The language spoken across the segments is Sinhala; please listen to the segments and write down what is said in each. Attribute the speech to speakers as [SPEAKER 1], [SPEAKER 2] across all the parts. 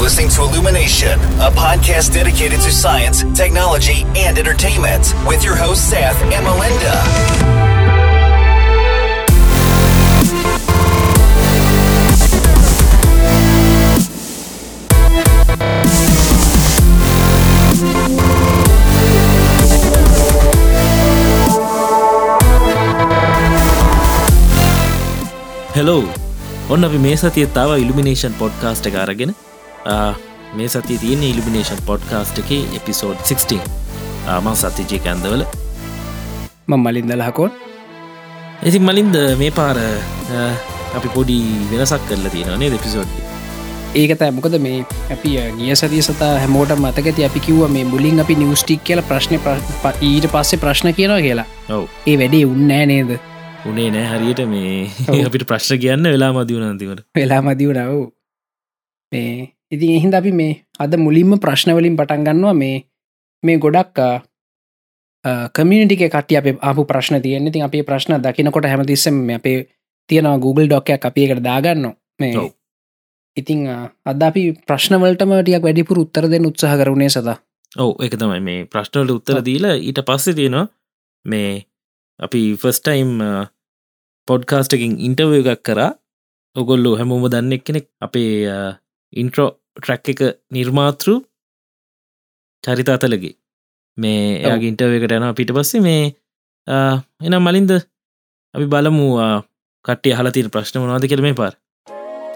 [SPEAKER 1] listening to Illumination, a podcast dedicated to science, technology, and entertainment with your hosts, Seth and Melinda.
[SPEAKER 2] Hello ඔන්න අපි මේ සතිය තව ඉල්ිනේෂන් පොඩ්කාස්ට කාරගෙන මේ සති තියෙන ඉල්ිනේෂන් පොඩ්කාස්ට එක එපිසෝඩ් 16 ආමන් සතිජය කැන්දවල
[SPEAKER 3] මං මලින් දලහකොත්
[SPEAKER 2] ඉති මලින්ද මේ පාර අ, අපි පොඩි වෙනසක් කරලා තියෙනනේ දෙපිසෝඩ්
[SPEAKER 3] ඒකතයි මොකද මේ අපි අ, ගිය සතිය සතා හැමෝට මතකති අපි කිව්ව මේ මුලින් අපි නිවස්ටික් කියල ප්‍රශ්න ඊට පස්සේ ප්‍රශ්න කියනවා කියලා
[SPEAKER 2] ඔව
[SPEAKER 3] ඒ වැඩේ උන්නෑ නේද
[SPEAKER 2] උනේ නෑ හරියට මේ
[SPEAKER 3] ඔව්.
[SPEAKER 2] අපිට ප්‍රශ්න කියන්න වෙලා මදියුණනතිකට
[SPEAKER 3] වෙලා මදිවුණාව මේ ඉතින් එහින්ද අපි මේ අද මුලින්ම ප්‍රශ්නවලින් පටන් ගන්නවා මේ මේ ගොඩක් කමිනිටික කට අප අපපු ප්‍රශ්න තියන ති අපේ ප්‍රශ්න දකිනකොට හැමතිස්සම මේ අපේ තියෙනවා Google ඩොක්කයක් අපේ එකට දාගන්න මේ
[SPEAKER 2] ඔව්.
[SPEAKER 3] ඉතිං අ, අද අපි ප්‍රශ්නවලටම ටියක් වැඩිපුර උත්තර දෙන්න උත්සාහ කරුණේ සඳ
[SPEAKER 2] ඔව එක තමයි මේ ප්‍රශ්නවලට උත්තර දීලා ඊට පස්සෙ තියෙනවා මේ අපි ෆස්ටයිම් පොඩ්කාස්ටකින් ඉන්ටර්ව එකක් කරා ඔගොල්ලු හැමෝම දන්න එක් කෙනෙක් අපේ ඉන්ට්‍රෝ ට්‍රැක් එක නිර්මාතෘ චරිතාතලගේ මේ එයාගේ ඉන්ටර්ව එකට යනවා පිට පස්සේ මේ අ, එනම් මලින්ද අපි බලමු අ, කට්ටිය හලතින ප්‍රශ්න මනවාද කර මේ පාර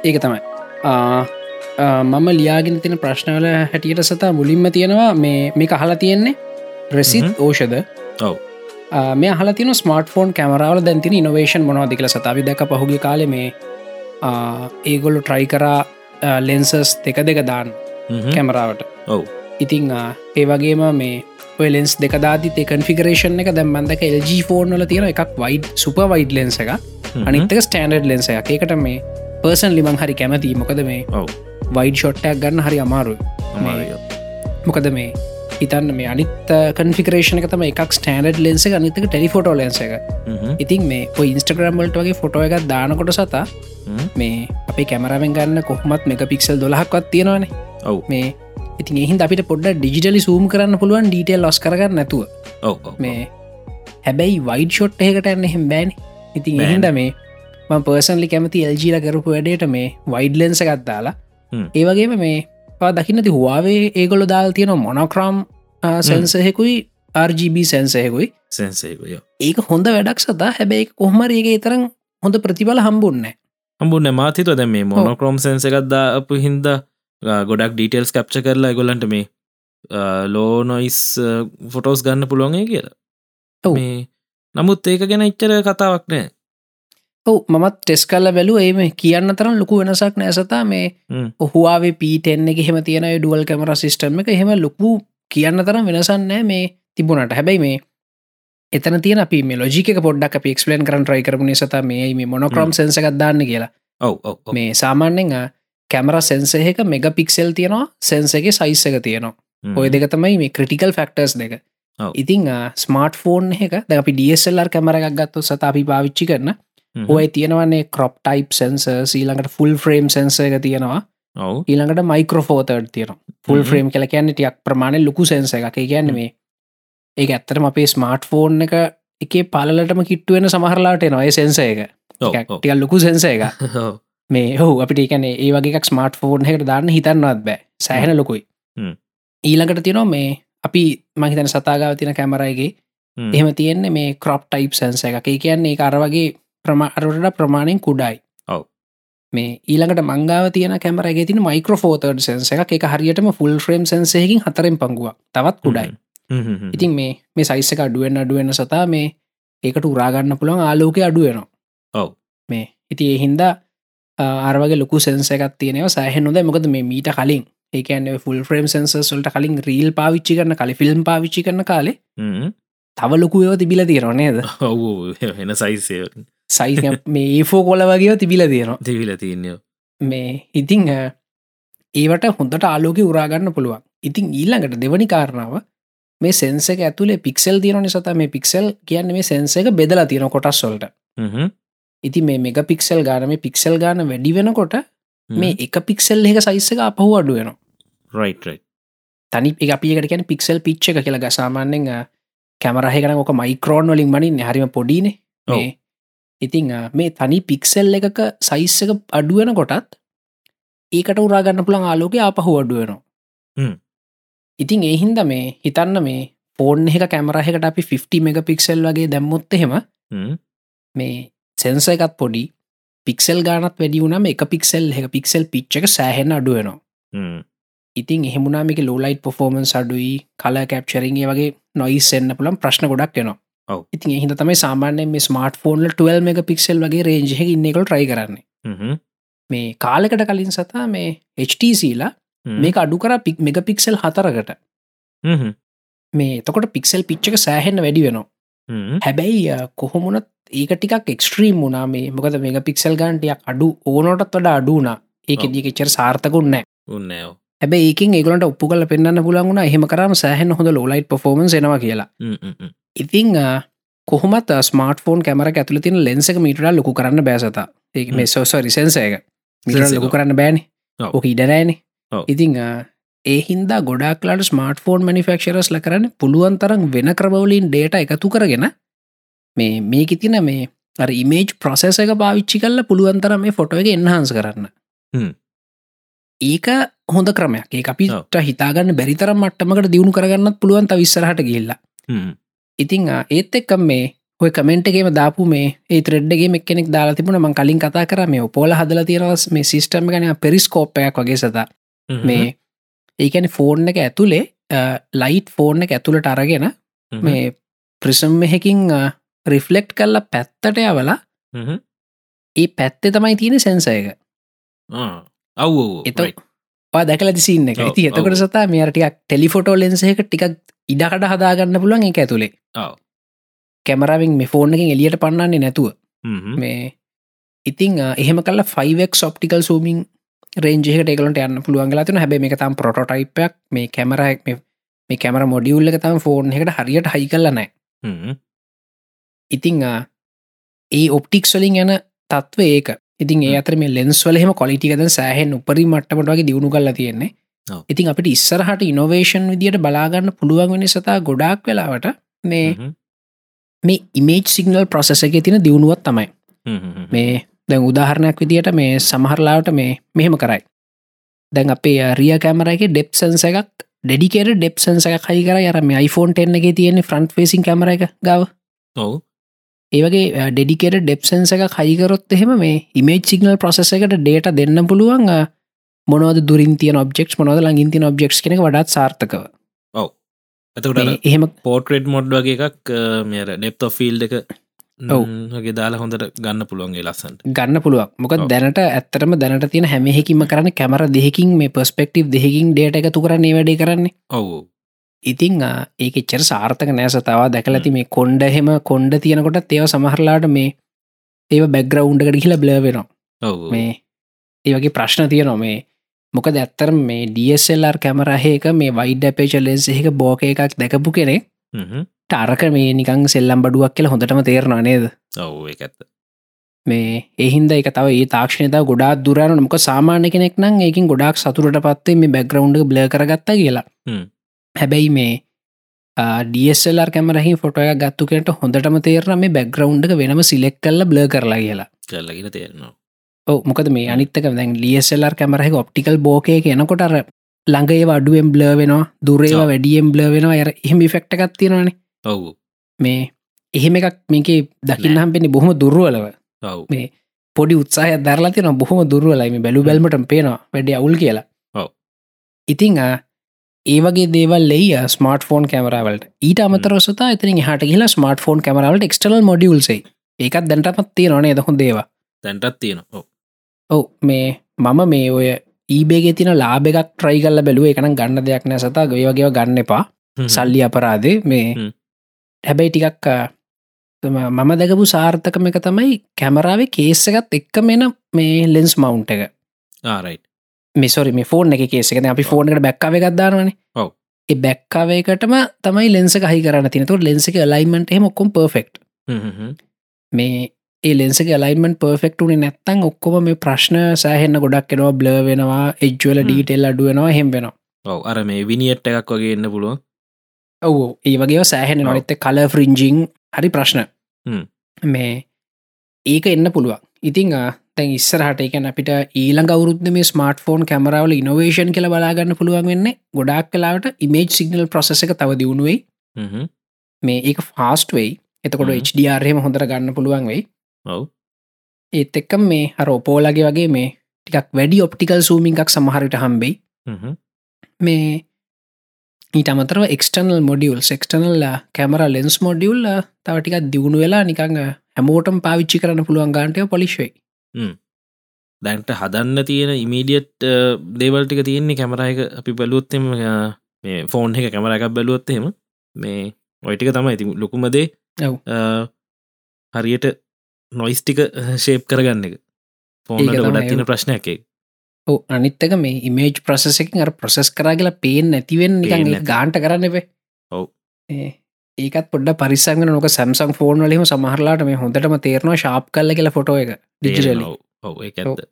[SPEAKER 3] ඒක තමයි ආ, ආ, මම ලියාගෙන තින ප්‍රශ්නවල හැටියට සතා මුලින්ම තියෙනවා මේ මේ අහලා තියෙන්නේ රෙසිත් ඕෂද
[SPEAKER 2] ඔව්.
[SPEAKER 3] මේ හලතින ස්මර්ට ෆෝන් කැමරාවල දැන්තින ඉනවේශන් මොනවාදිකල සතාවි දැක පහුගේ කාල මේ ආ, ඒගොල්ලු ට්‍රයි කරා ලෙන්සස් දෙක දෙක දාන්න
[SPEAKER 2] හ්ම්හ්ම්.
[SPEAKER 3] කැමරාවට
[SPEAKER 2] ඔව්
[SPEAKER 3] ඉතිං ආ, ඒ වගේම මේ ඔය ලෙන්ස් දෙකදාති කන්ෆිගරේෂන් එක දැම්බන්දක LG ෆෝර්න් වල තියෙන එකක් වයි් සුප වයිඩ් ලෙන්ස එක
[SPEAKER 2] හ්ම්හ්ම්.
[SPEAKER 3] අනිත්තක ස්ටන්ඩඩ් ලෙන්ස එක ඒකට මේ පර්සන් ලිමං හරි කැමති මොකද මේ
[SPEAKER 2] ඔව්
[SPEAKER 3] වයිඩ් ෂොට්ටයක් ගන්න හරි අමාරු
[SPEAKER 2] අමාරුයි.
[SPEAKER 3] මොකද මේ ඉතන්න මේ අනිත් කන්ෆිකරේෂන තම එකක් ස්ටන්ඩ් ලෙන්ස එක අනිතක ටෙලිෆොටෝ ලෙන්ස එක
[SPEAKER 2] හ්ම්හ්ම්.
[SPEAKER 3] ඉතින් මේ ඔ ඉන්ස්ටග්‍රම්වලට වගේ ෆොටෝ එකක් දානකොට සතා
[SPEAKER 2] හ්ම්.
[SPEAKER 3] මේ අපි කැමරමෙන් ගන්න කොහමත් මෙක පික්සල් දොලහක්වත් තියෙනවානේ
[SPEAKER 2] ඔව්.
[SPEAKER 3] මේ ඉතින් එහින් අපිට පොඩ ඩිජිටලි සූම් කරන්න පුළුවන් ඩීටේල් ලොස් කරගන්න නැතුව
[SPEAKER 2] ඔව් ඔව්.
[SPEAKER 3] මේ හැබැයි වයිඩ් ෂොට් එකට එන්න එහෙම බෑන ඉතින් එහින්ට මේ ම පර්සන්ලි කැමති එල්ජීල කරපු වැඩට මේ වයිඩ් ලෙන්ස ගත්දාලා
[SPEAKER 2] හ්ම්.
[SPEAKER 3] ඒවගේම මේ පා දකින්නති හවාවේ ඒගොලො දාල් තියෙන මොනොක්‍රම් සැන්සහෙකුයි RGB සැන්සයකුයි
[SPEAKER 2] සැන්සේකය
[SPEAKER 3] ඒක හොඳ වැඩක් සදා හැබැයි කොහමරගේ තරම් හොඳ ප්‍රතිබල හම්බුන්න
[SPEAKER 2] හම්බුන්න මාතිත දැ මේ මොනොක්‍රෝම් සන්ස එකක්දා අප හින්ද ගොඩක් ඩීටෙල්ස් කප්ච කරලා ගොලන්ට මේ ලෝනොයිස් ෆොටෝස් ගන්න පුළුවන්ගේ කියලා
[SPEAKER 3] ඔව්.
[SPEAKER 2] මේ නමුත් ඒක ගැන ඉච්චර කතාවක් නෑ
[SPEAKER 3] ඔව මත් ටෙස් කල්ල බැලු ඒම කියන්න තරම් ලොකු වෙනසක් නෑසතා මේ
[SPEAKER 2] හ්ම්.
[SPEAKER 3] ඔහුවාේ පීටෙන්න්නේ හෙම තියෙන ඩුවල් කැමර සිිස්ටම් එක හෙම ලොකු කියන්න තරම් වෙනසන්නෑ මේ තිබුණට හැබැයි මේ එතන තියන අපි මේ ලෝජික පොඩ්ඩක් පික්ස්ලන් කරන් ්‍රයි කරපුණ සත මේ මේ මොනොක්‍රම් සෙන්සකක්දන්න කියලා
[SPEAKER 2] ඔව් ඔව් ඔව්.
[SPEAKER 3] මේ සාමාන්‍යෙන් අ, කැමර සෙන්සහක මෙග පික්සෙල් තියෙනවා සෙන්සගේ සයිස්සක තියෙනවා
[SPEAKER 2] හ්ම්.
[SPEAKER 3] ඔය දෙක තමයි මේ ක්‍රටිකල් ෆක්ටර්ස් දෙක
[SPEAKER 2] ඔව්.
[SPEAKER 3] ඉතිං ස්මර්ට් ෆෝන් එක ද අපි ඩියසල්ලර් කැමරක් ගත්තු සත අපි පාවිච්චි කරන
[SPEAKER 2] හ්ම්.
[SPEAKER 3] ඔය තියෙනවන්නේ කොප් ටයිප් සෙන්ස ඊළඟට ෆුල් ෆ්‍රේම් සෙන්ස එක තියෙනවා
[SPEAKER 2] ඔව්
[SPEAKER 3] ඊළඟට මයිකරෝෆෝතර්ඩ තියෙන ෆුල්
[SPEAKER 2] හ්ම්.
[SPEAKER 3] ෆ්‍රේම් කල කියන්න ටියක් ප්‍රමාණය ලොකු සෙන්ස එක කියන්න මේ ඒ ඇත්තරම අපේ ස්මර්ට් ෆෝන් එක එකේ පලටම කිට්ටුවෙන සමහරලාට නොය සෙන්ස එක
[SPEAKER 2] ඔව් ඔව්.
[SPEAKER 3] ටිය ලොකු සෙන්ස එක
[SPEAKER 2] ඔව්.
[SPEAKER 3] මේ හෝ අපිට එකන ඒ වගේ ස්මර්ට් ෆෝර්න් එකට දාන්න හිතන්නවත් බෑ සෑහෙන ලොකුයි
[SPEAKER 2] හ්ම්.
[SPEAKER 3] ඊළඟට තියෙනවා මේ අපි මහිතන සතාගාව තින කැමරයිගේ
[SPEAKER 2] හ්ම්.
[SPEAKER 3] එහෙම තියෙන්නේ මේ කොප් ටයිප් සැන්ස එක ඒ කියන්නේ ඒ අරවගේ ප්‍රමාරට ප්‍රමාණයෙන් කුඩායි
[SPEAKER 2] ඔව්.
[SPEAKER 3] මේ ඊළඟට මංගාව තියන කැමරගේ තින මයිකෝෆෝතර්ඩ සෙන්ස එක එක හරියටම ෆුල් ්‍රේම් සන්සයකින් හතරෙන් පංගුව තවත් කුඩයි
[SPEAKER 2] හ්ම්. හ්ම්. හ්ම්.
[SPEAKER 3] ඉතින් මේ මේ සයිස්ස එක අඩුවෙන් අඩුවෙන සතා මේ ඒකට උරාගන්න පුළුවන් ආලෝකය අඩුවනවා
[SPEAKER 2] ඔව්.
[SPEAKER 3] මේ ඉති එහින්දා ආරවගේ ලොකු සෙන්සකත් තියනව සෑහෙන්නොද මොකද මේ මීට කලින් ඒකන්න ෆුල් ්‍රේම් සන්සල්ට කලින් රීල් පාවිච්චි කරන කලි ෆිල්ම් පාවිච්චි කරන කාලේ
[SPEAKER 2] හ්ම්.
[SPEAKER 3] තව ලොකුයව තිබිල තිරනේද
[SPEAKER 2] ඔව් ඔව්. වෙන සයිසය
[SPEAKER 3] සයි මේ ඒෆෝ කොල වගේ තිබිල තියෙනවා
[SPEAKER 2] දෙවිල තියන්නේ
[SPEAKER 3] මේ ඉතිං අ, ඒවට හොඳට ආලෝක උරාගන්න පුළුවන් ඉතිං ඊල්ළඟට දෙවනි කාරණාව මේ සෙන්සක ඇතුලේ පික්සල් තියරන සත මේ පික්සල් කියන්න මේ සෙන්ස එක බෙදලා තියෙන කොටස් සොල්ට ඉති මේ මෙග පික්සල් ගාන මේ පික්සල් ගාන වැඩි වෙනකොට මේ එක පික්සෙල් එක සයිස්සක අපහු අඩුවෙන
[SPEAKER 2] රයිට් රයිට්
[SPEAKER 3] තනි එක අපිකට කියන පික්සෙල් පිච්ච එක කියලා ගසාමාන්‍යෙන් කැමරහකන ඕක මයිකරෝන් වලින් මනින් හරිම පොඩිනේ
[SPEAKER 2] ඔව්.
[SPEAKER 3] මේ. ඉතිං අ, මේ තනි පික්සෙල් එකක සයිස්සක අඩුවෙන කොටත් ඒකට උරාගන්න පුළන් ආලෝක අපහු අඩුවනවා
[SPEAKER 2] හ්ම්.
[SPEAKER 3] ඉතිං ඒහින්ද මේ හිතන්න මේ පෝර්න් එක කැමරහකට අපි 50 මෙග පික්සෙල් වගේ දැම්මොත් එහෙම මේ සෙන්ස එකත් පොඩි පික්සෙල් ගානත් වැඩි වුණම එක පික්සෙල් එක පික්සෙල් පිච්චක සෑහෙන් අඩුවනවා ඉතින් එහෙමුණමික ලෝලයිට් පොෆෝමන්ස් අඩුයි කල කැප්චරිගේ වගේ නොයිස් එන්න පුළන් ප්‍රශ්න ගොඩක් වෙනවා
[SPEAKER 2] ඔව්.
[SPEAKER 3] ඉතින් එහිද තමයි සාමාන්‍යෙන් මේ ස්මර්ට ෆෝන්ල 12 මෙග පික්සෙල් වගේ රේජහ ඉන්නෙකල් ට්‍රයි කරන්න මේ කාලෙකට කලින් සතා මේ HTCලා මේ අඩු කර පික් මෙග පික්සෙල් හතරකට මේ තකොට පික්සෙල් පිච්චක සෑහෙන්න වැඩි වෙනවා හැබැයි අ, කොහොමුණත් ඒක ටිකක් එක්ස්ට්‍රීම් වුණා මේ මොකද මේක පික්සල් ගන්ටයක් අඩු ඕනොටත් වඩ අඩුනා ඒක
[SPEAKER 2] ඔව්.
[SPEAKER 3] දිිකච්චර සාර්ථකුන්න
[SPEAKER 2] උන්නෑ
[SPEAKER 3] හැබැ ඒකින් ඒගලට උප්පු කල පෙන්න්න පුලන්ුණ හෙමකරම සෑහන හොඳ ලෝලයිට් පොෆෝමන් එනවා කියලා ඉතිං අ, කොහොමත් ස්මාර්ට ෆෝන් කැමර ඇතුල තින ලෙන්සක මිටර ලොකු කරන්න බෑසතා ඒක මේ සෝසෝ රිසන්සයක මිට
[SPEAKER 2] Sensor
[SPEAKER 3] ලොකු
[SPEAKER 2] එක.
[SPEAKER 3] කරන්න බෑන
[SPEAKER 2] ඔව්.
[SPEAKER 3] ඕක ඉඩනෑන
[SPEAKER 2] ඔව්.
[SPEAKER 3] ඉතිං අ, ඒ හින්දා ගොඩක්ලාට ස්මර්ට ෆෝන් මනිිෆක්ෂරස් ලකරන්න පුළුවන් තරම් වෙන ක්‍රබවලින් ඩේට එකතු කරගෙන මේ මේක තින මේ අර ඉමේජ් ප්‍රසෙස එක පාවිච්චි කල්ල පුළුවන්තර මේ ෆොටෝ එක එන්හන්ස් කරන්න
[SPEAKER 2] හ්ම්.
[SPEAKER 3] ඒක හොඳ ක්‍රමයක් ඒ අපිට
[SPEAKER 2] ඔව්.
[SPEAKER 3] හිතාගන්න බැරිතරම් මට්ටමකට දියුණු කරගන්නත් පුළුවන් තවිස්සරහට ගිල්ල ඉතිං ආ, ඒත් එක්කම් මේ ඔය කමෙන්ට් එකේම දාපු මේ ඒ ත්‍රෙඩ්ඩගේ මෙක් කෙනෙක් දාලා තිබුණ මං කලින් කතා කර මේ පෝල හදල තියෙනවස් මේ සිිස්ටම් ගන පෙරිස්කෝප්පයක් වගේ සත මේ ඒකැන ෆෝර්න් එක ඇතුළේ ලයිට් ෆෝර්න් එක ඇතුළට අරගෙන මේ ප්‍රිසම් මෙහකින් රිෆ්ලෙක්් කල්ලා පැත්තට යවලා
[SPEAKER 2] Mm-hmm.
[SPEAKER 3] ඒ පැත්තේ තමයි තියෙන සැන්සයක
[SPEAKER 2] Ah. අව්
[SPEAKER 3] එත දැකල දිසින්න එක
[SPEAKER 2] ඔව්,
[SPEAKER 3] ති එතකට
[SPEAKER 2] ඔව්.
[SPEAKER 3] සතා මේයටටියක් ටෙලිෆොටෝ ලෙන්සේක ටිකක් ඉඩකට හදාගන්න පුළුවන් එක ඇතුළේ
[SPEAKER 2] ඔව්.
[SPEAKER 3] කැමරවින් මේ ෆෝර්නකින් එලියට පන්නන්නේ නැතුව
[SPEAKER 2] Mm-hmm.
[SPEAKER 3] මේ ඉතිං අ, එහෙම කල ෆයිවක් සොප්ටිකල් සූමින් රේජෙක ටෙකලට යන්න පුළුවන්ගලා තින හැබේ එක තම් පොටයිපයක් මේ කැමරක් මේ කැමර මොඩියුල්ල එක තම ෆෝර්න් එකට හරියට හයි කලනෑ
[SPEAKER 2] Mm-hmm.
[SPEAKER 3] ඉතිං අ, ඒ ඔප්ටික්ස්වලින් යන තත්ව ඒක ඉතින් ඒ අතර මේ ලෙන්ස්වලහෙම කොලිටිකද සෑහෙන් උපරි මට්ටමට වගේ දියුණු කල තියෙන්නේ
[SPEAKER 2] ඔව්.
[SPEAKER 3] ඉතින් අපිට ඉස්සරහට ඉනොවේෂන් විදිට බලාගන්න පුළුවන් වෙන සතා ගොඩාක් වෙලාවට මේ
[SPEAKER 2] Mm-hmm.
[SPEAKER 3] මේ ඉමේජ් සිගනල් ප්‍රසෙස එක තින දියුණුවත් තමයි
[SPEAKER 2] Mm-hmm.
[SPEAKER 3] මේ දැන් උදාහරණයක් විදිහට මේ සමහරලාට මේ මෙහෙම කරයි දැන් අපේ රිය කෑමරයික ඩෙප්සන්ස එකක් ඩෙඩිකේට ඩෙප්සන්ස එක කයි කර යර මේ iPhoneෆෝන් එන්න එක තියෙන්නේ ෆ්‍රන්ට් ෆේසින් කැමර එක ගව
[SPEAKER 2] ඔව
[SPEAKER 3] ඒවගේ ඩෙඩිකේට ඩෙප්සන්ස එක කයිකරොත් එහෙම මේ ඉමේජ් සිගනල් ප්‍රසෙස එකට ඩේට දෙන්න පුළුවන් අ, මොනවද දුරින් තිය ඔබෙක් මොනද ලඟින් තින ඔබෙක්් කෙනෙ වඩත් සාර්ථකව
[SPEAKER 2] oh. එතකට
[SPEAKER 3] මේ එහෙම
[SPEAKER 2] පෝට්‍රේට් මොඩ් වගේ එකක් uh, මෙර නෙප්ත ෆිල්් එක
[SPEAKER 3] ඔව්.
[SPEAKER 2] වගේ දාලා හොඳට ගන්න පුළුවන්ගේ ලස්සන්ට
[SPEAKER 3] ගන්න පුළුවක් මොකක්
[SPEAKER 2] ඔව්.
[SPEAKER 3] දැනට ඇත්තරම දැනට තියෙන හැමෙකිම කරන්න කැමර දෙහකින් මේ පස්පෙක්ටව් දෙහකින් ඩේට එකතු කරන්නේ වැඩේ කරන්න
[SPEAKER 2] ඔව්
[SPEAKER 3] ඉතිං ආ, ඒක එච්චර සාර්ථක නෑ සතවා දැකලති මේ කොන්්ඩ හෙම කොන්්ඩ තියෙනකොට තේව සමහරලාට මේ ඒව බැග්‍රවුන්්ඩකට කියලා බ්ලර් වෙනවා
[SPEAKER 2] ඔව්
[SPEAKER 3] මේ ඒවගේ ප්‍රශ්න තියනවා මේ මොක දැත්තර මේ ඩSLR කැමරහයක මේ වයිඩ පේචලෙන්ස් එක බෝක එකක් දැකපු කෙනෙ
[SPEAKER 2] Mm-hmm.
[SPEAKER 3] ටර්ක මේ නිකං සෙල්ලම් බඩුවක් කියලා හොඳටම තේරනවා නේද
[SPEAKER 2] ඔව් එක Oh, ඇත්ත
[SPEAKER 3] මේ එහින්ද එක තව ඒ තාක්ෂණතාව ගොඩාක් දුරන මොක සාමාන්‍ය කෙනෙක් නම් ඒකින් ගොඩක් සතුරට පත්තේ මේ බැග්‍රවුන්ඩ බ්ල කරගත්ත කියලා
[SPEAKER 2] හ්ම්.
[SPEAKER 3] හැබැයි මේ ඩSLR කැමරහි ෆොටය ගත්තු කෙනට හොඳටම තේරන මේ බැග්‍රවුන්ඩ වෙනම සිලෙක් කල්ල බ්ල කරලා කියලා
[SPEAKER 2] කරලගෙන තේරනවා
[SPEAKER 3] ඔ මොකද මේ අනිත්තක දැන් ඩSLR කැමරහි ඔප්ටිකල් බෝකය කියනකොටර ළඟඒ වඩුවෙන් බ්ල වෙනවා දුරේවා
[SPEAKER 2] ඔව්.
[SPEAKER 3] වැඩියෙන් බ්ල වෙනවා ඇර එහම ෆෙක්ටගත්තියෙනවාන
[SPEAKER 2] ඔව්
[SPEAKER 3] මේ එහෙම එකක් මේකේ දකින්න හම්පෙන්නේ බොහොම දුර්ුවලව
[SPEAKER 2] ඔව්
[SPEAKER 3] පොඩි උත්සාහය දරලා තින බොහොම දුරුවලයිම බැලු බැල්මට පේනවා වැඩ අවුල් කියලා
[SPEAKER 2] ඔව්.
[SPEAKER 3] ඉතිං අ, ඒ වගේ දේවල් ලෙයි ස්මර්ට ෆෝන් කැමරවලට ඊට අමතරවසත ඉතින් හට කියලා ස්මර්ට ෆෝන් කැමරවලට එක්ටනල් මොඩියුල්සේ එකත් දැන්ටමත්තිය නොනේ දහොන් දේව
[SPEAKER 2] තැන්ටත් Oh. තියෙන ඔව්
[SPEAKER 3] ඔව මේ මම මේ ඔය ඒබේගේ තින ලාබෙක් ට්‍රයි කල්ල බැලුව එකන ගන්න දෙයක් නෑ සතා ගොය වගේ ගන්න එපා
[SPEAKER 2] හ්ම්.
[SPEAKER 3] සල්ලි අපරාදේ මේ
[SPEAKER 2] හ්ම්.
[SPEAKER 3] හැබැයි ටිකක් අ, තම- මම දැකපු සාර්ථකම එක තමයි කැමරාවේ කේසකත් එක්ක මෙන මේ ලෙන්ස් මවුන්් එක
[SPEAKER 2] ආරයි
[SPEAKER 3] මෙසොරි මේ ෆෝන් එක කේසකන අපි ෆෝර්නට බැක්කාව එකක්දානවන
[SPEAKER 2] ඔව්.
[SPEAKER 3] ඒ බැක්කාවේකටම
[SPEAKER 2] Mm-hmm.
[SPEAKER 3] තමයි ලෙන්ස කහි කරන්න තිනතු ලෙන්සක ලයිමට හෙමොක්කොම් පර්ෆෙක්් මේ ඒ ලෙන්සගේ ලයිමන් පර්ෆෙක්ටුනේ නැත්තං ඔක්කොම මේ ප්‍රශ්න සෑහෙන්න ගොඩක් එෙනවා බ්ලර් වෙනවා එජ්වල
[SPEAKER 2] හ්ම්.
[SPEAKER 3] ඩීටෙල් අඩුවෙනවා හෙම්බෙනවා
[SPEAKER 2] ඔව Oh, අර මේ විනිියට් එකක් වගේ එන්න පුළුවන්
[SPEAKER 3] ඔව ඒ වගේ සෑහෙන
[SPEAKER 2] ඔව්.
[SPEAKER 3] නොනත්ත කල ෆරිංජිං හරි ප්‍රශ්න
[SPEAKER 2] හ්ම්.
[SPEAKER 3] මේ ඒක එන්න පුළුවන් ඉතිං ආ, තැන් ඉස්සරහට එකන අපිට ඊළඟ අවුරුද්ධ මේ ස්මර්ට ෆෝන් කැමරාවල ඉනොවේෂන් කළ බලාගන්න පුළුවන් වෙන්න ගොඩක් කලාට ඉමේජ් සිගනල් ප්‍රසෙස එක තව දියුණුවයි
[SPEAKER 2] හ්ම්.
[SPEAKER 3] මේ ඒක ෆාස්ට වෙයි එතකොට
[SPEAKER 2] හ්ම්.
[SPEAKER 3] HDRම හොඳර ගන්න පුළුවන් වෙයි
[SPEAKER 2] ඔව්
[SPEAKER 3] ඒත් එක්ක මේ හර ඔපෝලගේ වගේ මේ ටිකක් වැඩි ඔප්ටිකල් සූමින් එකක් සමහරිට හම්බෙයි
[SPEAKER 2] හ්ම්.
[SPEAKER 3] මේ ඊට අමතරව එක්ටනල් මොඩියල් සෙක්ටනල්ල කැමර ලෙන්ස් මොඩියුල්ල තවටිකක් uh, දියුණු වෙලා නිකං හැමෝටම පාවිච්චි කරන්න පුළුවන් ගාන්ටය පොලිශ්වයි
[SPEAKER 2] දැන්ට හදන්න තියෙන ඉමීඩියට් දේවල්ටික තියෙන්නේ කැමරයක අපි බැලුවොත්තෙම මේ ෆෝන් එක කැමර එකක් බැලුවොත්තෙම මේ ඔයිටික තමයි ඉති ලොකුමදේ
[SPEAKER 3] ඔව්.
[SPEAKER 2] හරියට නොයිස්ටික ශේප් කරගන්න එක
[SPEAKER 3] ඒක
[SPEAKER 2] ෆෝන්ට
[SPEAKER 3] තමයි
[SPEAKER 2] ගොඩක් තින
[SPEAKER 3] ඒක.
[SPEAKER 2] ප්‍රශ්නයක්ේ
[SPEAKER 3] ඕ අනිත්තක මේ ඉමේජ් ප්‍රසෙස එකින් අර ප්‍රසෙස් කරාගලා පේෙන් නැතිවෙන් නිකන්
[SPEAKER 2] පේන්නේ
[SPEAKER 3] ඒ
[SPEAKER 2] නැති.
[SPEAKER 3] ගාන්ට කරන්න එපේ
[SPEAKER 2] ඔව්.
[SPEAKER 3] ඒ- ඒකත් පොඩ පරිසංග නොක සැම්සං ෆෝන් වලම සමහරලාට මේ හොඳටම තේරනවා ශාප් කල්ල කියලා ෆොටෝ එක ඩිජිටලි
[SPEAKER 2] ඔව එක ඇත්ත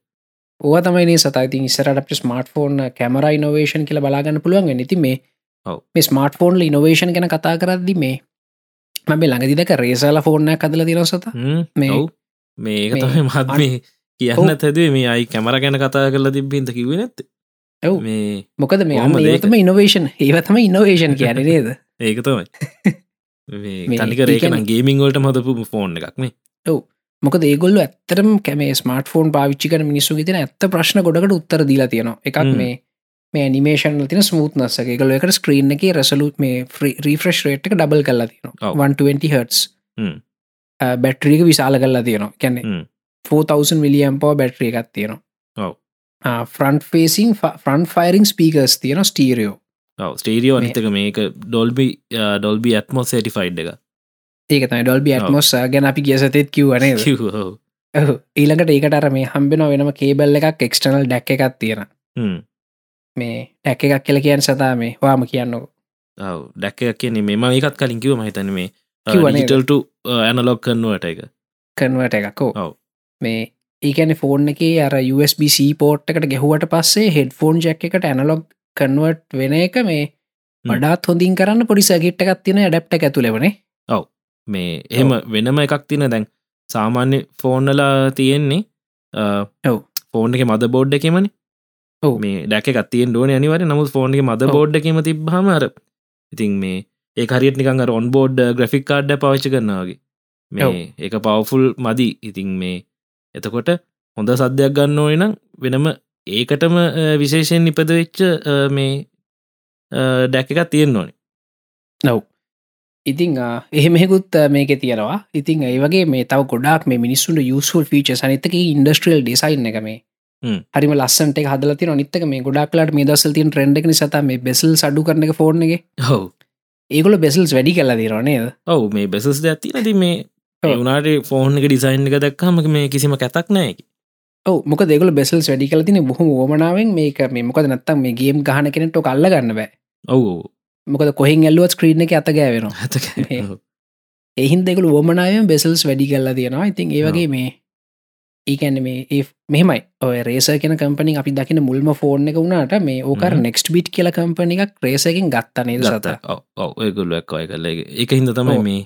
[SPEAKER 3] ඕ තමයි සතති ඉස්සරට ස්මර්ට ෆෝන් කැමර ඉනොවේෂන් කියල බලාගන්න පුළුවන් නති මේ
[SPEAKER 2] ඔව්.
[SPEAKER 3] මේ ස්මර්ට ෆෝන්ල ඉනොවේෂන් ගැන කතා කරද්දි මේ මම ළඟදිදක රේසාල ෆෝර්න කදල දින සත මේ-
[SPEAKER 2] ඔව් මේක
[SPEAKER 3] මේ
[SPEAKER 2] තමයි මත්
[SPEAKER 3] අන්-
[SPEAKER 2] මේ
[SPEAKER 3] ඔව්.
[SPEAKER 2] කියන්න තැදේ මේ අයි කැමර ගැන කතා කරලා තිබ්බින්ද කිවෙන ඇත්ත
[SPEAKER 3] ඔව්.
[SPEAKER 2] මේ
[SPEAKER 3] මොකද මේ
[SPEAKER 2] කොහොමද ඒක?
[SPEAKER 3] ඒතම ඉනොවේෂන් ඒවතම ඉනොවේෂන් කියන නේද
[SPEAKER 2] ඒක තමයි
[SPEAKER 3] මේ
[SPEAKER 2] මේ තනිකර
[SPEAKER 3] ඒ
[SPEAKER 2] ඒකන
[SPEAKER 3] කියන්නේ-
[SPEAKER 2] ගේමින් වලට මතපු ෆෝන් එකක් මේ
[SPEAKER 3] මොකද ඒගොල්ල ඇත්තරම් කැමේ ස්මර්ට ෆෝන් පාවිච්චික මිනිස්සු තින ඇත්ත ප්‍රශ්න ගොඩට උත්තර දීලා තියෙනවා එකක්
[SPEAKER 2] හ්ම්.
[SPEAKER 3] මේ මේ නිමේෂන් තින ස්මුූත් නස්සක එකල එකට ස්ක්‍රීන් එක රැසලුත් මේ රිෆ්‍රෙශ් රේට් එක ඩබල් කල්ලා
[SPEAKER 2] ඔව්.
[SPEAKER 3] තියෙනවා 120 හටස්
[SPEAKER 2] හ්ම්.
[SPEAKER 3] බැට්‍රීක විශාල කල්ලා තියනවා කැනෙ
[SPEAKER 2] හ්ම්.
[SPEAKER 3] 4000 මිලියම් පෝ බැට්‍රිය එකක් තියෙනවා
[SPEAKER 2] ඔව්.
[SPEAKER 3] Front facing front firing speakers තියෙන ස්ටීරියෝ
[SPEAKER 2] ස්ටේරියෝ
[SPEAKER 3] මේ-
[SPEAKER 2] අනිතක මේක ඩොල්බි ඩොල්බි ඇත්මෝ සටිෆයිඩ් එක
[SPEAKER 3] ඒකතයි ඩොල්බි
[SPEAKER 2] ඔව්.
[SPEAKER 3] ඇත්මොස් ගැන අපි ගිය සතෙත් කිව්වනේ
[SPEAKER 2] කිව් ඔව්.
[SPEAKER 3] ඔහු. ඊළඟට ඒකට අර මේ හම්බෙන වෙනම කේබල් එකක් එක්ස්ටනල් ඩැක් එකක් තියෙන
[SPEAKER 2] හ්ම්.
[SPEAKER 3] මේ ඩැක් එකක් කියල කියන සතා මේ වාම කියන්නක
[SPEAKER 2] ඔව්. දැක්ක එකක් කියන්නේ මෙම ඒකත් කලින් කිව මහිතන මේ
[SPEAKER 3] කිව්වා නේද?
[SPEAKER 2] ටල්ට ඇනලොක් කරනුවට එක
[SPEAKER 3] කනුවට එකකෝ
[SPEAKER 2] ඔව්.
[SPEAKER 3] මේ ඒකන ෆෝන් එක අර USBC පෝට් එකට ගැහුවට පස්සේ හෙඩ ෆෝන් ජැක් එකට ඇනලොග් කනුවට් වෙන එක මේ
[SPEAKER 2] හ්ම්.
[SPEAKER 3] වඩාත් හොඳින් කරන්න පොඩිස ගිට්ට එකක් තින ඩප්ට ඇතුලෙවනේ
[SPEAKER 2] මේ එහෙම වෙනම එකක් තින දැන් සාමාන්‍ය ෆෝන්නලා තියෙන්නේ
[SPEAKER 3] ඔව්.
[SPEAKER 2] ෆෝන් එක මද බෝඩ් එකෙමන
[SPEAKER 3] ඔව්.
[SPEAKER 2] මේ දැක ගත්තියෙන් ඩෝන අනිවර නමුත් ෆෝන් එක මද
[SPEAKER 3] ඔව්.
[SPEAKER 2] බෝඩ් එකම තිබ්හම අර ඉතින් මේ ඒ හරියට නිකන් ඔන් බෝඩ් ග්‍රෆික් කාඩ්ඩ පාවිච්ච කරනාවගේ
[SPEAKER 3] ඔව්.
[SPEAKER 2] මේ ඒක පවෆුල් මදි ඉතින් මේ එතකොට හොඳ සද්ධයක් ගන්න ඕනනම් වෙනම ඒකටම අ, විශේෂයෙන් නිපද වෙච්ච අ, මේ ඩැක එකක් තියෙන් ඕනේ
[SPEAKER 3] ඉතිං ආ, එහෙමෙකුත් ආ, මේක තියෙනවා ඉතිං ඒ වගේ මේ තව ගොඩක් මේ මිනිස්සුන්ට යුසුල් ෆීච සනිතක ඉන්ඩස්ට්‍රියල් ඩිසයින් එක මේ
[SPEAKER 2] හ්ම්.
[SPEAKER 3] හරිම ලස්සන්ට හදල තින නිත්තක මේ ගොඩක්ලාට මේ දසල් තින් ට්‍රෙන්ඩක් සත මේ බෙසල් සඩු කරන එක ෆෝර්න එක
[SPEAKER 2] හව
[SPEAKER 3] ඒගොල බෙසල්ස් වැඩි කල්ලා දිරනේද
[SPEAKER 2] ඔවු මේ බෙසස් ඇති නති මේ
[SPEAKER 3] ඔව්.
[SPEAKER 2] වනාට ෆෝන් එක ඩිසයින් එක දක්හම මේ කිසිම කැතක් නෑකි
[SPEAKER 3] ඔව මොක දෙගල බෙසල්ස් වැඩි කල තින බොහම ෝමනාවෙන් මේක මේ මොකද නත්තම් මේ ගේම් ගහන කෙනෙට කල්ල ගන්න බෑ
[SPEAKER 2] ඔවු
[SPEAKER 3] මොකද කොහෙන් ඇල්ලුවත් ස්ක්‍රීන එක අතගෑවෙන
[SPEAKER 2] ඇත
[SPEAKER 3] මේ එහින් දෙකළ ෝමනාවෙන් බෙසල්ස් වැඩි කල්ලා තියෙනවා ඉතින් ඒවගේ මේ ඒකැන මේ ඒ මෙමයි ඔය රේස කෙන කම්පනි අපි දකින මුල්ම ෆෝර්න එක වුණට මේ ඕකර
[SPEAKER 2] හ්ම්.
[SPEAKER 3] නෙක්ස්ට බිට් කියල කම්පනි එකක් රේසකින් ගත්තනේ සත
[SPEAKER 2] ඔව ඒගොල්ල එක්කෝය කරලගේ එක හිද තමයි
[SPEAKER 3] ඔව්.
[SPEAKER 2] මේ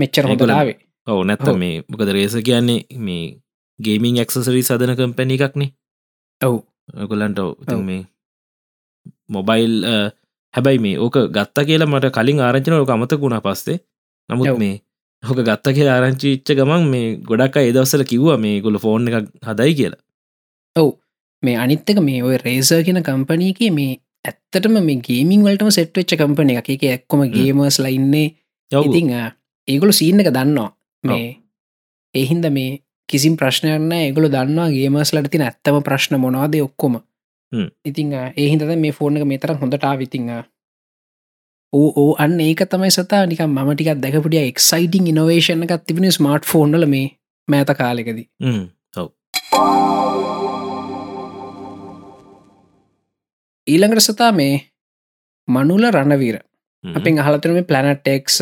[SPEAKER 3] මෙච්චර
[SPEAKER 2] ඒගොල්ලන්-
[SPEAKER 3] හොඳලාවේ
[SPEAKER 2] ඔවු නැත්ත
[SPEAKER 3] ඔව්.
[SPEAKER 2] මේ මොකද රේස කියන්නේ මේ ගේමින් එක්සසරී සදන කම්පැණි එකක්නේ
[SPEAKER 3] ඔව්.
[SPEAKER 2] ගොලන්ට
[SPEAKER 3] ඔව්.
[SPEAKER 2] මේ මොබයිල් අ, හැබැයි මේ ඕක ගත්ත කියලා මට කලින් ආරංචන ඕක අමතකුණා පස්සේ
[SPEAKER 3] ඔව්.
[SPEAKER 2] නමුත් මේ හොක ගත්ත කියලා ආරංචි ච්ච ගමන් මේ ගොඩක් ඒදවසල කිව්වා මේ ගොල ෆෝන් එක හදයි කියලා
[SPEAKER 3] මේ අනිත්තක මේ ඔය රේස කියෙන කම්පනීක මේ ඇත්තටම මේ ගේමින් වලටම සෙට්වෙච්ච කම්පන එක එක එක්කොම ගේමර්ස් ලයින්නේ
[SPEAKER 2] ඔව්.
[SPEAKER 3] ඉතිං ආ, ඒගොලු සීන්න එක දන්නවා
[SPEAKER 2] ඔව්.
[SPEAKER 3] මේ එහින්ද මේ කිසි ප්‍රශ්නයන්න ඒගොලු දන්නවා ගේමස්ලට තින ඇත්තම ප්‍රශ්න මොනවාද ඔක්කොම
[SPEAKER 2] හ්ම්.
[SPEAKER 3] ඉතිං ආ, ඒහින්ද මේ ෆෝර්න එක මේතර හොඳටා විතිං ඕ ඕ අන්න ඒක තමයි සතා නික ම ටිකක් දැකපුටිය එක්සයිටිං ඉනවේශන එකක් තිබෙන ස්මර්ට් ෆෝන්ඩල මේ මෑත කාලෙකද
[SPEAKER 2] හ්ම්.
[SPEAKER 3] ඊළඟට සතා මේ මනුල රණවීර
[SPEAKER 2] හ්ම්.
[SPEAKER 3] අපෙන් අහලතර මේ පලනටෙක්ස්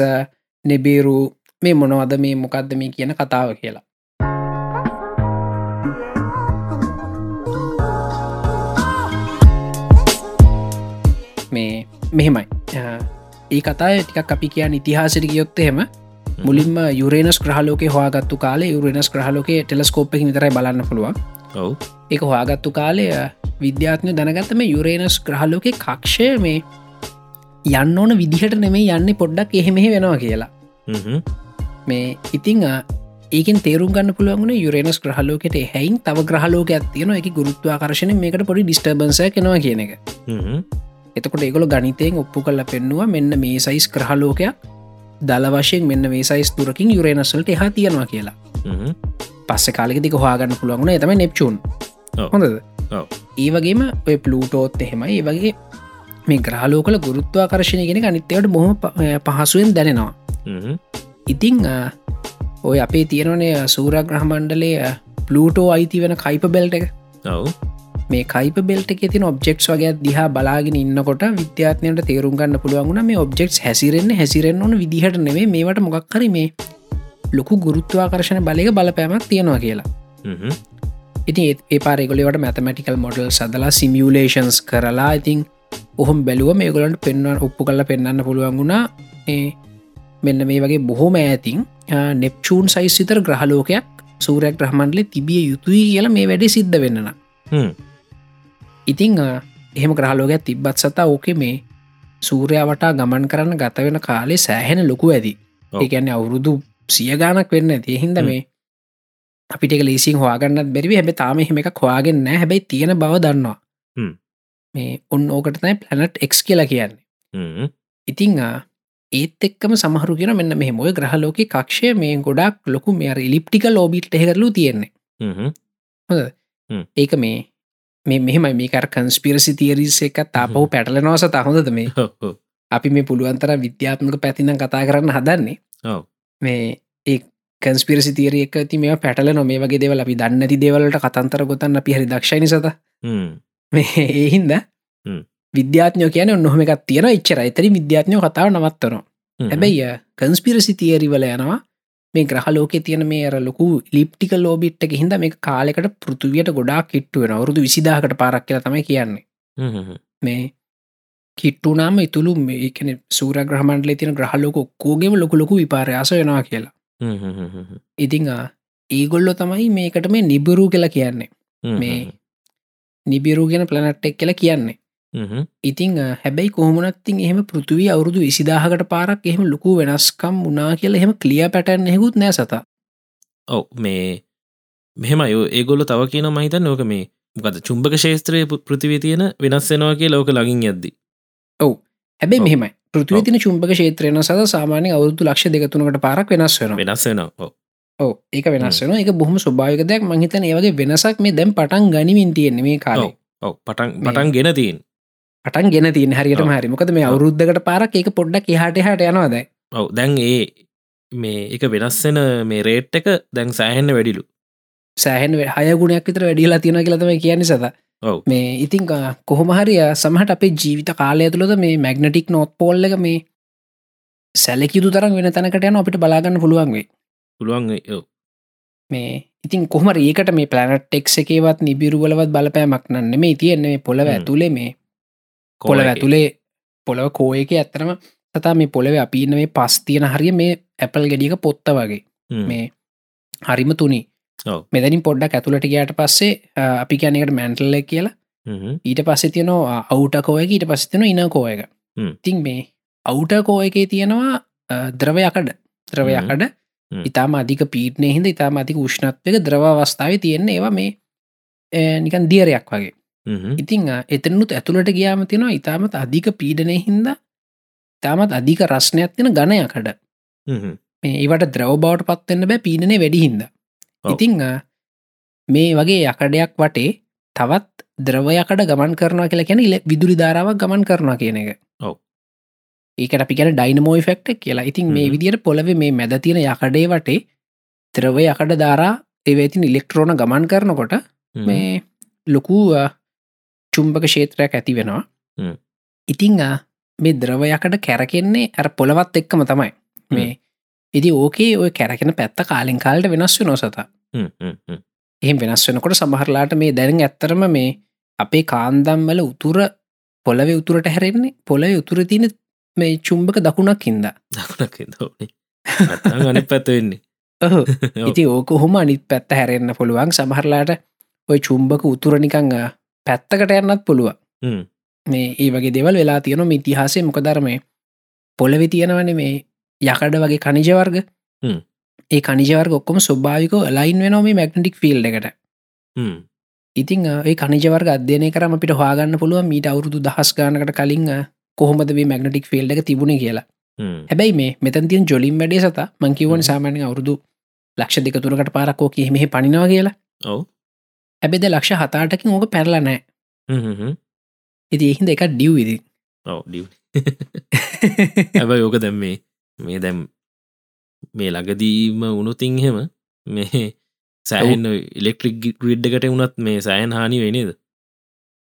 [SPEAKER 3] නෙබේරු මේ මොනවද මේ මොකක්ද මේ කියන කතාව කියලා මෙහෙමයි අ, ඒ කතා ටිකක් අපි කියන්න ඉතිහාසිට ගියොත් එහෙම මුලින්ම යුරේනස් ක්‍රහලෝක හවාගත්තු කාලේ යුරෙනස් ක්‍රහලෝකේ ටෙලස්කෝප්පහි විතරයි බලන්න පුළුවන්
[SPEAKER 2] ඔව්
[SPEAKER 3] එක හවාගත්තු කාලය විද්‍යාත්මය දැනගත්තම යුරේනස් ක්‍රහලෝක කක්ෂය මේ යන්න ඕන විදිහට නෙමේ යන්න පොඩ්ඩක් එහෙමෙහි වෙනවා කියලා
[SPEAKER 2] හ්ම්.
[SPEAKER 3] මේ ඉතිං අ, ඒකෙන් තේරුම් ගන්න පුළුවන් යුරේනස් ක්‍රහලෝකට හැයින් තව ග්‍රහලෝක ඇතියන එක ගුරුත්වාකර්ශණය මේකට පොඩි ඩිස්ටර්බන්ස කෙනවා කියන එක
[SPEAKER 2] හ්ම්.
[SPEAKER 3] එතකොට ඒගොල ගනිතයෙන් ඔප්පු කල්ල පෙන්නවා මෙන්න මේ සයිස් ක්‍රහලෝකයක් දල වශයෙන් මෙන්න මේ සයිස් තුරකින් යුරේනස්වලට එහා තියෙනවා කියලා
[SPEAKER 2] හ්ම්.
[SPEAKER 3] පස්ස කාලෙදික හවාගන්න පුළුවන්ගුණ එතම නෙප්චූන්
[SPEAKER 2] ඔව්.
[SPEAKER 3] හොඳද
[SPEAKER 2] ඔව්.
[SPEAKER 3] ඒවගේම ඔය පලූටෝත් එහෙමයි ඒ වගේ මේ ග්‍රහලෝකල ගුරුත්වාකර්ශණය කෙන ගනිතයට බොහොම ප- අ, පහසුවෙන් දැනෙනවා
[SPEAKER 2] හ්ම්.
[SPEAKER 3] ඉතිං අ, ඔය අපේ තියෙනනේ සූරග්‍රහමණ්ඩලය පලූටෝ අයිති වෙන කයිප බෙල්ට එක
[SPEAKER 2] ඔව්.
[SPEAKER 3] මේ කයිප බෙල්ට එක තින ඔබෙක්ස් වගේ දිහා බලාගෙන ඉන්නකොට විද්‍යාත්නයට තේරුම් ගන්න පුළුවන්ගුණ මේ ඔබෙක්ස් හැසිරෙන්න්න හැසිරෙන් ඕන විදිහට නෙවේ මේට මොකක් හරි මේ ලොකු ගුරුත්වාකර්ශණ බලය බලපෑමක් තියෙනවා කියලා
[SPEAKER 2] හ්ම්.
[SPEAKER 3] ඉතින් ඒත් ඒ පාරෙගොලිවට මැතමටිකල් මොඩල් සදලා සිමියලේෂන්ස් කරලා ඉතිං ඔහොම බැලුව මේගොලන්ට පෙන්වන් ඔප්පු කල පෙන්න්න පුළුවන් වුණා ඒ මෙන්න මේ වගේ බොහොම ඇතින් නෙප්චූන් සයිස් විතර ග්‍රහලෝකයක් සූරයක් ්‍රහමන්ලි තිබිය යුතුයි කියලා මේ වැඩි සිද්ධ වෙන්නන
[SPEAKER 2] හ්ම්.
[SPEAKER 3] ඉතිං අ, එහෙම ග්‍රහලෝකයක් තිබ්බත් සතා ඕකෙ මේ සූරයාවටා ගමන් කරන්න ගත වෙන කාලේ සෑහෙන ලොකු ඇති
[SPEAKER 2] ඔව්.
[SPEAKER 3] ඒකැන්න අවුරුදු සියගානක් වෙන්න ඇති හින්ද
[SPEAKER 2] හ්ම්.
[SPEAKER 3] මේ අපිට එක ලේසින් හවාගන්නත් බැරිවි හැබ තාම එහෙම එක හවාගෙන්න්න හැබැයි තියෙන බව දන්නවා
[SPEAKER 2] හ්ම්.
[SPEAKER 3] මේ ඔන්න ඕකට තයි පලනට් එක්ස් කියලා කියන්නේ
[SPEAKER 2] හ්ම්.
[SPEAKER 3] ඉතිං අ, ඒත් එක්කම සමහරු කියෙන මෙන්න මෙහම ඔය ග්‍රහලෝක කක්ෂය මේ ගොඩක් ලොකු මෙ ඉලිප්ටික ලෝබිට් එහෙරලු තියෙන්නේ
[SPEAKER 2] හ්ම්.
[SPEAKER 3] ඒක මේ මේ මෙහෙමයි මේකර කන්ස්පිරසි තිේරිස එක තාපහු පැටලනවාස තහොඳද මේ
[SPEAKER 2] ඔව්. ඔව්.
[SPEAKER 3] අපි මේ පුළුවන්තර විද්‍යාත්මක පැතිනම් කතා කරන්න හදන්නේ
[SPEAKER 2] ඔව්.
[SPEAKER 3] මේ ඒ කන්ස්පිරසි තේරයක ති මේ පැටල නො මේ වගේ දෙවල අපි දන්න ති දේවලට කතන්තර ගොතන්න අපි හරි දක්ෂණ සත
[SPEAKER 2] හ්ම්.
[SPEAKER 3] මේ ඒහින්ද
[SPEAKER 2] හ්ම්.
[SPEAKER 3] විද්‍යාත්යෝ කියන ඔන්නොහම එකක් තියෙන ඉච්චර එතරි විද්‍යාත්යෝ කතාව නවත්තනවා
[SPEAKER 2] හ්ම්.
[SPEAKER 3] හැබැයි කන්ස්පිරසි තිේරිවල යනවා මේ ග්‍රහලෝක තියන මේ අර ලොකු ලිප්ටික ලෝබිට්ක හිද මේ කාලෙකට පෘතුවයට ගොඩා කිට්ටුවෙන අවරුදු විසිදාහකට පාරක් කියල තමයි කියන්නේ
[SPEAKER 2] හ්ම්. හ්ම්.
[SPEAKER 3] මේ කිට්ටුනාම ඉතුළු මේකන සූර ග්‍රහමන්ඩල තින ග්‍රහලෝක කෝගෙම ලොකුලොකු විපාරයාස වෙනවා කියලා
[SPEAKER 2] හ්ම්. හ්ම්. හ්ම්. හ්ම්.
[SPEAKER 3] ඉතිං ආ, ඒගොල්ලො තමයි මේකට මේ නිබුරු කියලා කියන්නේ
[SPEAKER 2] හ්ම්.
[SPEAKER 3] මේ නිබිරු ගෙන පලනට්ටෙක් කියලා කියන්නේ
[SPEAKER 2] හ්ම්.
[SPEAKER 3] ඉතිං අ, හැබැයි කොහොමනත්තින් එහෙම පෘතුවී අවුරුදු විසිදාහකට පාරක් එහෙම ලොකු වෙනස්කම් වනා කියලා එහෙම කලිය පැටන් හෙකුත් නෑ සතා
[SPEAKER 2] ඔව මේ මෙහෙම අයෝ ඒගොල්ල තව කියන මහිතන් නෝක මේ මොකද චුම්භක ශේත්‍රය පෘතිවි තියෙන වෙනස්සෙනවාගේ ලෝක ලඟින් යද්දි
[SPEAKER 3] හැබැ
[SPEAKER 2] ඔව්.
[SPEAKER 3] මෙහම පෘතුව
[SPEAKER 2] ඔව්.
[SPEAKER 3] තින චුම්පක ශේත්‍රයන සද සාමානය අවුදු ලක්ෂ දෙකතුනකට පාරක් වෙනස් වෙන
[SPEAKER 2] වෙනස් වෙනවා ඔව්.
[SPEAKER 3] ඕ ඒක වෙනස් වෙන එක බොහම ස්භාවිකදයක් මහිතන ඒවගේ වෙනසක් මේ දැම් පටන් ගනිමින් තියෙන්නේ මේ කාලේ
[SPEAKER 2] ඔව් පටන්
[SPEAKER 3] මේ-
[SPEAKER 2] පටන් ගෙන තින්
[SPEAKER 3] පටන් ගෙන තියන හරියට
[SPEAKER 2] ඔව්.
[SPEAKER 3] හරිමකද මේ
[SPEAKER 2] ඔව්.
[SPEAKER 3] අවුද්ධකට පාරක් ඒක පොඩ්ඩක් එහට හට යනවාද
[SPEAKER 2] ඔව් දැන් ඒ මේ එක වෙනස්සෙන මේ රේට් එක දැන් සෑහෙන්න වැඩිලු
[SPEAKER 3] සෑහන් හයගුණයක් විතර වැඩිලා තියෙන කියලතම කියන්නේ සත
[SPEAKER 2] ඔව්.
[SPEAKER 3] මේ ඉතිං කොහොමහරිය සමහට අපේ ජීවිත කාලය තුළද මේ මැග්නටික් නොත් පෝල්ල එක මේ සැලකිතු තරම් වෙන තැනකට යන අපිට බලාගන්න පුළුවන් වේ
[SPEAKER 2] පුළුවන් ඒ- ඔව්.
[SPEAKER 3] මේ ඉතින් කොහම ඒකට මේ පලනට් එක් එකේවත් නිබිරුවලවත් බලපෑමක් නන්න මේ තියෙන්නේ මේ පොළව
[SPEAKER 2] හ්ම්.
[SPEAKER 3] ඇතුළේ මේ
[SPEAKER 2] කෝල
[SPEAKER 3] පොළ
[SPEAKER 2] එකේ.
[SPEAKER 3] ඇතුළේ පොළව කෝයක ඇත්තරම සතා මේ පොළව අපින්න මේ පස් තියෙන හරිය මේ ඇපල් ගෙඩියක පොත්ත වගේ
[SPEAKER 2] හ්ම්.
[SPEAKER 3] මේ හරිම තුනි
[SPEAKER 2] ඔව්.
[SPEAKER 3] මෙදැනි පොඩ්ඩක් ඇතුළට ගයාට පස්සේ අ, අපි කැනෙකට මැන්ටල්ල කියලා
[SPEAKER 2] හ්ම්.
[SPEAKER 3] ඊට පස්සේ තියනවා අවුටකෝයක ඊට පස්සිතින ඉනකෝයක
[SPEAKER 2] හ්ම්.
[SPEAKER 3] තින් මේ අවුටකෝ එකේ තියෙනවා අ, ද්‍රවයකඩ ද්‍රවයකඩ
[SPEAKER 2] හ්ම්.
[SPEAKER 3] ඉතාම අධික පීටනය හිද ඉතාම අධික උෂ්ණත්වක ද්‍රවවස්ථාව තියෙන්නේ ඒවා මේ අ, නිකන් දියරයක් වගේ
[SPEAKER 2] හ්ම්.
[SPEAKER 3] ඉතිං අ, එතනුත් ඇතුළට ගියාම තියෙනවා ඉතාමත් අධික පීඩනය හින්ද ඉතාමත් අධික රස්නයක් තින ගණයකඩ
[SPEAKER 2] හ්ම්.
[SPEAKER 3] මේ ඒවට ද්‍රව බවට පත්වෙන්න බෑ පීනනේ වැඩිහින්ද
[SPEAKER 2] ඔව්.
[SPEAKER 3] ඉතිං අ, මේ වගේ යකඩයක් වටේ තවත් ද්‍රවයකට ගමන් කරනවා කියලා කැන විදුරි ධාරාවක් ගමන් කරනවා කියන එක
[SPEAKER 2] ඔව්.
[SPEAKER 3] ඒකට අපි කියන ඩයිනමෝයි ෆෙක්ට කියලා ඉතින් මේ
[SPEAKER 2] හ්ම්.
[SPEAKER 3] විදියට පොළව මේ මැද තියෙන යකඩේ වටේ ද්‍රව යකඩ ධාරා ඒවතින් ඉලෙක්ට්‍රෝන ගමන් කරනකොට
[SPEAKER 2] හ්ම්.
[SPEAKER 3] මේ ලොකු අ, චුම්බක ශේත්‍රයක් ඇති වෙනවා
[SPEAKER 2] හ්ම්.
[SPEAKER 3] ඉතිං අ, මේ ද්‍රවයකට කැරකෙන්නේ ඇර පොළවත් එක්කම තමයි මේ ඉදි ඕකේ ඔය කැරකෙන පැත්ත කාලින් කාලට වෙනස් වෙන සත
[SPEAKER 2] හ්ම්. හ්ම්. හ්ම්.
[SPEAKER 3] එහෙම වෙනස් වෙනකොට සමහරලාට මේ දැන ඇත්තරම මේ අපේ කාන්දම්වල උතුර පොලව උතුරට හැරෙන්නේ පොලව උතුර තියන මේ චුම්භක දකුණක් හින්දා
[SPEAKER 2] දකුණක් දෝනේ අන පැත වෙන්නේ
[SPEAKER 3] ඔහු
[SPEAKER 2] ඔව්.
[SPEAKER 3] ඉති ඕක හොම අනිත් පැත්ත හැරෙන්න්න පුළුවන් සමහරලාට ඔය චුම්භක උතුරනිකංග පැත්තකට යන්නත් පුළුව
[SPEAKER 2] හ්ම්.
[SPEAKER 3] මේ ඒ වගේ දෙවල් වෙලා තියන මේ ඉතිහාසේ මොකදර්මය පොලවෙ තියෙනවන මේ යකඩ වගේ කනිජවර්ග
[SPEAKER 2] හ්ම්.
[SPEAKER 3] ඒ කනිජවර්ග ඔක්කොම ස්වභාවික ලයින් වෙනෝ මේ මැක්නටික් ෆිල් එකට
[SPEAKER 2] හ්ම්.
[SPEAKER 3] ඉතිං අ, ඒ කනිජවර්ග අධ්‍යනය කරම අපිට හවාගන්න පුළුව මීට අවුරුදු දහස් ගානකට කලින් අ, කොහොමද මේ මැගනටික් ෆිල්ඩ එක තිබුණ කියලා
[SPEAKER 2] හ්ම්.
[SPEAKER 3] හැබැයි මේ මෙතන් තියන් ජොලින් වැඩේ සත මංකිවන
[SPEAKER 2] හ්ම්.
[SPEAKER 3] සාමානෙන් අවුරුදු ලක්ෂ දෙක තුරකට පාරක්කෝ කියෙහෙ පනිනවා කියලා
[SPEAKER 2] ඔව්.
[SPEAKER 3] ඇබෙද ලක්ෂ හතාටකින් ඕක පැරලනෑ
[SPEAKER 2] හ්ම්. හ්ම්. හ්ම්.
[SPEAKER 3] ඉති එහින්ද එක ඩියවවිදි
[SPEAKER 2] ඔව්, ඩිව්. හැබයි ඕක දැම් මේ මේ දැම් මේ ලගදීම උනුතින් හෙම මේ සෑහන් ඉලෙක්ට්‍රික් ග්‍රිඩ්ඩකට වුණත් මේ සෑන් හානි වෙනේද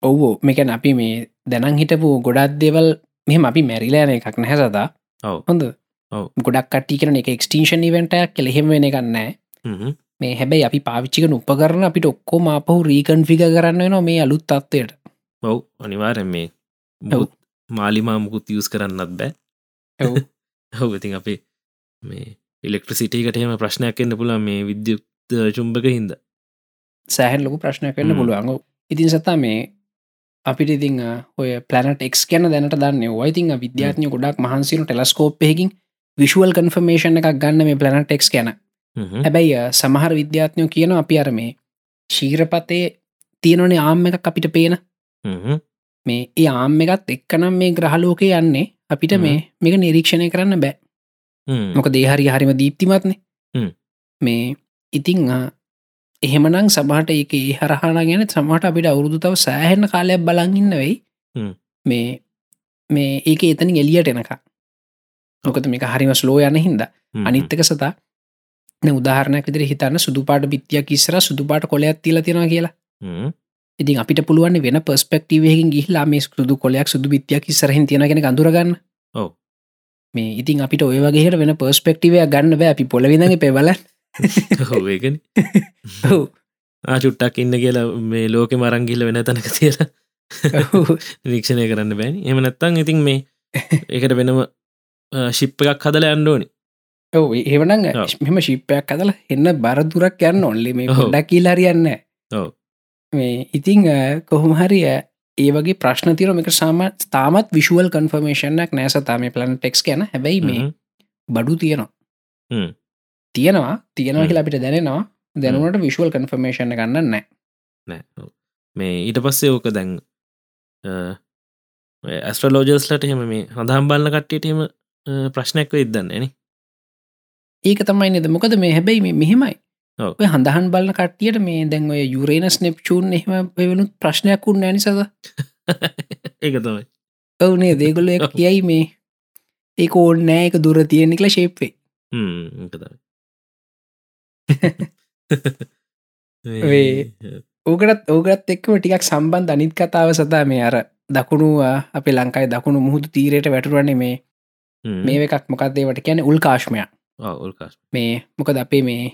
[SPEAKER 3] ඔවෝ මේකැන අපි මේ දැනන් හිටපු ගොඩක් දෙවල් මෙහම අපි මැරිලෑන එකක් නැහැ සදා
[SPEAKER 2] ඔව්.
[SPEAKER 3] හොඳ
[SPEAKER 2] ඔව්.
[SPEAKER 3] ගොඩක් කට කරන එක ක්ස්ටේෂන් ඉවෙන්ටක් කෙහෙම වෙන ගන්නෑ
[SPEAKER 2] හ්ම්.
[SPEAKER 3] මේ හැබැයි අපි පාවිච්චිකන උපකරන අපිට ඔක්කෝ මාපහු රීකන්ෆික කරන්න නවා මේ අලුත් තත්වයට
[SPEAKER 2] ඔව් අනිවාරෙන් මේ මුකුත් මාලිමා මුකුත් යස් කරන්නත් බෑ
[SPEAKER 3] ඔව්.
[SPEAKER 2] ඔව ඉතින් අපේ මේ ඉලෙක්ට්‍රසිටකටම ප්‍රශ්නයක් එන්න පුළ මේ විද්‍යුත් චුම්භක හින්ද
[SPEAKER 3] සෑහන් ලොකු ප්‍රශ්න කරන්න
[SPEAKER 2] හ්ම්.
[SPEAKER 3] පුළුවන්ග ඉතින් සතා මේ අපිට ඉතිං ඔය පලනට එක් කියන දැනට දන්න ඔයිතිං විද්‍යාත්ය ගොඩක් මහන්සිනු ටෙලස්කෝප්යකින් විශුවල් කන්ෆර්මේෂන් එකක් ගන්න මේ පලනට එක් කියන හැබැයි අ, සමහර විද්‍යාත්ඥෝ කියන අපි අර මේ ශීරපතේ තියෙනනේ ආම් එකක් අපිට පේන මේ ඒ ආම් එකත් එක්කනම් මේ ග්‍රහලෝකය යන්නේ අපිට මේ මේක නිරීක්ෂණය කරන්න බෑ මොක දේහරි හරිම දීප්තිමත්නේ
[SPEAKER 2] හ්ම්.
[SPEAKER 3] මේ ඉතිං අ, එහෙමනම් සමහට එක ඒ හරහාන ගැන සමට අපිට අවුරුදු තව සෑහෙන කාලයක් බලගන්න වෙයි
[SPEAKER 2] හ්ම්.
[SPEAKER 3] මේ මේ ඒක එතනි එලියට එනක මොකද මේක හරිම ස්ලෝ යන හින්ද අනිත්තක සතා දැන් උදාහරණයක් විදිර හිතන්න සුදුපාට බිත්තියක් ඉස්සර සුදුපාට කොලයක් තිල තියෙන කියලා ඉතින් අපිට පුළුවන් වෙන පස්පෙක්ටීවයකින් ගිහිලා මේ සුදු කොලයක් සුදු බිත්තියක් ඉස්සරහින් තියෙනගෙන අඳුරගන්න
[SPEAKER 2] ඔව්.
[SPEAKER 3] මේ ඉතින් අපිට ඔය වගේට වෙන පර්ස්පෙක්ටිවය ගන්න බෑ අපි පොලවිඳගේ පෙවල
[SPEAKER 2] හෝවේගෙන ආචුට්ටක් ඉන්න කියලා මේ ලෝකෙ මරංගිල්ල වෙන තැනක තියලා නිරීක්ෂණය කරන්න බෑනි එම නැත්තං ඉතින් මේ ඒකට වෙනම ශිප් එකක් හදල ඇන්ඩෝනි
[SPEAKER 3] ඔව ඒවන
[SPEAKER 2] ඔව්.
[SPEAKER 3] මෙම ශිප්පයක් කදල එන්න බරදුරක් යන්න ඔල්ලි මේ
[SPEAKER 2] ඔව්.
[SPEAKER 3] ොඩක්කිල් හරියන්න
[SPEAKER 2] ඔව්.
[SPEAKER 3] මේ ඉතිං අ, කොහොම හරිය ඒ වගේ ප්‍රශ්න තිරම එක සාම තාමත් විශුවල් කන්ෆර්මේෂනක් නෑ සතාම පලන් පෙක්ස් ගැන හැබැයි මේ බඩු
[SPEAKER 2] හ්ම්.
[SPEAKER 3] තියෙනවා තියෙනවා තියෙනවා
[SPEAKER 2] හ්ම්.
[SPEAKER 3] කියලා අපිට දැනෙනවා දැනුවට විශුවල් කන්ෆර්මේෂණ ගන්න නෑ
[SPEAKER 2] නෑ ඔව්. මේ ඊට පස්සේ ඕක දැන් ඇස්ට්‍රලෝජස්ලට හෙම මේ හඳහම් බලන්න කට්ටියට හෙම අ, ප්‍රශ්නයක් ඉදන්න එන
[SPEAKER 3] ඒක තමයි නෙද මොකද මේ හැබැයි මේ මෙහෙමයි
[SPEAKER 2] ඔව්.
[SPEAKER 3] ඔය හඳහන් බලන කට්ටියට මේ දැන් ඔය යුරේන ස්නෙප්චූන් එහෙම වෙනුත් ප්‍රශ්නයක් වුන්න නිසද
[SPEAKER 2] ඒක තමයි
[SPEAKER 3] ඔවනේ දේගොල්ල එක
[SPEAKER 2] ඔව්.
[SPEAKER 3] කියයි මේ ඒ ඕන්න නෑක දුර තියෙන්නේ කළ ශේප්වේ
[SPEAKER 2] හ්ම්, ඒක තමයි
[SPEAKER 3] වේ. ඕකටත් ඕකටත් එක්කම ටිකක් සම්බන්ධ අනිත් කතාව සතා මේ අර දකුණුවා අපේ ලංකායි දකුණු මුහුදු තීරයට වැටරුවන්නේ මේ
[SPEAKER 2] හ්ම්.
[SPEAKER 3] මේ එකක් මොකක්දේවට කියන උල්කාශ්මය
[SPEAKER 2] ආ, උල්කාස්
[SPEAKER 3] මේ මොකද අපේ මේ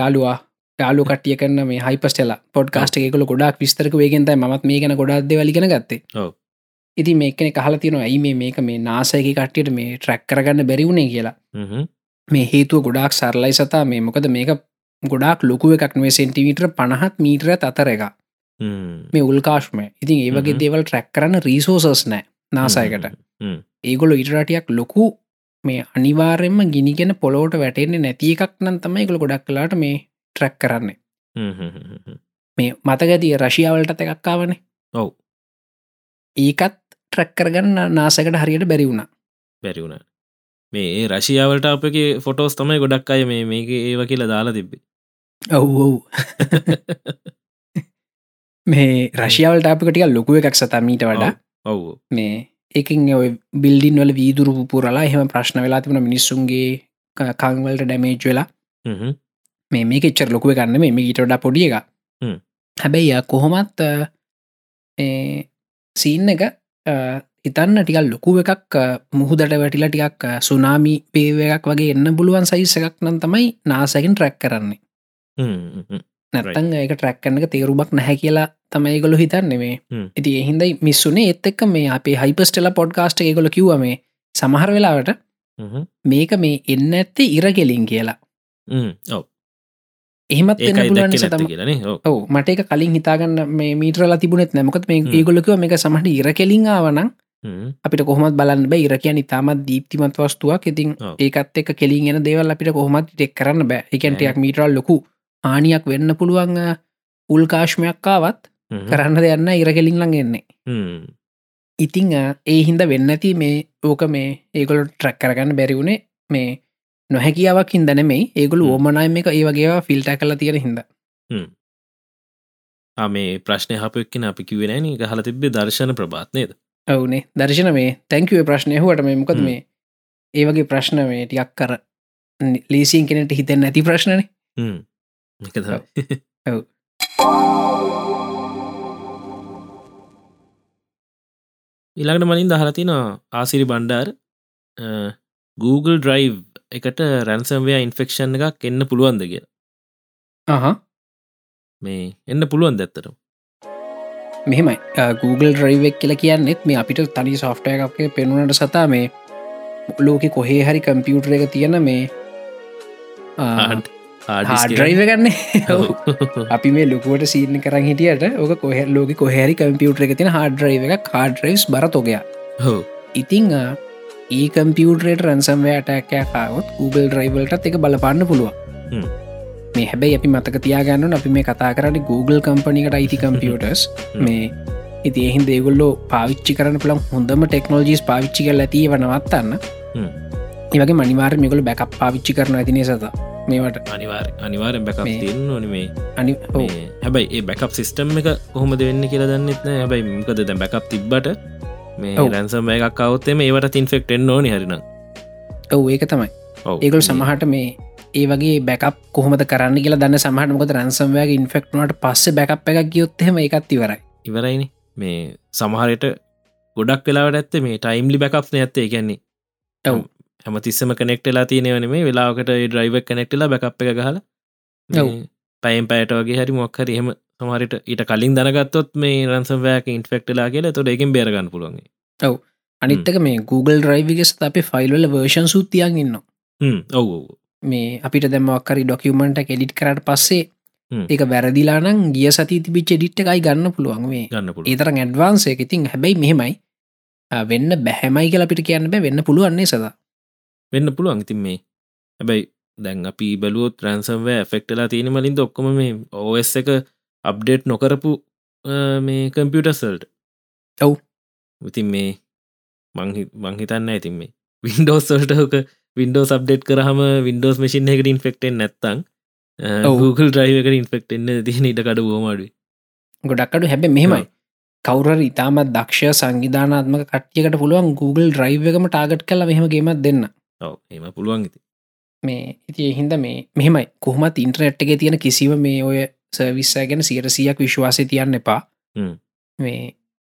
[SPEAKER 3] යාලුවා යාලු කටිය කරන මේ හයිපස්ටල පොඩ්කාස්ට එකකල ගොඩක් විස්තරක වේගෙන්තයි මත් මේ ගැන ගොඩක්ද වලිගෙන ගත්තේ
[SPEAKER 2] ඔව්.
[SPEAKER 3] ඉති මේකන කහල තියෙනවා ඇයි මේ මේක මේ නාසයක කට්ටියට මේ ට්‍රැක් කරගන්න බැරිවුණේ කියලා
[SPEAKER 2] හ්ම්.
[SPEAKER 3] මේ හේතුව ගොඩාක් සරලයි සතා මේ මොකද මේක ගොඩක් ලොකුව එකක් නේ සෙන්ටිමීට්‍ර පණහත් මීට්‍ර අතර එක
[SPEAKER 2] හ්ම්.
[SPEAKER 3] මේ උල්කාශ්මය ඉතින් ඒවගේ
[SPEAKER 2] හ්ම්.
[SPEAKER 3] දේවල් ට්‍රැක් කරන්න රීසෝසස් නෑ නාසයකට
[SPEAKER 2] හ්ම්.
[SPEAKER 3] ඒගොල ඉටරටියක් ලොකු මේ අනිවාරෙන්ම ගිනිගෙන පොලෝට වැටෙන්නේ නැති එකක් නම් තමයි ගොල ගොඩක් කලාට මේ ට්‍රැක් කරන්න
[SPEAKER 2] හ්ම්. හ්ම්. හ්ම්. හ්ම්.
[SPEAKER 3] මේ මතකඇති රශියාවලට එකක්කාවනේ
[SPEAKER 2] ඔව්.
[SPEAKER 3] ඒකත් ට්‍රැක්කරගන්න නාසකට හරියට බැරි වුණ
[SPEAKER 2] බැරි වුණ මේ ඒ රශියාවලට අපගේ ෆොටෝස් තමයි ගොඩක් අය මේ මේක ඒව කියලා දාලා තිබ්බි
[SPEAKER 3] ඔව් ඔව් මේ රශියාවලට අපිකටික ලොකුව එකක් සතා මීට වඩා
[SPEAKER 2] ඔව්
[SPEAKER 3] මේ ඒකින් ඔය බිල්ඩින් වල වීදුරු පුරලා එහෙම ප්‍රශ්න වෙලා තිබුණ මිනිස්සුන්ගේ ක- කංවලට ඩැමේජ් වෙලා
[SPEAKER 2] හ්ම්.
[SPEAKER 3] මේ මේක එච්චර ලොකුව ගන්න මේ ඊටඩ පොඩිය එක
[SPEAKER 2] හ්ම්.
[SPEAKER 3] හැබැයි යා කොහොමත් අ, ඒ සීන් එක අ, හිතන්න ටිකල් ලොකුව එකක් අ, මුහුදට වැටිලා ටිකක් අ, සුනාමි පේවයක් වගේ එන්න පුළුවන් සයිස් එකක් නම් තමයි නාසකින් ට්‍රැක් කරන්නේ
[SPEAKER 2] හ්ම්. හ්ම්. හ්ම්.
[SPEAKER 3] නැත්තං ඒක ට්‍රැක්කන්න තේරුමක් නැහැ කියලා තමයි ගොලු හිතන්නේ මේ
[SPEAKER 2] හ්ම්.
[SPEAKER 3] ඉති එහින්දයි මිස්සුනේ එත් එක්ක මේ අපේ හයිපස්ටෙල පොඩ්කාස්ට ඒගොල කිව මේ සමහර වෙලාවට
[SPEAKER 2] හ්ම්.
[SPEAKER 3] මේක මේ එන්න ඇත්තේ ඉරගෙලින් කියලා
[SPEAKER 2] හ්ම්. ඔව්
[SPEAKER 3] එහෙමත් එන්න
[SPEAKER 2] ඒකයි
[SPEAKER 3] පුළුවන්
[SPEAKER 2] දැක්කේ
[SPEAKER 3] නිසා
[SPEAKER 2] නැත්තේ
[SPEAKER 3] තම
[SPEAKER 2] කියලානේ ඔව්
[SPEAKER 3] ඔව මට එක කලින් හිතාගන්න මේ මීටරලා තිබුණෙත් නැමකත් මේ
[SPEAKER 2] හ්ම්.
[SPEAKER 3] ඒගොලකව මේක සමහට ඉරකෙලින් ආවනම්
[SPEAKER 2] හ්ම්.
[SPEAKER 3] අපිට කොහොමත් බලන්න බෑ ඉරකයන් ඉතාමත් දීප්තිමත් වස්තුවක් ඉතින්
[SPEAKER 2] ඔව්.
[SPEAKER 3] ඒකත් එක කෙලින් එන දේවල් අපිට කොහොමත් ටෙක් කරන්න බෑ එකන්ටයක්
[SPEAKER 2] නෑ.
[SPEAKER 3] මීටරල් ලොකු ආනියක් වෙන්න පුළුවන් උල්කාශ්මයක්කාවත්
[SPEAKER 2] හ්ම්.
[SPEAKER 3] කරන්න දෙයන්න ඉරකෙලින් ලඟ එන්නේ
[SPEAKER 2] හ්ම්.
[SPEAKER 3] ඉතිං අ, ඒ හින්ද වෙන්නති මේ ඕක මේ ඒගොලු ට්‍රක් කරගන්න බැරිවුණේ මේ නොහැකියාවක් හිදනෙමයි ඒගොලු
[SPEAKER 2] හ්ම්.
[SPEAKER 3] ඕමනයි එක ඒ වගේ ෆිල්ට කල තියෙන හිද
[SPEAKER 2] ආ, මේ ප්‍රශ්නය හපක්කෙන අපි කිවෙනෑන හල තිබේ දර්ශන ප්‍රභාත්නයද
[SPEAKER 3] ඔවුනේ දර්ශන මේ තැංකවේ ප්‍රශ්නය හුවට මේ මොකද
[SPEAKER 2] හ්ම්.
[SPEAKER 3] මේ ඒ වගේ ප්‍රශ්නමේ ටියක් කර නි- ලේසියෙන් කෙනෙට හිතෙන් නැති ප්‍රශ්නන
[SPEAKER 2] එක
[SPEAKER 3] ඔව්.
[SPEAKER 2] ඉළඟට මනින් දහලතින ආසිරි බණ්ඩාර් අ, Google ඩ්‍රයි් එකට රැන්සම්වයා ඉන්ෆෙක්ෂන් එකක් එන්න පුළුවන්ද කිය
[SPEAKER 3] හා
[SPEAKER 2] මේ එන්න පුළුවන් දැත්තට
[SPEAKER 3] මෙහෙමයි අ, Google ්‍රයිවෙක් කියලා කියන්නෙත් මේ අපිට තනි සෝෆ්ටය එකක්ේ පෙනුනට සතා මේ ලෝකෙ කොහේ හරි කම්පියුටර එක තියෙන මේ
[SPEAKER 2] Hard- hard disk එක.
[SPEAKER 3] හාඩ්‍රයිව
[SPEAKER 2] ඔව්.
[SPEAKER 3] ගන්න අපි මේ ලොකුවට සීන කරන් හිටියට ඕක කොහ ලෝක කොහරි කම්පියුටර එක තින හාඩ්‍රයිව එක කාඩ්‍රයිස් බරතොගය
[SPEAKER 2] ඔව්.
[SPEAKER 3] ඉතිං අ, ඒ කම්පියුටරේට රැන්සම්වයටකෑකාවත් Google ්‍රයිවල්ටත් එක බලපන්න පුළුවන්
[SPEAKER 2] හ්ම්.
[SPEAKER 3] මේ හැබැයි අපි මතක තියාගන්නන් අපි මේ කතා කරන්න Google කම්පනිකට අයිති කම්පියටර්ස්
[SPEAKER 2] හ්ම්.
[SPEAKER 3] මේ ඉති එහින් දෙගොල්ලෝ පාවිච්චි කරන පුළන් හොඳම ටෙක්නෝජිස් පාවිච්චි කල ඇති වනවත්තන්න
[SPEAKER 2] හ්ම්.
[SPEAKER 3] ඒවගේ මනිවාර්මකොල බැකප් පාවිච්චි කරන ඇතිනේ සත මේවට
[SPEAKER 2] අනිවාර් අනිවාරෙන් බැකක්
[SPEAKER 3] මේ-
[SPEAKER 2] තියෙන් නොනේ
[SPEAKER 3] අනි ඔව්.
[SPEAKER 2] මේ හැබැයි ඒ බැකප් සිිස්ටම් එක කොහොමද වෙන්න කියලා දන්නෙත්න හැබයි මකද දැ බැකප් තිබ්බට මේ
[SPEAKER 3] ඔව්.
[SPEAKER 2] රැන්සම් එකක් කවත්තේ ඒවට ඉන්ෆෙක්ටෙන් ඕනි හරින
[SPEAKER 3] ඔව් ඒක තමයි ඒගොල් සමහට මේ ඒ වගේ බැකප් කොහොමද කරන්න කියලා දන්න සමහටමක රැන්සම්වයාගේ ඉන්ෆෙක්ට්නට පස්සේ බැකප් එකක් ගියොත්තහෙම එකත් ඉවරයි
[SPEAKER 2] ඉවරයිනි මේ සමහරයට ගොඩක් වෙලාට ඇත්තේ මේ ටයිම්ලි බැකප්න ඇත්තේ කියන්නේ
[SPEAKER 3] ඔව්.
[SPEAKER 2] හැම තිස්සම කනෙක්ටලා තියනවන මේ වෙලාකට ඩ්‍රයිව කනෙක්ටලා බැකප් එක ගහල
[SPEAKER 3] ඔව්.
[SPEAKER 2] පයිම් පෑට වගේ හරි මොක්හරි එහෙම සමහරට ඊට කලින් දනගත්තොත් මේ රන්සම්වෑක ඉන්ෆෙක්ටලා කියලා තොට එකින් බේරගන්න පුළුවන්
[SPEAKER 3] අනිත්තක මේ Google ්‍රයිවිගෙස් අපේ ෆයිල්වල වර්ෂන් සූතියන් ඉන්න
[SPEAKER 2] ඔව් ඔව්.
[SPEAKER 3] මේ අපිට දැමක්කරි ඩොකියමට කෙඩිට් කරට පස්සේ
[SPEAKER 2] හ්ම්.
[SPEAKER 3] ඒක වැරදිලානං ගිය සති තිබි චෙඩිට් එකයි ගන්න පුළුවන් මේ
[SPEAKER 2] ගන්න පුළුව
[SPEAKER 3] ඒතර ඇඩ්වාන්සේ ඉතින් හැබැයි මෙහෙමයි අ, වෙන්න බැහැමයි කියලා අපිට කියන්න බෑ වෙන්න පුළුවන්න්නේ සදා
[SPEAKER 2] වෙන්න පුළුවන් ඉතින් මේ හැබැයි දැන් අපි බැලුවොත් රැන්සම්ව ෆෙක්ටලා තියෙන මලින්ද ඔක්කොම මේ ඕස් එක අප්ඩේට් නොකරපු අ, මේ කම්පියටර්සල්ට
[SPEAKER 3] ඔව්.
[SPEAKER 2] ඉතින් මේ මංහි- මං හිතන්න ඇතින් මේ වින්ඩෝස්වලට හක වින්ඩෝ සබ්ඩේට් කරහම වින්ඩෝස් මසින් එකට ඉන්ෆෙක්ටෙන් නැත්තං
[SPEAKER 3] ඔව්.
[SPEAKER 2] Google ්‍රයිව එකට ඉන්ෆෙක්ටෙන්න්න තියෙන ඉට කඩ ෝමඩුව
[SPEAKER 3] ගොඩක්කඩු හැබ මෙහෙමයි
[SPEAKER 2] ඔව්.
[SPEAKER 3] කවුරර ඉතාමත් දක්ෂ සංවිධානාත්මක කට්ියකට පුළුවන් Google ්‍රයිව් එකම ටාගට් කල මෙහමගේමත් දෙන්න
[SPEAKER 2] ඔව එම පුළුවන් ඉති
[SPEAKER 3] මේ ඉති එහින්ද මේ මෙහෙමයි කොහමත් ඉන්ට්‍රනට් එක තියෙන කිසිව මේ ඔය සර්විස්සය ගැන සියරසියක් විශ්වාසය තියන්න එපා
[SPEAKER 2] හ්ම්.
[SPEAKER 3] මේ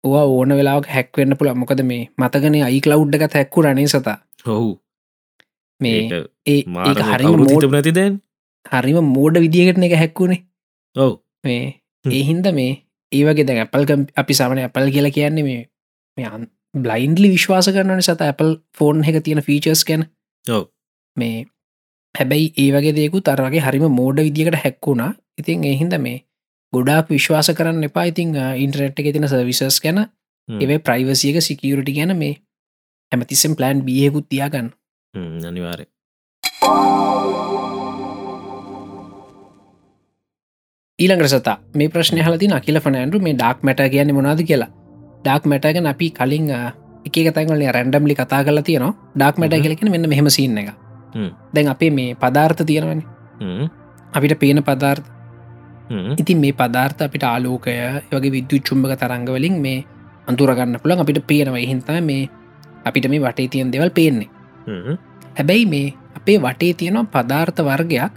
[SPEAKER 3] ඕවා ඕන වෙලාක් හැක්වන්න පුළ මොකද මේ මතගන අයි කලව් එක හැක්කු රනේ සතා
[SPEAKER 2] හොහු
[SPEAKER 3] මේ ඒ ඒක හරි මෝඩ
[SPEAKER 2] මාරුතිට නැතිදැන්
[SPEAKER 3] හරිම මෝඩ විදිියකටන එක හැක්වුණේ
[SPEAKER 2] ඔව
[SPEAKER 3] මේ
[SPEAKER 2] හ්ම්.
[SPEAKER 3] ඒහින්ද මේ ඒවගේ දැන් ඇපල් කම්- අපි සමන ඇපල් කියලා කියන්නේ මේ මේ අන් බ්ලයින්ඩලි විශ්වාස කරනන සත ඇපල් ෆෝන් එක තියෙන ෆීචර්ස් කැන
[SPEAKER 2] ඔව්.
[SPEAKER 3] මේ හැබැයි ඒ වගේ දෙකු තරගේ හරිම මෝඩ විදිකට හැක්වුණා ඉතින් එහින්ද මේ ගොඩාක් විශ්වාස කරන්න එපා ඉතිං ඉන්ටරට් එක තින සවිසස් ගැන එවයි ප්‍රයිවසියක සිකියරට ගැන මේ හැමතිස්සම් ප්ලන්් බියෙකුත් තියාගන්න
[SPEAKER 2] අනිවාරය
[SPEAKER 3] ඊළඟට සතා මේ ප්‍රශ්න හලති අකිල ෆනෑන්ඩු මේ ඩක් මට කියන්න මොනාද කියලා ඩක් මටගෙන අපි කලින් අ, එක කතගලේ රැන්ඩම්ලි කතා කල තියන ඩක් මට
[SPEAKER 2] හ්ම්.
[SPEAKER 3] කියලකෙන මෙන්න මෙහම සින්න එක
[SPEAKER 2] හ්ම්.
[SPEAKER 3] දැන් අපේ මේ පදාර්ථ තියෙනවන අපිට පේන පදාර්ථ ඉතින් මේ පදාර්ථ අපිට ආලෝකය ඒ වගේ විද්‍යු චුම්භක තරංගවලින් මේ අන්තුරගන්න පුළන් අපිට පේනවයි හින්තම මේ අපිට මේ වටේ තියන් දෙවල් පේන්නේ හැබැයි මේ අපේ වටේ තියෙනවා පදාර්ථ වර්ගයක්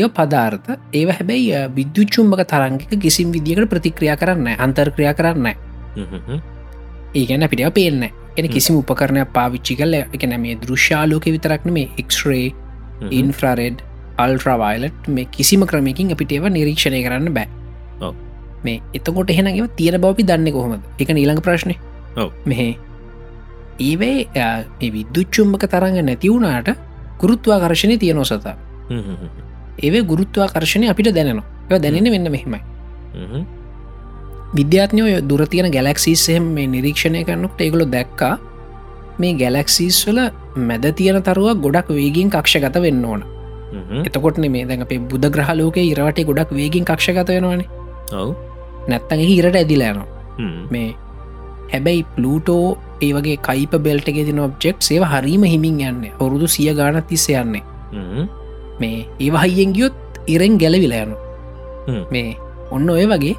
[SPEAKER 3] ඒ පදාර්ථ ඒව හැබැයි අ, විද්‍යුච්චුම්භක තරංගික කිසිම් විදිකට ප්‍රතික්‍රියා කරන්න අන්තර්ක්‍රියා කරන්න
[SPEAKER 2] Oh.
[SPEAKER 3] ඒගැන අපිට පේන්න එන
[SPEAKER 2] හ්ම්.
[SPEAKER 3] කිසිම උපකරණයක් පාවිච්චි කල එකන මේ දෘශ්‍යාලෝක විතරක්න මේ එක්රේ ඉන්ෆ්‍රරෙඩ් අල්ට්‍රවයිලට් Mm-hmm. මේ කිසිම ක්‍රමයකින් අපිට ඒව නිරීක්ෂණය කරන්න බෑ
[SPEAKER 2] ඔව්.
[SPEAKER 3] මේ එතකොට එහෙනගේ තියෙන බවපි දන්න කොහොමද එක ඊළඟ ප්‍රශ්නය
[SPEAKER 2] ඔව්.
[SPEAKER 3] මෙහෙ ඒවේ අ, මේ විද්දුච්චුම්භක තරඟ නැතිවුණට ගුරුත්වාකර්ශණය තියනො සතා ඒවේ ගුරුත්වාකර්ශණය අපිට දැනවා ඒ දැනෙන
[SPEAKER 2] Mm.
[SPEAKER 3] වෙන්න මෙහෙමයි විද්‍යාත්නයෝ දුරතියන ගැලක්සිස්සෙම මේ නිරීක්ෂණය කරනුට ඒගොලු දැක්කා මේ ගැලක්සිස් වල මැද තියෙන තරුවක් ගොඩක් වේගින් කක්ෂගත වෙන්න ඕන එතකොට මේ දැන් අපේ බුද ග්‍රහලෝක ඉරවට ගොඩක් වේගින් කක්ෂගත වෙනවානේ
[SPEAKER 2] ඔව
[SPEAKER 3] නැත්තගේ හිරට ඇදිලෑනවා මේ හැබැයි පලූටෝ ඒ වගේ කයිප බෙල්ටගේ තින ඔබ්ෙක්් ඒව හරීම හිමින් යන්න ඔරුදු සිය ගාන තිස්ස යන්නේ මේ ඒවහයියෙන් ගියොත් ඉරෙන් ගැලවිලයනු මේ ඔන්න ඔය වගේ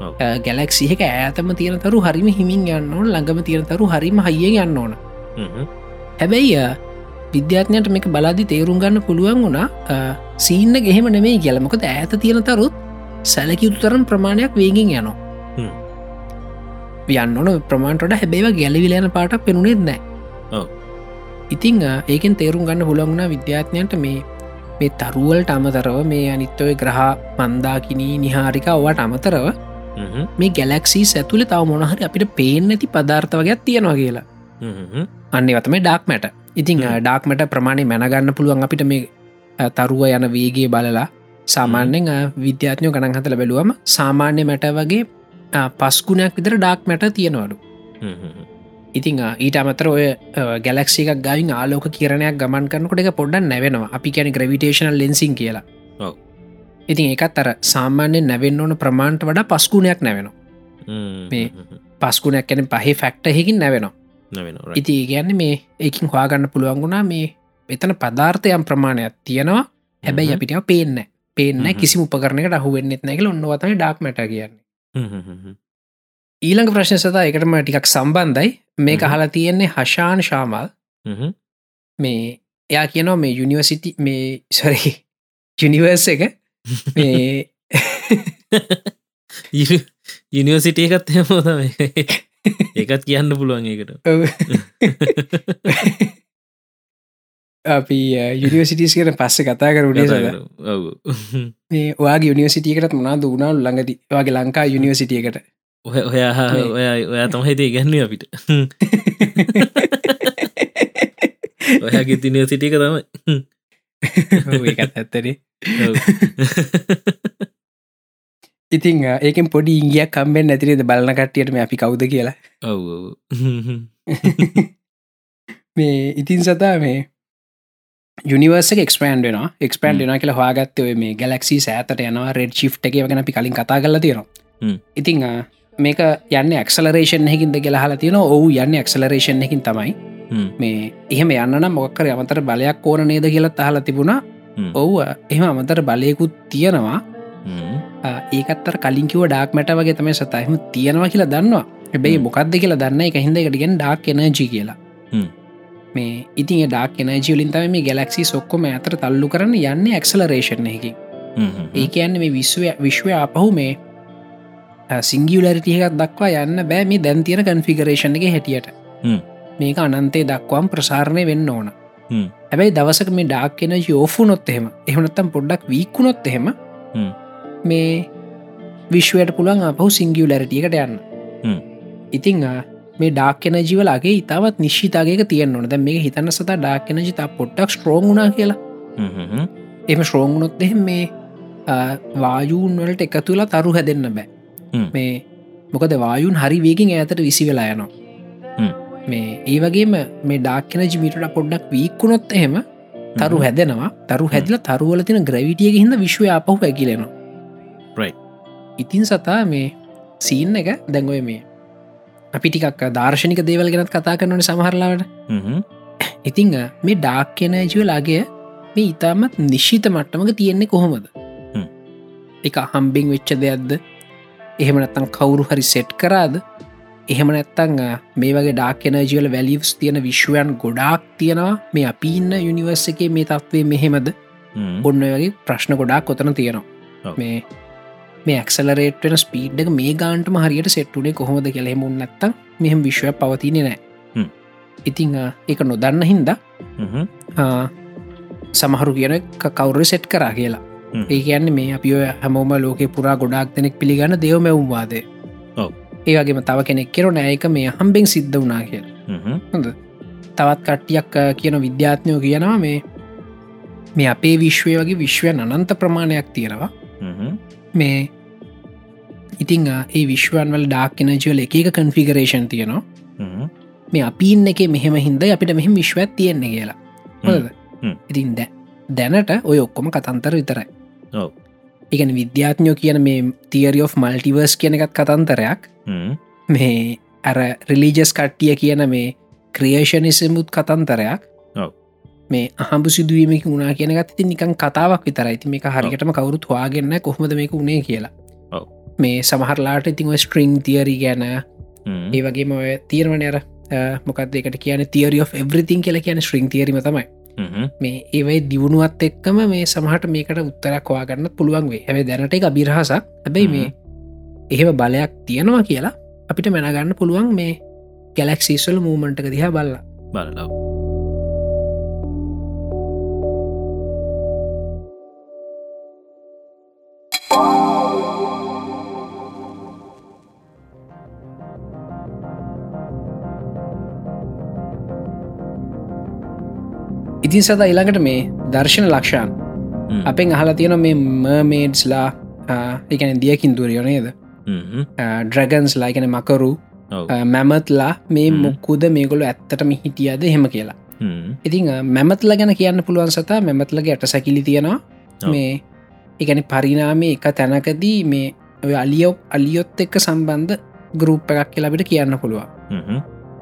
[SPEAKER 2] ඔව්.
[SPEAKER 3] ගැලක්සිහක ඇතම තියෙනතරු හරිම හිමින් යන්න ඕන ළඟම තියෙනතරු හරිම හයිය යන්න ඕන හැබැයි අ, විද්‍යාඥයට මේක බලාදි තේරුම් ගන්න පුළුවන් වුණා අ, සීන්න ගෙහෙම නෙමේ ගැලමකද ඇත තියෙන තරුත් සැලකියුතු තරම් ප්‍රමාණයක් වේගෙන් යනවා
[SPEAKER 2] හ්ම්.
[SPEAKER 3] යන්න ඕන ප්‍රමාණටට හැබේව ගැලිවිලයන පාට පෙනුනෙත් නෑ
[SPEAKER 2] ඔව්.
[SPEAKER 3] ඉතිං අ, ඒකෙන් තේරුම් ගන්න හොළඟුණ විද්‍යාඥයට මේ මේ තරුවලට අමතරව මේ අනිත්තවය ග්‍රහ මන්දාකිනී නිහාරිකා ඔවට අමතරව මේ ගැලක්සි ඇතුළ තව මොනහරි අපිට පේන ඇති පධර්ථවගයක් තියෙනවා කියලා අන්නේ වතම ඩක්මට ඉතිං
[SPEAKER 2] හ්ම්.
[SPEAKER 3] ඩක්මට ප්‍රමාණය මැනගන්න පුළුවන් අපිට මේ අ, තරුව යන වේගේ බලලා සාමාන්‍යෙන් අ, විද්‍යාඥයෝ ගණන් හතල බැලුවම සාමාන්‍ය මැට වගේ අ, පස්කුණයක් විතර ඩක්මට තියෙනවලු ඉතිං අ, ඊට අමතර ඔය ගැලක්සික ගයින් ආලෝක කියරණයක් ගමන් කරනකොට එක පොඩ්ඩ නැවෙනවා අපි කියැන ග්‍රවිටේශන ලෙන්සින් කියලා
[SPEAKER 2] ඔව්.
[SPEAKER 3] ඉතින් එකත් අර සාමාන්‍යෙන් නැවෙන්න ඕන ප්‍රමාණ්ට වඩා පස්කුණයක් නැවෙන පස්කුණයක් කැන පහහි ෆැක්ටහකින් නැවෙන ඉති ගැන්න මේ ඒකින් හවාගන්න පුළුවන් වුණා මේ එතන පධාර්ථයම් ප්‍රමාණයක් තියෙනවා හැබැයි
[SPEAKER 2] හ්ම්.
[SPEAKER 3] අපිට ඒවා පේන්න පේන්න
[SPEAKER 2] හ්ම් හ්ම්.
[SPEAKER 3] කිසි උපකරණකට අහුවෙන්න්නෙත් නැකල ඔන්නවතම ඩක්මට කියන්නේ ඊළඟ ප්‍රශ්න සතා එකටම ටිකක් සම්බන්ධයි මේ
[SPEAKER 2] හ්ම් හ්ම්.
[SPEAKER 3] කහලා තියෙන්නේ හශාන් ශාමල් මේ එයා කියනවා මේ යුනිවසිටි මේ සරි ජනිවර්ස එක මේ
[SPEAKER 2] යනිවසිටිය එකත් හමෝද එකත් කියන්න පුළුවන් ඒකට
[SPEAKER 3] ඔව්. අපි යුනිවසිටස් කියන පස්ස කතා කරුණේ සල
[SPEAKER 2] ඔව
[SPEAKER 3] මේ ඔයාගේ යුනිවසිටියකටත් මනාද වුණාවු ළඟති වගේ ලංකා යුනිවසිටියකට
[SPEAKER 2] ඔය ඔයා
[SPEAKER 3] මේ.
[SPEAKER 2] ඔයා ඔයා තම හිතේ ගැන්නේ අපිට ඔයා ගෙතිනය සිටියක තමයි
[SPEAKER 3] ඒකත් ඇත්තරේ ඉතිං අ, ඒකෙන් පොඩි ඉංගියක් කම්බෙන් ඇතිරේද බලන කට්ටියට මේ අපි කවුද කියලා
[SPEAKER 2] ඔව
[SPEAKER 3] මේ ඉතින් සතා මේ යනිවර්ස එක්ස්පන්ඩ වෙන එක්ස්පන්ඩ වෙන කියලා හවාගත්ත ඔය මේ ගැලක්සි සෑතට යනවා රෙඩ් ශි් එක ගැන අපි කලින් කතා කල තියෙනවා
[SPEAKER 2] හ්ම්.
[SPEAKER 3] ඉතිං අ, මේක යන්න එක්සලරේෂන් හකින්ද කියලාහලා තියෙන ඔහු යන්න එක්සලරේෂන් එකින් තමයි මේ එහෙම යන්න මොක්කර අමතර බලයක් ඕන නේද කියලා අහලා තිබුණා
[SPEAKER 2] හ්ම්.
[SPEAKER 3] ඔව්ව එහෙම අමතර බලයකුත් තියෙනවා අ, ඒකත්තර කලින් කිව ඩාක්මට වගේ තමයි සතහම තියෙනවා කියලා දන්නවා හැබැයි
[SPEAKER 2] හ්ම්.
[SPEAKER 3] මොකක්ද කියලා දන්න එක හිද එකටගෙන් ඩාක් එනජි කියලා
[SPEAKER 2] හ්ම්.
[SPEAKER 3] මේ ඉතින් ඩාක් එනජිවලින් තම මේ ගැලක්සි සොක්කොම ඇතර තල්ලු කරන්න යන්න එක්සලරේෂණ එකකි ඒක යන්න මේ විශ්ව විශ්වය අපහු මේ සිංගියලරිටියකත් දක්වා යන්න බෑ මේ දැන්තියන කන්ෆිගරේෂණ එක හැටියට
[SPEAKER 2] හ්ම්.
[SPEAKER 3] මේක අනන්තේ දක්වාම් ප්‍රසාරණය වෙන්න ඕන
[SPEAKER 2] හ්ම්.
[SPEAKER 3] හැබැයි දවසක මේ ඩාක් එන යෝෆුනොත් එහෙම එහනත්තම් පොඩ්ඩක් වීකුණොත් එහෙම
[SPEAKER 2] හ්ම්.
[SPEAKER 3] මේ විශ්වයට පුළුවන් අපහු සිංගියලරිටියකට යන්න
[SPEAKER 2] හ්ම්.
[SPEAKER 3] ඉතිං ආ, මේ ඩාක්්‍යන ජීවලගේ ඉතාවත් නිශ්ිතාගේක තියෙන් ඕන දැ මේ හිතන්න සතා ඩාක්්‍යන ජිතා පොට්ටක් ස්ට්‍රෝගුණා කියලා එම ශ්‍රෝගුණොත් එහෙ මේ අ, වායූන් වලට එක තුලා තරු හැදන්න බෑ
[SPEAKER 2] හ්ම්.
[SPEAKER 3] මේ මොකද වායුන් හරි වේගෙන් ඇතට විසි වෙලා යනවා
[SPEAKER 2] හ්ම්.
[SPEAKER 3] මේ ඒ වගේම මේ ඩාක්කන ජිමිටට පොඩ්ඩක් වීක්කුණොත් එහෙම තරු හැදෙනවා තරු හැදිල තරුවල තින ග්‍රවිටියක හිද විශ්ව අපහු ඇකිලෙනවා
[SPEAKER 2] Right.
[SPEAKER 3] ඉතින් සතා මේ සීන් එක දැඟොය මේ අපි ටිකක් දර්ශනික දේවල් ගෙනත් කතා කරනට සමහරලාවට ඉතිං අ, මේ ඩාක් කියනජුවලාගේ මේ ඉතාමත් නිශ්ෂිත මට්ටමක තියෙන්නේ කොහොමද
[SPEAKER 2] හ්ම්.
[SPEAKER 3] එක හම්බිං වෙච්ච දෙයක්ද එහෙම නැත්තං කවුරු හරි සෙට් කරාද එහෙම නැත්තං අ, මේ වගේ ඩාක්කනජියල වැලිස් තියෙන විශ්වයන් ගොඩාක් තියෙනවා මේ අපි ඉන්න යුනිවර්ස එකේ මේ තත්වේ මෙහෙමද ඔන්න ඔය වගේ ප්‍රශ්න ගොඩාක් කොතන තියෙනවා
[SPEAKER 2] ඔව්.
[SPEAKER 3] මේ මේ ඇක්සලරේට් වෙන ස්පීඩ් එක මේ ගාන්ටම හරියට සෙට්ටුනේ කොහොමද කෙළෙමුන් නැත්තම් මෙහම විශ්වය පවතිනෙ
[SPEAKER 2] හ්ම්.
[SPEAKER 3] නෑ ඉතිං අ, ඒක නොදන්න හින්දා ආ, සමහරු කියන කවුරු සෙට් කරා කියලා
[SPEAKER 2] හ්ම්.
[SPEAKER 3] ඒ කියන්නේ මේ අපි ඔය හැමෝම ලෝකෙ පුරා ගොඩක් දෙනෙක් පිළිගන්න දෙවමැවුම්වාද
[SPEAKER 2] ඔව්.
[SPEAKER 3] ඒවගේම තව කෙනෙක් කෙරු නෑයක මේ හම්බෙන් සිද්ධ වනා කිය
[SPEAKER 2] හ්ම්.
[SPEAKER 3] හොඳ තවත් කට්ටියක් අ, කියන විද්‍යාත්ඥයෝ කියනවා මේ මේ අපේ විශ්වය වගේ විශ්වයන් අනන්ත ප්‍රමාණයක් තියෙනවා
[SPEAKER 2] හ්ම්.
[SPEAKER 3] මේ ඉතිං අ, ඒ විශ්වන් වල ඩාක්කනජවල එක කන්ෆිගරේෂන් තියෙනවා
[SPEAKER 2] හ්ම්.
[SPEAKER 3] මේ අපින්න එක මෙහෙම හින්ද අපිට මෙහම විශ්වත් තියෙන්නේ කියලා හොඳද?
[SPEAKER 2] හ්ම්.
[SPEAKER 3] ඉතින් දැ දැනට ඔය ඔක්කොම කතන්තර විතරයි
[SPEAKER 2] ඔව්.
[SPEAKER 3] ඉගැන විද්‍යාඥෝ කියන මේ තිරි of මල්ටිවර්ස් කියන එකත් කතන්තරයක්
[SPEAKER 2] හ්ම්.
[SPEAKER 3] මේ ඇර රිලිජස් කට්ටිය කියන මේ ක්‍රියේෂණිසමුත් කතන්තරයක්
[SPEAKER 2] ඔව්.
[SPEAKER 3] මේ අහඹු සිදුවීමක වුණනා කියනගත් ඉති නිකන් කතාවක් විතරයිති මේ හරිකටම කවුරුත් හවාගන්න කොහොමද මේක උුණේ කියලා
[SPEAKER 2] ඔව්.
[SPEAKER 3] මේ සමහරලාට ඉතිං ස්ට්‍රිං තිරි ගැන
[SPEAKER 2] හ්ම්.
[SPEAKER 3] ඒ වගේම ඔය තීරවන අර මොකක්දකට කියන තිරි of everything කියලා කියන ශ්‍රිං තිරීම තමයි
[SPEAKER 2] හ්ම්.
[SPEAKER 3] මේ ඒවයි දියුණුවත් එක්කම මේ සමහට මේකට උත්තරක් වාගන්න පුළුවන් වේ හැබ දැනට එක බිරහසක් හැබැයි මේ එහෙම බලයක් තියෙනවා කියලා අපිට මැනගන්න පුළුවන් මේ ගැලක්සිීස්වල මූමන්ටක දිහා බල්ල
[SPEAKER 2] බලලා
[SPEAKER 3] ඉතින් සඳ ඉළඟට මේ දර්ශන ලක්ෂාන්
[SPEAKER 2] හ්ම්.
[SPEAKER 3] අපෙන් අහලා තියෙන මේ මර්මේඩ්ස්ලා එකන දියකින් දුරියෝනේද
[SPEAKER 2] හ්ම්.
[SPEAKER 3] ඩ්‍රගන්ස් ලායිකන මකරු
[SPEAKER 2] ඔව්.
[SPEAKER 3] අ, මැමත්ලා මේ
[SPEAKER 2] හ්ම්.
[SPEAKER 3] මුක්කුද මේගොලු ඇත්තටම හිටියද හෙම කියලා
[SPEAKER 2] හ්ම්.
[SPEAKER 3] ඉතිං අ, මැමත්ලා ගැන කියන්න පුළුවන් සතා මැමත්ලගේ ඇට සැකිලි තියෙනවා
[SPEAKER 2] ඔව්.
[SPEAKER 3] මේ එකනි පරිනාමේ එක තැනකදී මේ ඔය අලියෝ අලියොත් එක්ක සම්බන්ධ ගරුප් එකක් කියලාබිට කියන්න පුළුවන්
[SPEAKER 2] හ්ම්.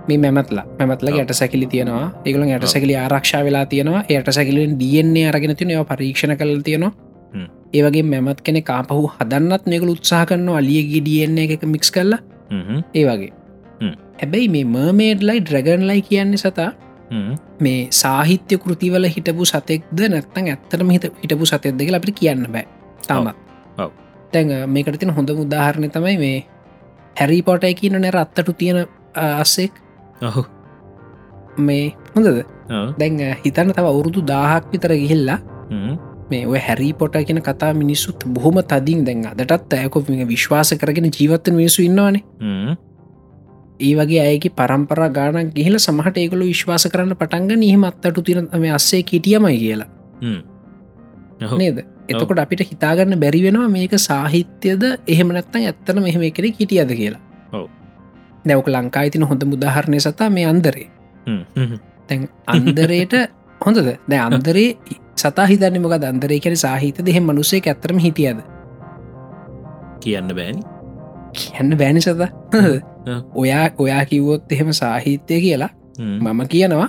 [SPEAKER 3] මේ මැමත්ලා මැමත්ලගේ
[SPEAKER 2] ඔව්.
[SPEAKER 3] ඇට සැකිලි තියෙනවා ඒගලන් ඇට
[SPEAKER 2] ඔව්.
[SPEAKER 3] සැකිලි ආරක්ෂා වෙලා තියෙනවා එයට සැකිලෙන් දියන්නේ අරගෙන තින ඒවා පරීක්ෂණ කළ තියෙනවා
[SPEAKER 2] හ්ම්.
[SPEAKER 3] ඒවගේ මැමත් කෙනෙ කාපහු හදන්නත් මේකළ උත්සාහ කරනවා අලියගේ දියන්නේ එක මික්ස් කරලා
[SPEAKER 2] හ්ම්.
[SPEAKER 3] ඒ වගේ
[SPEAKER 2] හ්ම්.
[SPEAKER 3] හැබැයි මේ මර්මේඩ්ලයි ඩ්‍රගන්ලයි කියන්නේ සතා
[SPEAKER 2] හ්ම්.
[SPEAKER 3] මේ සාහිත්‍ය කෘතිවල හිටපු සතෙක්ද නැත්තං ඇත්තටම හිත හිටපු සතෙක් දෙක අපිට කියන්න බෑ තාමත්
[SPEAKER 2] ඔව්.
[SPEAKER 3] තැන් මේකට තින හොඳ උදාහරණය තමයි මේ හැරි පොටයි කියන නැර අත්තටු තියෙන අ, අස්සෙක්
[SPEAKER 2] ඔහු.
[SPEAKER 3] මේ හොඳද
[SPEAKER 2] ඔව්.
[SPEAKER 3] දැන් අ, හිතන්න තව අවුරුදු දාහක් විතර ගිහිල්ලා
[SPEAKER 2] හ්ම්.
[SPEAKER 3] මේ ඔය හැරි පොට කියන කතා මිනිස්සුත් බොහොම තදින් දැන් අදටත් ඇයකො විශ්වාස කරගෙන ජීවත්තන මිනිසු ඉන්නවානේ
[SPEAKER 2] හ්ම්.
[SPEAKER 3] ඒ වගේ අයගේ පරම්පර ගානක් ගිහිල සමහට ඒකළු විශ්වාස කරන්න පටන්ග නහමත් අටු තිර මේ අස්සේ කිටියමයි කියලා
[SPEAKER 2] හ්ම්. ඔහු.
[SPEAKER 3] නේද එතකොට අපිට හිතාගන්න බැරි වෙනවා මේක සාහිත්‍යයද එහෙම නැත්තන් ඇත්තන මෙහෙම එකෙන කිටියද කියලා
[SPEAKER 2] ඔව්.
[SPEAKER 3] නැවක ලංකා ඉතින හොඳ මුදාහරණය සතා මේ අන්දරේ
[SPEAKER 2] හ්ම්. හ්ම්.
[SPEAKER 3] තැන් අන්දරයට හොඳද දැ අන්දරේ සතා හිතන්න මොක අන්දරේ කර සාහිත දෙහෙ මනුසේ ඇත්තරම හිටියද
[SPEAKER 2] කියන්න බෑනි
[SPEAKER 3] කියන්න බෑනි සත
[SPEAKER 2] ඔව්.
[SPEAKER 3] ඔයා ඔයා කිව්වොත් එහෙම සාහිත්‍යය කියලා
[SPEAKER 2] හ්ම්.
[SPEAKER 3] මම කියනවා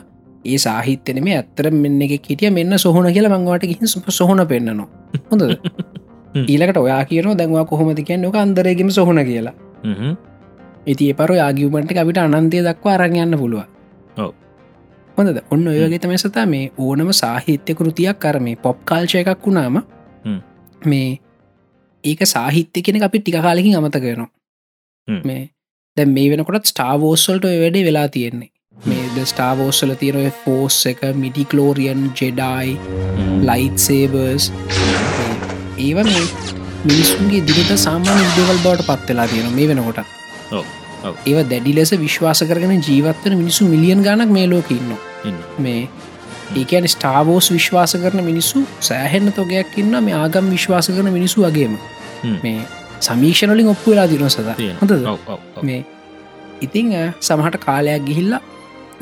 [SPEAKER 3] ඒ සාහිත්‍යන මේ ඇත්තර මෙන්න එක කිටිය මෙන්න සොහන කියලා මංවාට ගිහි සුප සොහන පෙන්න්නනවා හොඳ ඊලකට ඔයා කියන දැන්වා කොහොමති කියන්න ඕක අන්දරයගම සොහන කියලා
[SPEAKER 2] හ්ම්.
[SPEAKER 3] ඉති පර ආගියමට අපිට අනන්තය දක්වා අරගයන්න පුළුව
[SPEAKER 2] ඔව්.
[SPEAKER 3] හොඳද ඔන්න ඔයගේ තම සතා මේ ඕනම සාහිත්‍ය කෘතියක් කරමේ පොප් කාල්චය එකක් වුණාම
[SPEAKER 2] හ්ම්.
[SPEAKER 3] මේ ඒක සාහිත්‍ය කෙන අපි ටික කාලකින් අමත කරනවා
[SPEAKER 2] හ්ම්.
[SPEAKER 3] මේ දැ මේ වෙනකොටත් ස්ටාවෝස්සල්ට වැඩේ වෙලා තියෙන්නේ මේ ද ස්ටාවෝස්සල තිරය ෆෝස් එක මිඩිකලෝරියන් ජෙඩයි
[SPEAKER 2] හ්ම්.
[SPEAKER 3] ලයිට් සේබර්ස් ඒව මේ මිනිස්සුන්ගේ දිනත සාමාන්‍ය ඉදවල් බවට පත්වෙලා තියෙන මේ වෙනකොට
[SPEAKER 2] ඔව්, ඔව්.
[SPEAKER 3] ඒව දැඩි ලෙස විශ්වාස කරගෙන ජීවත්වන මිනිසු මිලියන් ගණක් මේ ලෝකඉන්න
[SPEAKER 2] ඉන්න.
[SPEAKER 3] මේ ඒකන ස්ටාවෝස් විශ්වාස කරන මිනිස්සු සෑහෙන්න තොගයක් ඉන්න මේ ආගම් විශ්වාස කරන මිනිසු වගේම
[SPEAKER 2] හ්ම්.
[SPEAKER 3] මේ සමීක්ෂණලින් ඔප්පු වෙලා දින සද
[SPEAKER 2] තියෙන.
[SPEAKER 3] හොඳද
[SPEAKER 2] ඔව්, ඔව්, ඔව්.
[SPEAKER 3] මේ ඉතිං අ, සමහට කාලයක් ගිහිල්ලා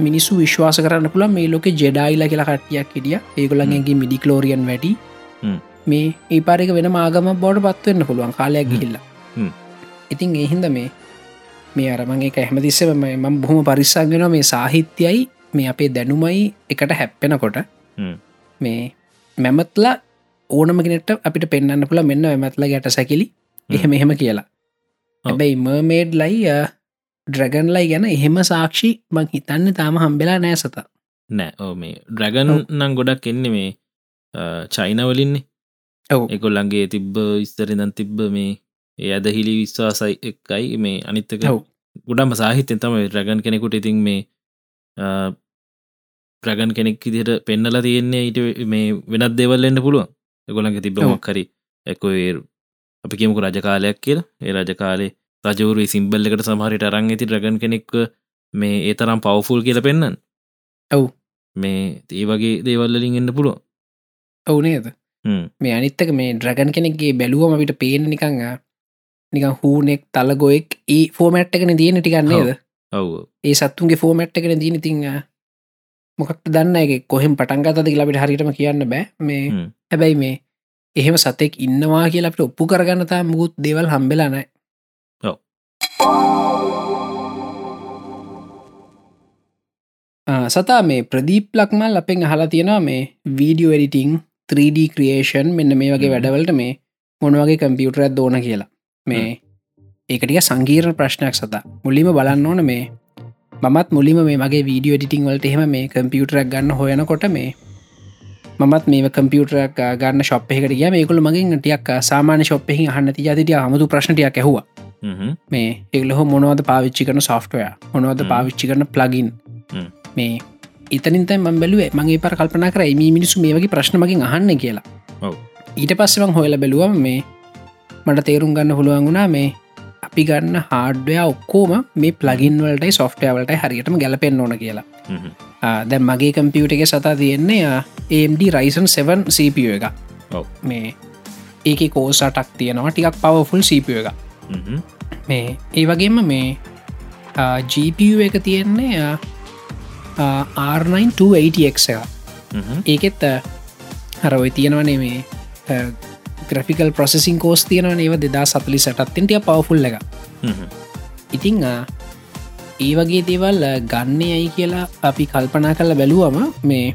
[SPEAKER 3] මිනිස්සු විශ්වාස කරන්න පුළ මේ ලෝක ජෙඩයිල කියලා කට්ටියක් හිටිය ඒගොලන්ගේ මිඩිකලෝරියන් වැඩි
[SPEAKER 2] හ්ම්.
[SPEAKER 3] මේ ඒ පාරික වෙන ආගම බෝඩ පත්වවෙන්න පුළුවන් කාලයක්
[SPEAKER 2] හ්ම්.
[SPEAKER 3] ගිහිල්ලා
[SPEAKER 2] හ්ම්.
[SPEAKER 3] ඉතින් ඒහින්ද මේ මේ අරමගේ කැහමතිස්සම මම බොහොම පරිස්සක්ගෙන මේ සාහිත්‍යයි මේ අපේ දැනුමයි එකට හැප්පෙනකොට
[SPEAKER 2] හ්ම්.
[SPEAKER 3] මේ මැමත්ලා ඕනමගෙනට අපිට පෙන්න්න පුළ මෙන්න මැත්ලා ගැට සැකිලි එහෙම එහෙම කියලා
[SPEAKER 2] ඔව්.
[SPEAKER 3] හැබැයි මර්මේඩ් ලයි ඩ්‍රගන් ලයි ගැන එහෙම සාක්ෂි මං හිතන්න තාම හම්බෙලා නෑ සත
[SPEAKER 2] නෑ ඕ මේ ඩ්‍රැගන්
[SPEAKER 3] ඔව්.
[SPEAKER 2] නම් ගොඩක් එන්නේ මේ චයිනවලින්නේ
[SPEAKER 3] ඔව්.
[SPEAKER 2] එකොල්ලන්ගේ තිබ්බ ඉස්තරදන් තිබ්බ මේ ඒ අදහිලි විශ්වාසයි එක්කයි මේ අනිත්තක
[SPEAKER 3] ඔව්.
[SPEAKER 2] ගොඩම සාහිත්‍යය තම රැගන් කෙනෙකුට ඉතින් මේ ප්‍රගන් කෙනෙක් දිට පෙන්නලා තියෙන්නේ ඊට මේ වෙනත් දෙවල්ලෙන්න්න පුළුවන් එකොළඟ තිබ්බමක් හරි ඇකෝ ඒ අපි කියමුකු රජකාලයක් කියලා ඒ රජකාලේ රජවරු සිම්බල් එකට සමහරිට අරං ඇති රගන් කෙනෙක් මේ ඒ තරම් පවෆුල් කියල පෙන්න්න
[SPEAKER 3] ඔව්.
[SPEAKER 2] මේ ඒ වගේ දේවල්ලින් එන්න පුළුවන්
[SPEAKER 3] ඔවු නේද
[SPEAKER 2] හ්ම්.
[SPEAKER 3] මේ අනිත්තක මේ ඩ්‍රගන් කෙනෙක්ගේ බැලුවම අපිට පේන නිකං ආ, නිකන් හූනෙක් තලගොයෙක් E ඒ ෆෝමට් එකන දයන ටිකන්නේද
[SPEAKER 2] ඔව්
[SPEAKER 3] ඒ සත්තුන්ගේ ෆෝමට් එකන දීන තිං මොකක්ට දන්න එක කොහෙම පටන්ගතද ලබිට හරිටම කියන්න බෑ මේ
[SPEAKER 2] හ්ම්.
[SPEAKER 3] හැබැයි මේ එහෙම සතෙක් ඉන්නවා කියලා අපිට ඔප්පු කරගන්න තා මුකුත් දෙවල් හම්බෙලානයි
[SPEAKER 2] ඔව්.
[SPEAKER 3] සතා මේ ප්‍රදීප් ලක්මල් අපෙන් අහලා තියෙනවා මේ වීඩියෝ එඩිටිං 3D ක්‍රියේෂන් මෙන්න මේ වගේ
[SPEAKER 2] හ්ම්.
[SPEAKER 3] වැඩවලට මේ මොනවගේ කම්පියුටරත් දෝන කියලා මේ ඒකටික සංගීරණ ප්‍රශ්නයක් සතා මුලිම බලන්න ඕන මේ මත් මුලිම මේ මගේ වීඩියෝ ඩිටිං වලට එහෙම මේ කම්පියුටරක් ගන්න හොයනකොට මේ මත් මේ කම්පියුටරක් ගන්න ශප්හකට ගිය මේකුල මගින් ටියක් සාමාන්‍ය ශප්පෙහි හන්න ති ජතිට හමතු ප්‍රශ්නටයක් ඇහුව
[SPEAKER 2] හ්ම්.
[SPEAKER 3] මේ එක්ලහ මොනවද පාවිච්චි කරන සොෆ්ටය මොනවද
[SPEAKER 2] හ්ම්.
[SPEAKER 3] පාවිච්චි කරන ප්ලගින්
[SPEAKER 2] හ්ම්.
[SPEAKER 3] මේ ඉතනින්තයි මම් බැලුවේ මගේ පර කල්පනා කරයි මේ මිනිසු මේ වගේ ප්‍රශ්නමකින් අහන්න කියලා
[SPEAKER 2] ඔව්.
[SPEAKER 3] ඊට පස්සෙවන් හොයල බැලුවම මේ මට තේරුම් ගන්න පුළුවන් වුණා මේ අපි ගන්න හාඩ්ඩය ඔක්කෝම මේ ප්ලගින් වලටයි සොෆ්ටයවලට හරියටම ගැලපෙන් ඕන කියලා
[SPEAKER 2] හ්ම්.
[SPEAKER 3] ආ, දැන් මගේ කම්පියුට එක සතා තියෙන්නේ ආ, AMD රයිසන් 7 CPU එක
[SPEAKER 2] ඔව්.
[SPEAKER 3] මේ ඒක කෝසටක් තියෙනවා ටිකක් පවෆුල් CPU එක
[SPEAKER 2] හ්ම්.
[SPEAKER 3] මේ ඒ වගේම මේ ආ, GPU එක තියෙන්නේ ආ, ආ, R9 280X එක
[SPEAKER 2] හ්ම්.
[SPEAKER 3] ඒකෙත් හරවයි තියෙනවනේ මේ ග්‍රෆිකල් ප්‍රසෙසින් කෝස් තියෙනව ඒව දෙදා සතුලි සටත්තෙන්ටිය පවෆුල් එක
[SPEAKER 2] හ්ම්.
[SPEAKER 3] ඉතිං ආ, ඒ වගේ දේවල් අ, ගන්නේ ඇයි කියලා අපි කල්පනා කල බැලුවම මේ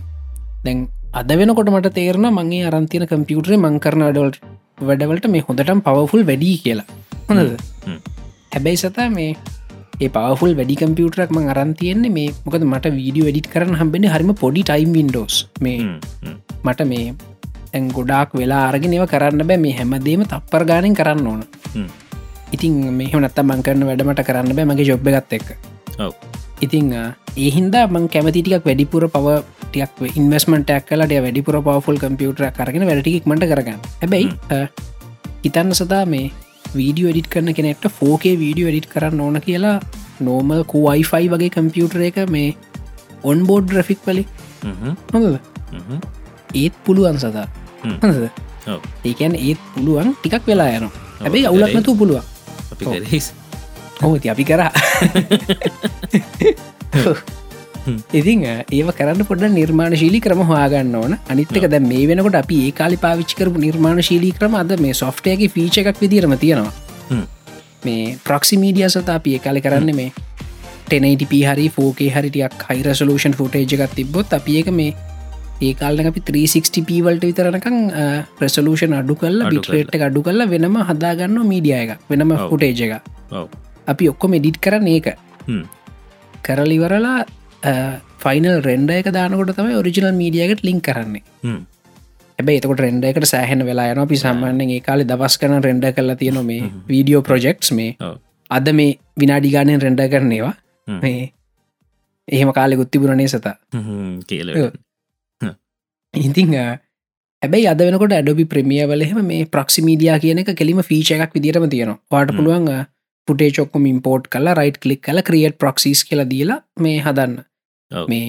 [SPEAKER 3] දැන් අද වෙනකොට මට තේරන මගේ අරන්තියන කම්පියුටරේ මංකරන අඩවල්ට වැඩවලට මේ හොඳටම් පවෆුල් වැඩි කියලා හොඳද
[SPEAKER 2] හ්ම්.
[SPEAKER 3] හැබැයි සතා මේ ඒ පවෆුල් වැඩි කම්පියුටරක් මං අරන්තියෙන්නේ මේ මොකද මට වීඩියෝ වැඩිට කරන්න හම්බෙන හරිම පොඩි ටයිම් වින්ඩෝස් මේ
[SPEAKER 2] හ්ම්. හ්ම්.
[SPEAKER 3] මට මේ ඇන් ගොඩාක් වෙලා අරගෙන ඒව කරන්න බෑ මේ හැමදේම තප්පර ගානෙන් කරන්න ඕන
[SPEAKER 2] හ්ම්.
[SPEAKER 3] ඉතින් මෙහනත් මංකරන වැඩමට කරන්න බෑ මගේ ජොබ්බ ගත්ත එක්
[SPEAKER 2] ඔව්.
[SPEAKER 3] ඉතිං ඒහින්දා මං කැමතිටිකක් වැඩිපුර පව ටියක් ඉන්වස්මටක් කලට වැඩිපුර පවෆුල් කම්පියුටර කරගෙන වැඩටික් මට කරගන්න හැබැයි අ, හිතන්න සදා මේ වීඩියෝ එඩිට කරන කෙනෙක්ට ෆෝකේ වීඩියෝ එඩිට කරන්න ඕන කියලා නෝමල් කූයිෆයි වගේ කම්පියුටර එක මේ ඔන් බෝඩ් ්‍රෆික් වලි
[SPEAKER 2] හ්ම්.
[SPEAKER 3] හොඳද
[SPEAKER 2] හ්ම්.
[SPEAKER 3] ඒත් පුළුවන් සදා
[SPEAKER 2] හ්ම්.
[SPEAKER 3] හඳද
[SPEAKER 2] ඔව්.
[SPEAKER 3] ඒකැන් ඒත් පුළුවන් ටිකක් වෙලා යන හැබැයි අවුලක්
[SPEAKER 2] කරේ.
[SPEAKER 3] නැතු පුළුවන්
[SPEAKER 2] අපි
[SPEAKER 3] ඔව්.
[SPEAKER 2] කරේ.
[SPEAKER 3] හෝති අපි කරා ඉතිං ඒව කරන්න පොඩ නිර්මාණශීලි ක්‍රම හවාගන්න ඕන අනිත්තක දැ මේ වෙනකොට අපි ඒ කාලි පාවිච්චි කරපු නිර්මාණශීලී ක්‍රම අද මේ සොෆ්ටයගේ ෆීච එකක් විදිරම තියෙනවා
[SPEAKER 2] හ්ම්.
[SPEAKER 3] මේ ප්‍රොක්සිමීඩිය සතා අපි ඒ කාලි කරන්න මේ ටෙනයිටප හරි ෆෝකේ හරිටියක් හයිරසලූෂන් ෆොටේජ එකක් තිබොත් අපි ඒක මේ ඒ කාලන අපි 360p වලට විතරනකං ප්‍රසලූෂන් අඩු කල්ල
[SPEAKER 2] අඩු
[SPEAKER 3] බිට්‍රේට් අඩු කල්ල වෙනම හදාගන්න මීඩිය එක වෙනම
[SPEAKER 2] ඔව්.
[SPEAKER 3] ෆොටේජ එක
[SPEAKER 2] ඔව්.
[SPEAKER 3] අපි ඔක්කොම එඩිට් කරන ඒක
[SPEAKER 2] හ්ම්.
[SPEAKER 3] කරලිවරලා ෆයිනල් රෙන්ඩ එක දානකොට තමයි ඔරිජිනල් මීඩියකට ලිින් කරන්නේ
[SPEAKER 2] හ්ම්.
[SPEAKER 3] ඇබේ එතකොට රෙන්ඩ එකට සෑහන වෙලා යන අපි සම්මාන්‍යෙන් ඒ කාලි දවස් කන රෙන්ඩ කරලා තියෙන මේ වීඩියෝ ප්‍රොජෙක්ස් මේ
[SPEAKER 2] ඔව්.
[SPEAKER 3] අද මේ විනාඩි ගානයෙන් රෙන්ඩ කරනේවා
[SPEAKER 2] හ්ම්.
[SPEAKER 3] මේ එහෙම කාලෙ ගුත්තිබුරණේ සතා
[SPEAKER 2] හ්ම්. කියල
[SPEAKER 3] ඔව්. ඉතිං ඇබයි අදනකොට ඇඩබි ප්‍රමිය වලහෙම මේ ප්‍රක්සිමීඩිය කියන එක කෙලිම ෆීච එකක් විදිරම තියෙනවා වාට
[SPEAKER 2] හ්ම්.
[SPEAKER 3] පුළුවන් පුටේ චොක්කම ඉම්පෝට් කල රයිට් කලික් කල ක්‍රියට් ප්‍රක්සිස් කියලා දීලා මේ හදන්න
[SPEAKER 2] ඔව්.
[SPEAKER 3] මේ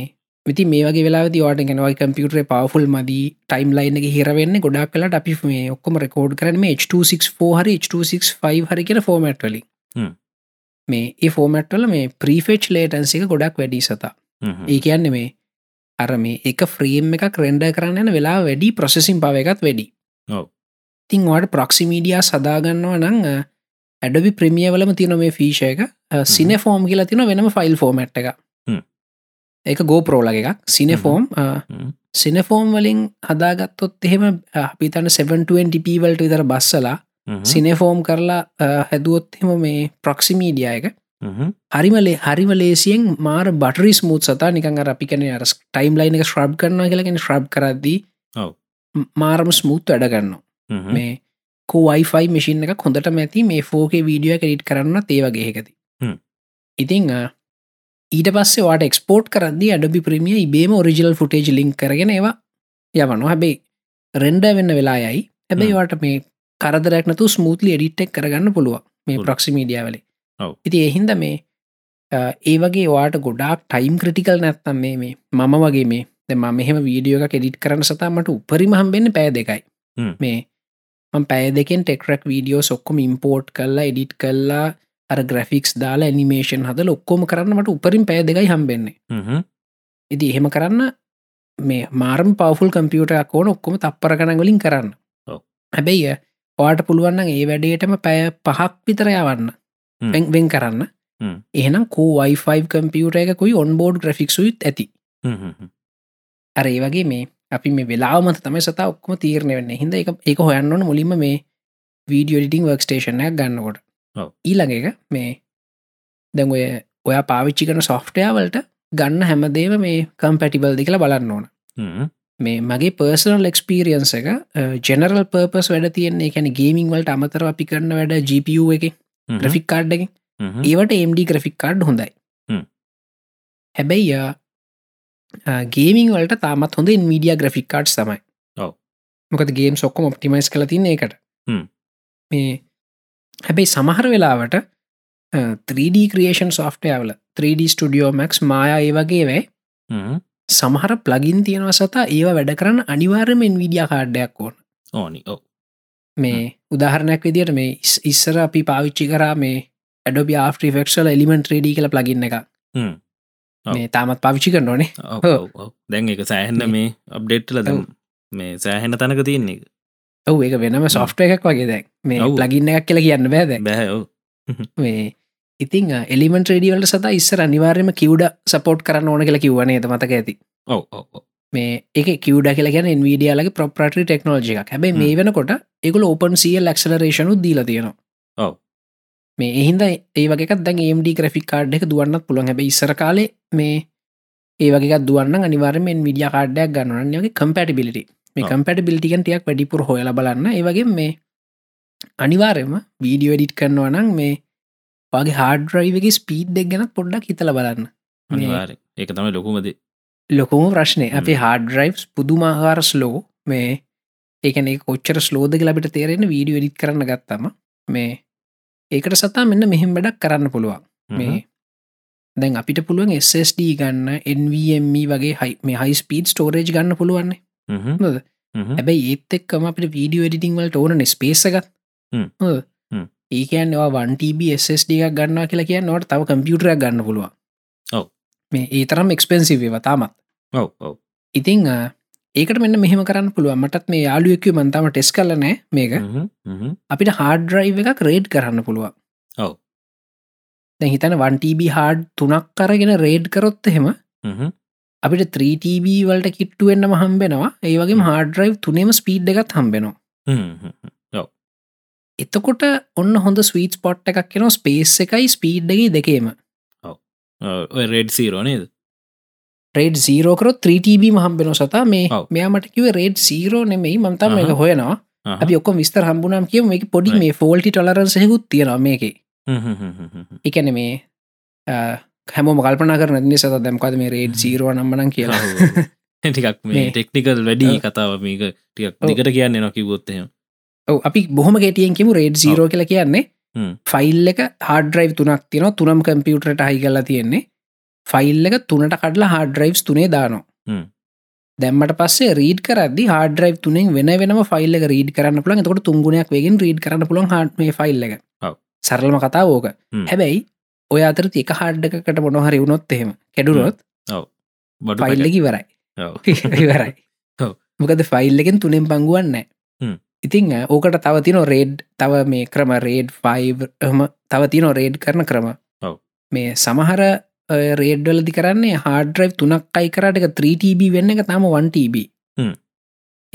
[SPEAKER 3] විති මේ වගේ වෙලා වාට ගෙනවයි කම්පියුටේ පවෆුල් මදී ටයිම් ලයින් එක හිරවෙන්න ගොඩක් කලට අපි මේ ඔක්කොම රෙකෝඩ් කරන මේ H264 හරි H265 හරි කියෙන ෆෝමට් වලින්
[SPEAKER 2] හ්ම්.
[SPEAKER 3] මේ ඒ ෆෝමට්වල මේ ප්‍රීෆෙච් ලේටන්සික ගොඩක් වැඩි සතා
[SPEAKER 2] හ්ම්.
[SPEAKER 3] ඒ කියන්න මේ අර මේ එක ෆ්‍රීම් එකක් රෙන්ඩ කරන්න යන වෙලා වැඩි ප්‍රොසෙසින් පව එකත් වැඩි
[SPEAKER 2] ඔව්.
[SPEAKER 3] තිං වාට ප්‍රක්සිමීඩිය සදාගන්නවා නං ඇඩබි ප්‍රමියවලම තියන මේ ෆීෂය එක සින ෆෝම් කියලා තින වෙනම ෆයිල් ෆෝමට් එක
[SPEAKER 2] හ්ම්.
[SPEAKER 3] ඒක ගෝපරෝලග එකක් සින
[SPEAKER 2] හ්ම්.
[SPEAKER 3] ෆෝම්
[SPEAKER 2] හ්ම්.
[SPEAKER 3] සිනෆෝම් වලින් හදාගත්තොත් එහෙම අපිතන 720p වලට විතර බස්සලා
[SPEAKER 2] හ්ම්.
[SPEAKER 3] සිනෆෝම් කරලා අ, හැදුවොත් එහෙම මේ ප්‍රක්සිමීඩිය එක
[SPEAKER 2] හ්ම්.
[SPEAKER 3] හරිමලේ හරිම ලේසියෙන් මාර බටරි ස්මුූත් සතා නිකන් අර අපි කන අර ටයිම් ලයින එක ශ්‍රබ් කරනවා කියලගෙන ශ්‍රබ් කරද්දී
[SPEAKER 2] ඔව්.
[SPEAKER 3] ම- මාරම ස්මුූත් වැඩගන්නවා
[SPEAKER 2] හ්ම්.
[SPEAKER 3] මේ කෝයිෆයි මිසින් එක හොඳට මැති මේ ෆෝකේ වීඩියෝ කෙඩිට් කරන්න තේවගේ එකති
[SPEAKER 2] හ්ම්.
[SPEAKER 3] ඉතිං අ, ඊට පස්සේ වාට එක්ස්පෝට් කරදදි අඩබි ප්‍රමිය ඉබේම ඔරිජිනල් ෆුටේජ් ලිින් කරගෙන ඒවා යවනො හැබැයි රෙන්ඩ වෙන්න වෙලා යයි හැබැයි
[SPEAKER 2] හ්ම්.
[SPEAKER 3] වාට මේ කරදරක්නතු ස්මූතිලි එඩිට්ටෙක් කරගන්න පුළුව මේ
[SPEAKER 2] පුළුවන්.
[SPEAKER 3] ප්‍රක්ෂිමීඩියාවල
[SPEAKER 2] ඔව්.
[SPEAKER 3] ඉති එහින්ද මේ අ, ඒ වගේ වාට ගොඩක් ටයිම් ක්‍රටිකල් නැත්තම් මේ මේ මම වගේ මේ දෙම මෙහම වීඩියෝ එක කෙඩිට් කරන සතාමට උපරිමහම් වෙන්න පෑ දෙකයි
[SPEAKER 2] හ්ම්.
[SPEAKER 3] මේ මං පෑ දෙකෙන් ටෙක්රක් වීඩියෝ සොක්කොම ඉම්පෝට් කල්ලා එඩිට් කල්ලා අර ග්‍රෆික්ස් දාලා නිමේෂන් හද ලොක්කොම කරන්නට උපරින් පෑ දෙකයි හම්බෙන්නේ
[SPEAKER 2] හ්ම්.
[SPEAKER 3] ඉති එහෙම කරන්න මේ මාර්ම පවෆුල් කම්පියුටයක් ඕන ඔක්කොම තප්පර ගණගලින් කරන්න
[SPEAKER 2] ඔව්.
[SPEAKER 3] හැබැයි පාට පුළුවන් නම් ඒ වැඩේටම පැය පහක් විතර යවන්න
[SPEAKER 2] හ්ම්.
[SPEAKER 3] වෙන් කරන්න
[SPEAKER 2] හ්ම්.
[SPEAKER 3] එහෙනම් කෝ වයි5 කම්පියුට එකකුයි ඔන්බෝඩ් ග්‍රෆික් සුත් ඇති
[SPEAKER 2] හ්ම්. හ්ම්.
[SPEAKER 3] අර ඒ වගේ මේ අපි මේ වෙලාමත තමයි සතා ඔක්කම තීරණය වෙන්න හිද එක එක හොයන්න ඕන මුලින්ම මේ වීඩියෝ ඩිටිං වර්ක්ස්ටේෂනයක් ගන්නකොට
[SPEAKER 2] ඔව්.
[SPEAKER 3] ඊළඟ එක මේ දැන් ඔය ඔයා පාවිච්චි කරන සොෆ්ටයාවලට ගන්න හැමදේම මේ කම්පැටිබල් දෙ කියලා බලන්න ඕන
[SPEAKER 2] හ්ම්.
[SPEAKER 3] මේ මගේ පර්සනල් එක්ස්පිරියන්ස එක ජෙනරල් පර්පස් වැඩ තියන්නේ ැන ගේමිං වලට අමතර අපි කරන වැඩ GPU එක
[SPEAKER 2] හ්ම්.
[SPEAKER 3] ග්‍රෆික් කාඩ් එක
[SPEAKER 2] හ්ම්.
[SPEAKER 3] ඒවට MD ග්‍රෆික් කාඩ් හොඳයි
[SPEAKER 2] හ්ම්.
[SPEAKER 3] හැබැයි ගේමිං වලට තාමත් හොඳ මීඩිය ග්‍රෆික් කාඩ් සමයි
[SPEAKER 2] ඔව්.
[SPEAKER 3] මොකද ගේම් සොක්කොම ඔප්ටිමයිස් කළ තින්න එකට
[SPEAKER 2] හ්ම්.
[SPEAKER 3] මේ හැබැයි සමහර වෙලාවට අ, 3D ක්‍රේෂන් සෝට්යවල 3D ස්ටඩියෝ මැක්ස් මයා ඒ වගේ වැයි
[SPEAKER 2] හ්ම්.
[SPEAKER 3] සමහර ප්ලගින් තියෙනව සතා ඒව වැඩ කරන්න අනිවාර්යමෙන් විඩිය කාඩ්ඩයක් ඕන
[SPEAKER 2] ඕනි ඔව්.
[SPEAKER 3] මේ උදාහරණයක් විදිට මේ ඉස්- ඉස්සර අපි පාවිච්චි කරා මේ ඇඩොබ ෆක්ෂල එලිමෙන්ට ්‍රඩි කළ ප්ලගින්න එක
[SPEAKER 2] හ්ම්. ඔව්.
[SPEAKER 3] මේ තාමත් පාවිච්චි කරන්න ඕනේ
[SPEAKER 2] ඔව්,
[SPEAKER 3] හ්ම්.
[SPEAKER 2] ඔව්, ඔව්. දැන් එක සෑහෙන්න
[SPEAKER 3] මේ-
[SPEAKER 2] මේ අප්ඩේට්ල දැම්
[SPEAKER 3] ඔව්.
[SPEAKER 2] මේ සෑහෙන තැනක තියන්නේ එක.
[SPEAKER 3] ඔව ඒක වෙනම සොෆ්ට එකක් වගේ දැක් මේ
[SPEAKER 2] ඔව්.
[SPEAKER 3] ප්ලගින්න එකක් කියලා කියන්න බෑද
[SPEAKER 2] බැහැ ඔව්.
[SPEAKER 3] මේ ඉතින් uh, එලිමෙන්ට ්‍රඩියවලට සත ඉස්සර අනිවාර්යම කිව්ඩ සපෝට් කරන්න ඕන කියලා කිව්වනේ ත මතක ඇති
[SPEAKER 2] ඔව් ඔව් ඔව්.
[SPEAKER 3] මේ එක කිවඩ කියල ගැන ඉන්විඩියලගේ පොපටරි ටෙක්නෝජි එකක් හැබයි මේ වෙනකොට එකගල ඕපන් සියල් ලක්ෂලරේෂනු දීල තියෙනවා
[SPEAKER 2] ඔව්.
[SPEAKER 3] මේ එහින්ද ඒවක දැන් ඒම්ඩ ග්‍රෆික් කාඩ් එක දුවන්නත් පුළන් හැබ ඉස්සර කාලේ මේ ඒවගේ දුවන්න අනිවරෙන් විඩිය කාඩයක් ගන්නන්නගේ කම්පැටිබිලිටි මේ
[SPEAKER 2] ඔව්.
[SPEAKER 3] කම්පැටිබිලිටිකන් ටියක් වැඩිපුර හොයල බලන්න ඒවගේ මේ අනිවාරයම වීඩියෝ එඩිට් කරනවා නම් මේ වගේ හාඩරයිවගේ ස්පීඩ් දෙක් ගැනත් පොඩ්ඩක් හිතල බලන්න මේ
[SPEAKER 2] අනිවාරෙන් ඒක තමයි ලොකුමද
[SPEAKER 3] ලොකුම ප්‍රශ්නය
[SPEAKER 2] හ්ම්.
[SPEAKER 3] අපේ හාඩරයිස් පුදුමහාර ස්ලෝ මේ ඒකන කොච්චර ස්ලෝදක ලබිට තේරෙන වීඩියෝ ඩිත් කරන්න ගත්තම මේ ඒකට සතා මෙන්න මෙහෙම වැඩක් කරන්න පුළුවන් මේ දැන් අපිට පුළුවන් SSD ගන්න NVMe E වගේ හයි මේ හයි ස්පීඩ් ස්ටෝරේජ් ගන්න පුළුවන්නේ
[SPEAKER 2] Mm-hmm.
[SPEAKER 3] හොඳද? හැබැයි ඒත් එක්කම අපට වීඩියෝ ඩිටිං වලට ඕන ස්පේසකත්
[SPEAKER 2] හ්ම්. හ්ම්.
[SPEAKER 3] ඒකන් වන්ටB SSD එකක් ගන්නවා කියලා කියන්න නොට තව කම්පියුටරයක් ගන්න පුළුවන්
[SPEAKER 2] ඔව්.
[SPEAKER 3] මේ ඒ තරම් එක්ස්පෙන්සිවේ වතාමත්
[SPEAKER 2] ඔව් ඔව්
[SPEAKER 3] ඉතිං අ, ඒකට මෙන්න මෙහෙම කරන්න පුළුව මටත් මේ යාලුවක්ව මන්තම ටෙස් කලනෑ මේක
[SPEAKER 2] හ්ම්, හ්ම්.
[SPEAKER 3] අපිට හාඩරයි් එකක් රේඩ් කරන්න පුළුවන්
[SPEAKER 2] ඔව්.
[SPEAKER 3] දැ හිතන වන්ටB හාඩ් තුනක් කරගෙන රේඩ් කරොත් එහෙම
[SPEAKER 2] හ්ම්.
[SPEAKER 3] අපිට 3TB වලට කිට්ටුවෙන්න්න හම්බෙනවා ඒවගේ
[SPEAKER 2] හ්ම්.
[SPEAKER 3] හාඩරයි් තුනේම ස්පීඩ් එකත් හම්බෙනවා
[SPEAKER 2] හ්ම්. හ්ම්.
[SPEAKER 3] එතකොට ඔන්න හොඳ ස්වීට් පොට් එකක් කෙන ස්පේස් එකයි ස්පීඩ්ඩගේ දෙකේම
[SPEAKER 2] ඔව්. Oh, ඔය රෙඩ් සීරෝ නේද
[SPEAKER 3] රේඩ් සීරෝකරොත් 3TB හම්බෙන සතා මේ
[SPEAKER 2] ඔව්.
[SPEAKER 3] මෙයාමටකිව රේඩ් සීරෝ නෙමෙයි මන්තම එක
[SPEAKER 2] අහහ.
[SPEAKER 3] හොයනවා
[SPEAKER 2] අහහ.
[SPEAKER 3] අපි ඔක්කො විස්තර හම්බුනම් කියම මේ පොඩි
[SPEAKER 2] Right.
[SPEAKER 3] මේ ෆෝල්ටි ටොලරන්සයකුත් තියෙනවා මේක
[SPEAKER 2] හ්ම්. හ්ම්. හ්ම්. හ්ම්. හ්ම්.
[SPEAKER 3] එකන මේ හැම මගල්පන කරන නි සත දැම්කද මේ රේඩ් සීරුව නම්බන කියලා
[SPEAKER 2] ඔව්, ඔව්, ඔව්. Oh. ටිකක් මේ
[SPEAKER 3] මේ-
[SPEAKER 2] ටෙක්නිකල් වැඩි
[SPEAKER 3] ඔව්.
[SPEAKER 2] කතාව මේක ටිකක්
[SPEAKER 3] ඔව්.
[SPEAKER 2] දිකට කියන්න නො කිවොත්තය
[SPEAKER 3] ඔව අපි බොහම ගෙටියෙන් කිමු රේඩ් සීරෝ කියලා කියන්නේ
[SPEAKER 2] හ්ම්.
[SPEAKER 3] ෆයිල් එක හාඩරයි් තුනක් තියෙන තුනම් කම්පියුටරට හහි කල්ලා තියෙන්නේ ෆයිල් එක තුනට කඩලා හාඩරයිස් තුනේ දානවා
[SPEAKER 2] හ්ම්.
[SPEAKER 3] දැම්මට පස්සේ රීඩ් කරදදි හාඩරයි් තුනෙන් වෙන වෙනම ෆයිල් එක රීඩ් කරන්න පුළන් එතකොට තුන්ගුණයක් වගෙන් රීඩ් කරන්න පුළන් හාටේ ෆයිල් එක
[SPEAKER 2] ඔව්.
[SPEAKER 3] සරලම කතා ඕක
[SPEAKER 2] හ්ම්.
[SPEAKER 3] හැබැයි ඔය අතර එක හාඩ්ඩකට මොනොහරි වුණොත් එහෙම කෙඩුරොත්
[SPEAKER 2] බඩු
[SPEAKER 3] ෆයිල්ලකි වරයි
[SPEAKER 2] ඔව්.
[SPEAKER 3] ඉවරයි
[SPEAKER 2] ඔව්.
[SPEAKER 3] මොකද ෆයිල්ලකෙන් තුනෙන් පංගුවන්න
[SPEAKER 2] හ්ම්.
[SPEAKER 3] ඉතිං අ, ඕකට තව තින රේඩ් තව මේ ක්‍රම රේඩ් ෆයිම් තව තින රේඩ් කරන ක්‍රම
[SPEAKER 2] ඔව්.
[SPEAKER 3] මේ සමහර රේඩ්වලදි කරන්නේ හාඩරයි් තුනක් අයි කරට එක 3TB වෙන්න එක තම 1TB
[SPEAKER 2] හ්ම්.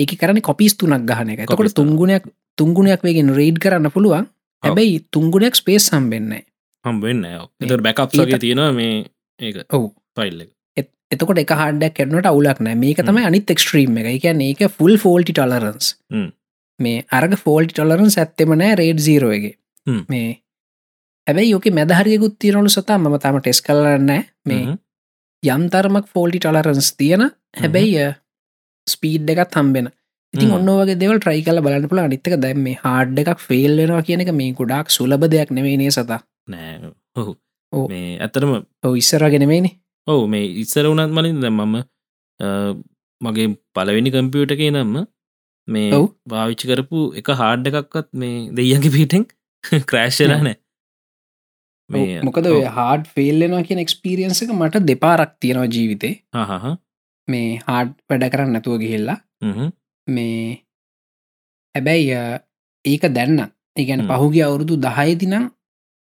[SPEAKER 3] ඒක කරන කොපිස් තුනක් ගහන එක
[SPEAKER 2] කොපිස් තුනක්.
[SPEAKER 3] තකොට තුංගුණයක් තුංගුණයක් වගෙන් රේඩ් කරන්න පුළුවන් හැබැයි තුංගුණයක් ස්පේස් සම්බෙන්නේ
[SPEAKER 2] හම්බෙන්න එතට බැකප් සගේ
[SPEAKER 3] ඊට-
[SPEAKER 2] තියෙනවා මේ ඒක
[SPEAKER 3] ඔව්.
[SPEAKER 2] පයිල්ල එක
[SPEAKER 3] එත්- එතකොට එක හඩක් කරනට අවුලක් නෑ මේක තමයි අනිත් එක්ස්ට්‍රීම් එක කියන්න ඒක ෆුල් ෆෝල්ටි ටොලරන්ස්
[SPEAKER 2] හ්ම්.
[SPEAKER 3] මේ අරග ෆෝල්ටි ටොලරන්ස් ඇත්තෙම නෑ රේඩ් සීරෝයගේ
[SPEAKER 2] හ්ම්.
[SPEAKER 3] මේ හැබැයි යෝක මැදහරියකුත් තියනලු සතා ම තම ටෙස් කරන්න මේ
[SPEAKER 2] Mm-hmm.
[SPEAKER 3] යම්තරමක් ෆෝල්ටි ටලරන්ස් තියෙන හැබැයි ස්පීඩ් එකත් හම්බෙන ඉතින්
[SPEAKER 2] හ්ම්.
[SPEAKER 3] ඔන්න වගේ දෙවල් ට්‍රයි කල බලන්න පුළ අනිත්තක දැම් මේ හාඩ් එකක් ෆෙල් වෙනවා කියන එක මේ ගොඩක් සුලබ දෙයක් නෙවෙනේ සතා
[SPEAKER 2] Mm-hmm. නෑ ඔහු
[SPEAKER 3] ඔව්.
[SPEAKER 2] මේ ඇතරම
[SPEAKER 3] ඔ ඉස්සරගෙනවෙනි
[SPEAKER 2] ඔහු මේ ඉස්සර වුණත් මලින් දැ මම අ, මගේ පලවෙනි කම්පියුට එකේ නම්ම මේ
[SPEAKER 3] ඔව්.
[SPEAKER 2] භාවිච්චි කරපු එක හාඩ් එකක්වත් මේ දෙයියගේ පිටෙන් ක්‍රෑශ්ලා නෑ
[SPEAKER 3] මොකද ඔය හාඩ් ෆෙල්ලෙනවා කියන එක්ස්පිරියන්ස එක මට දෙපාරක් තියෙනවා ජීවිතේ
[SPEAKER 2] හහ
[SPEAKER 3] මේ හාඩ් වැඩ කරන්න නැතුව ගිහිල්ලා මේ හැබැයි අ, ඒක දැන්න ඒගැන
[SPEAKER 2] හ්ම්.
[SPEAKER 3] පහුගේ අවුරුදු දහයදිනම්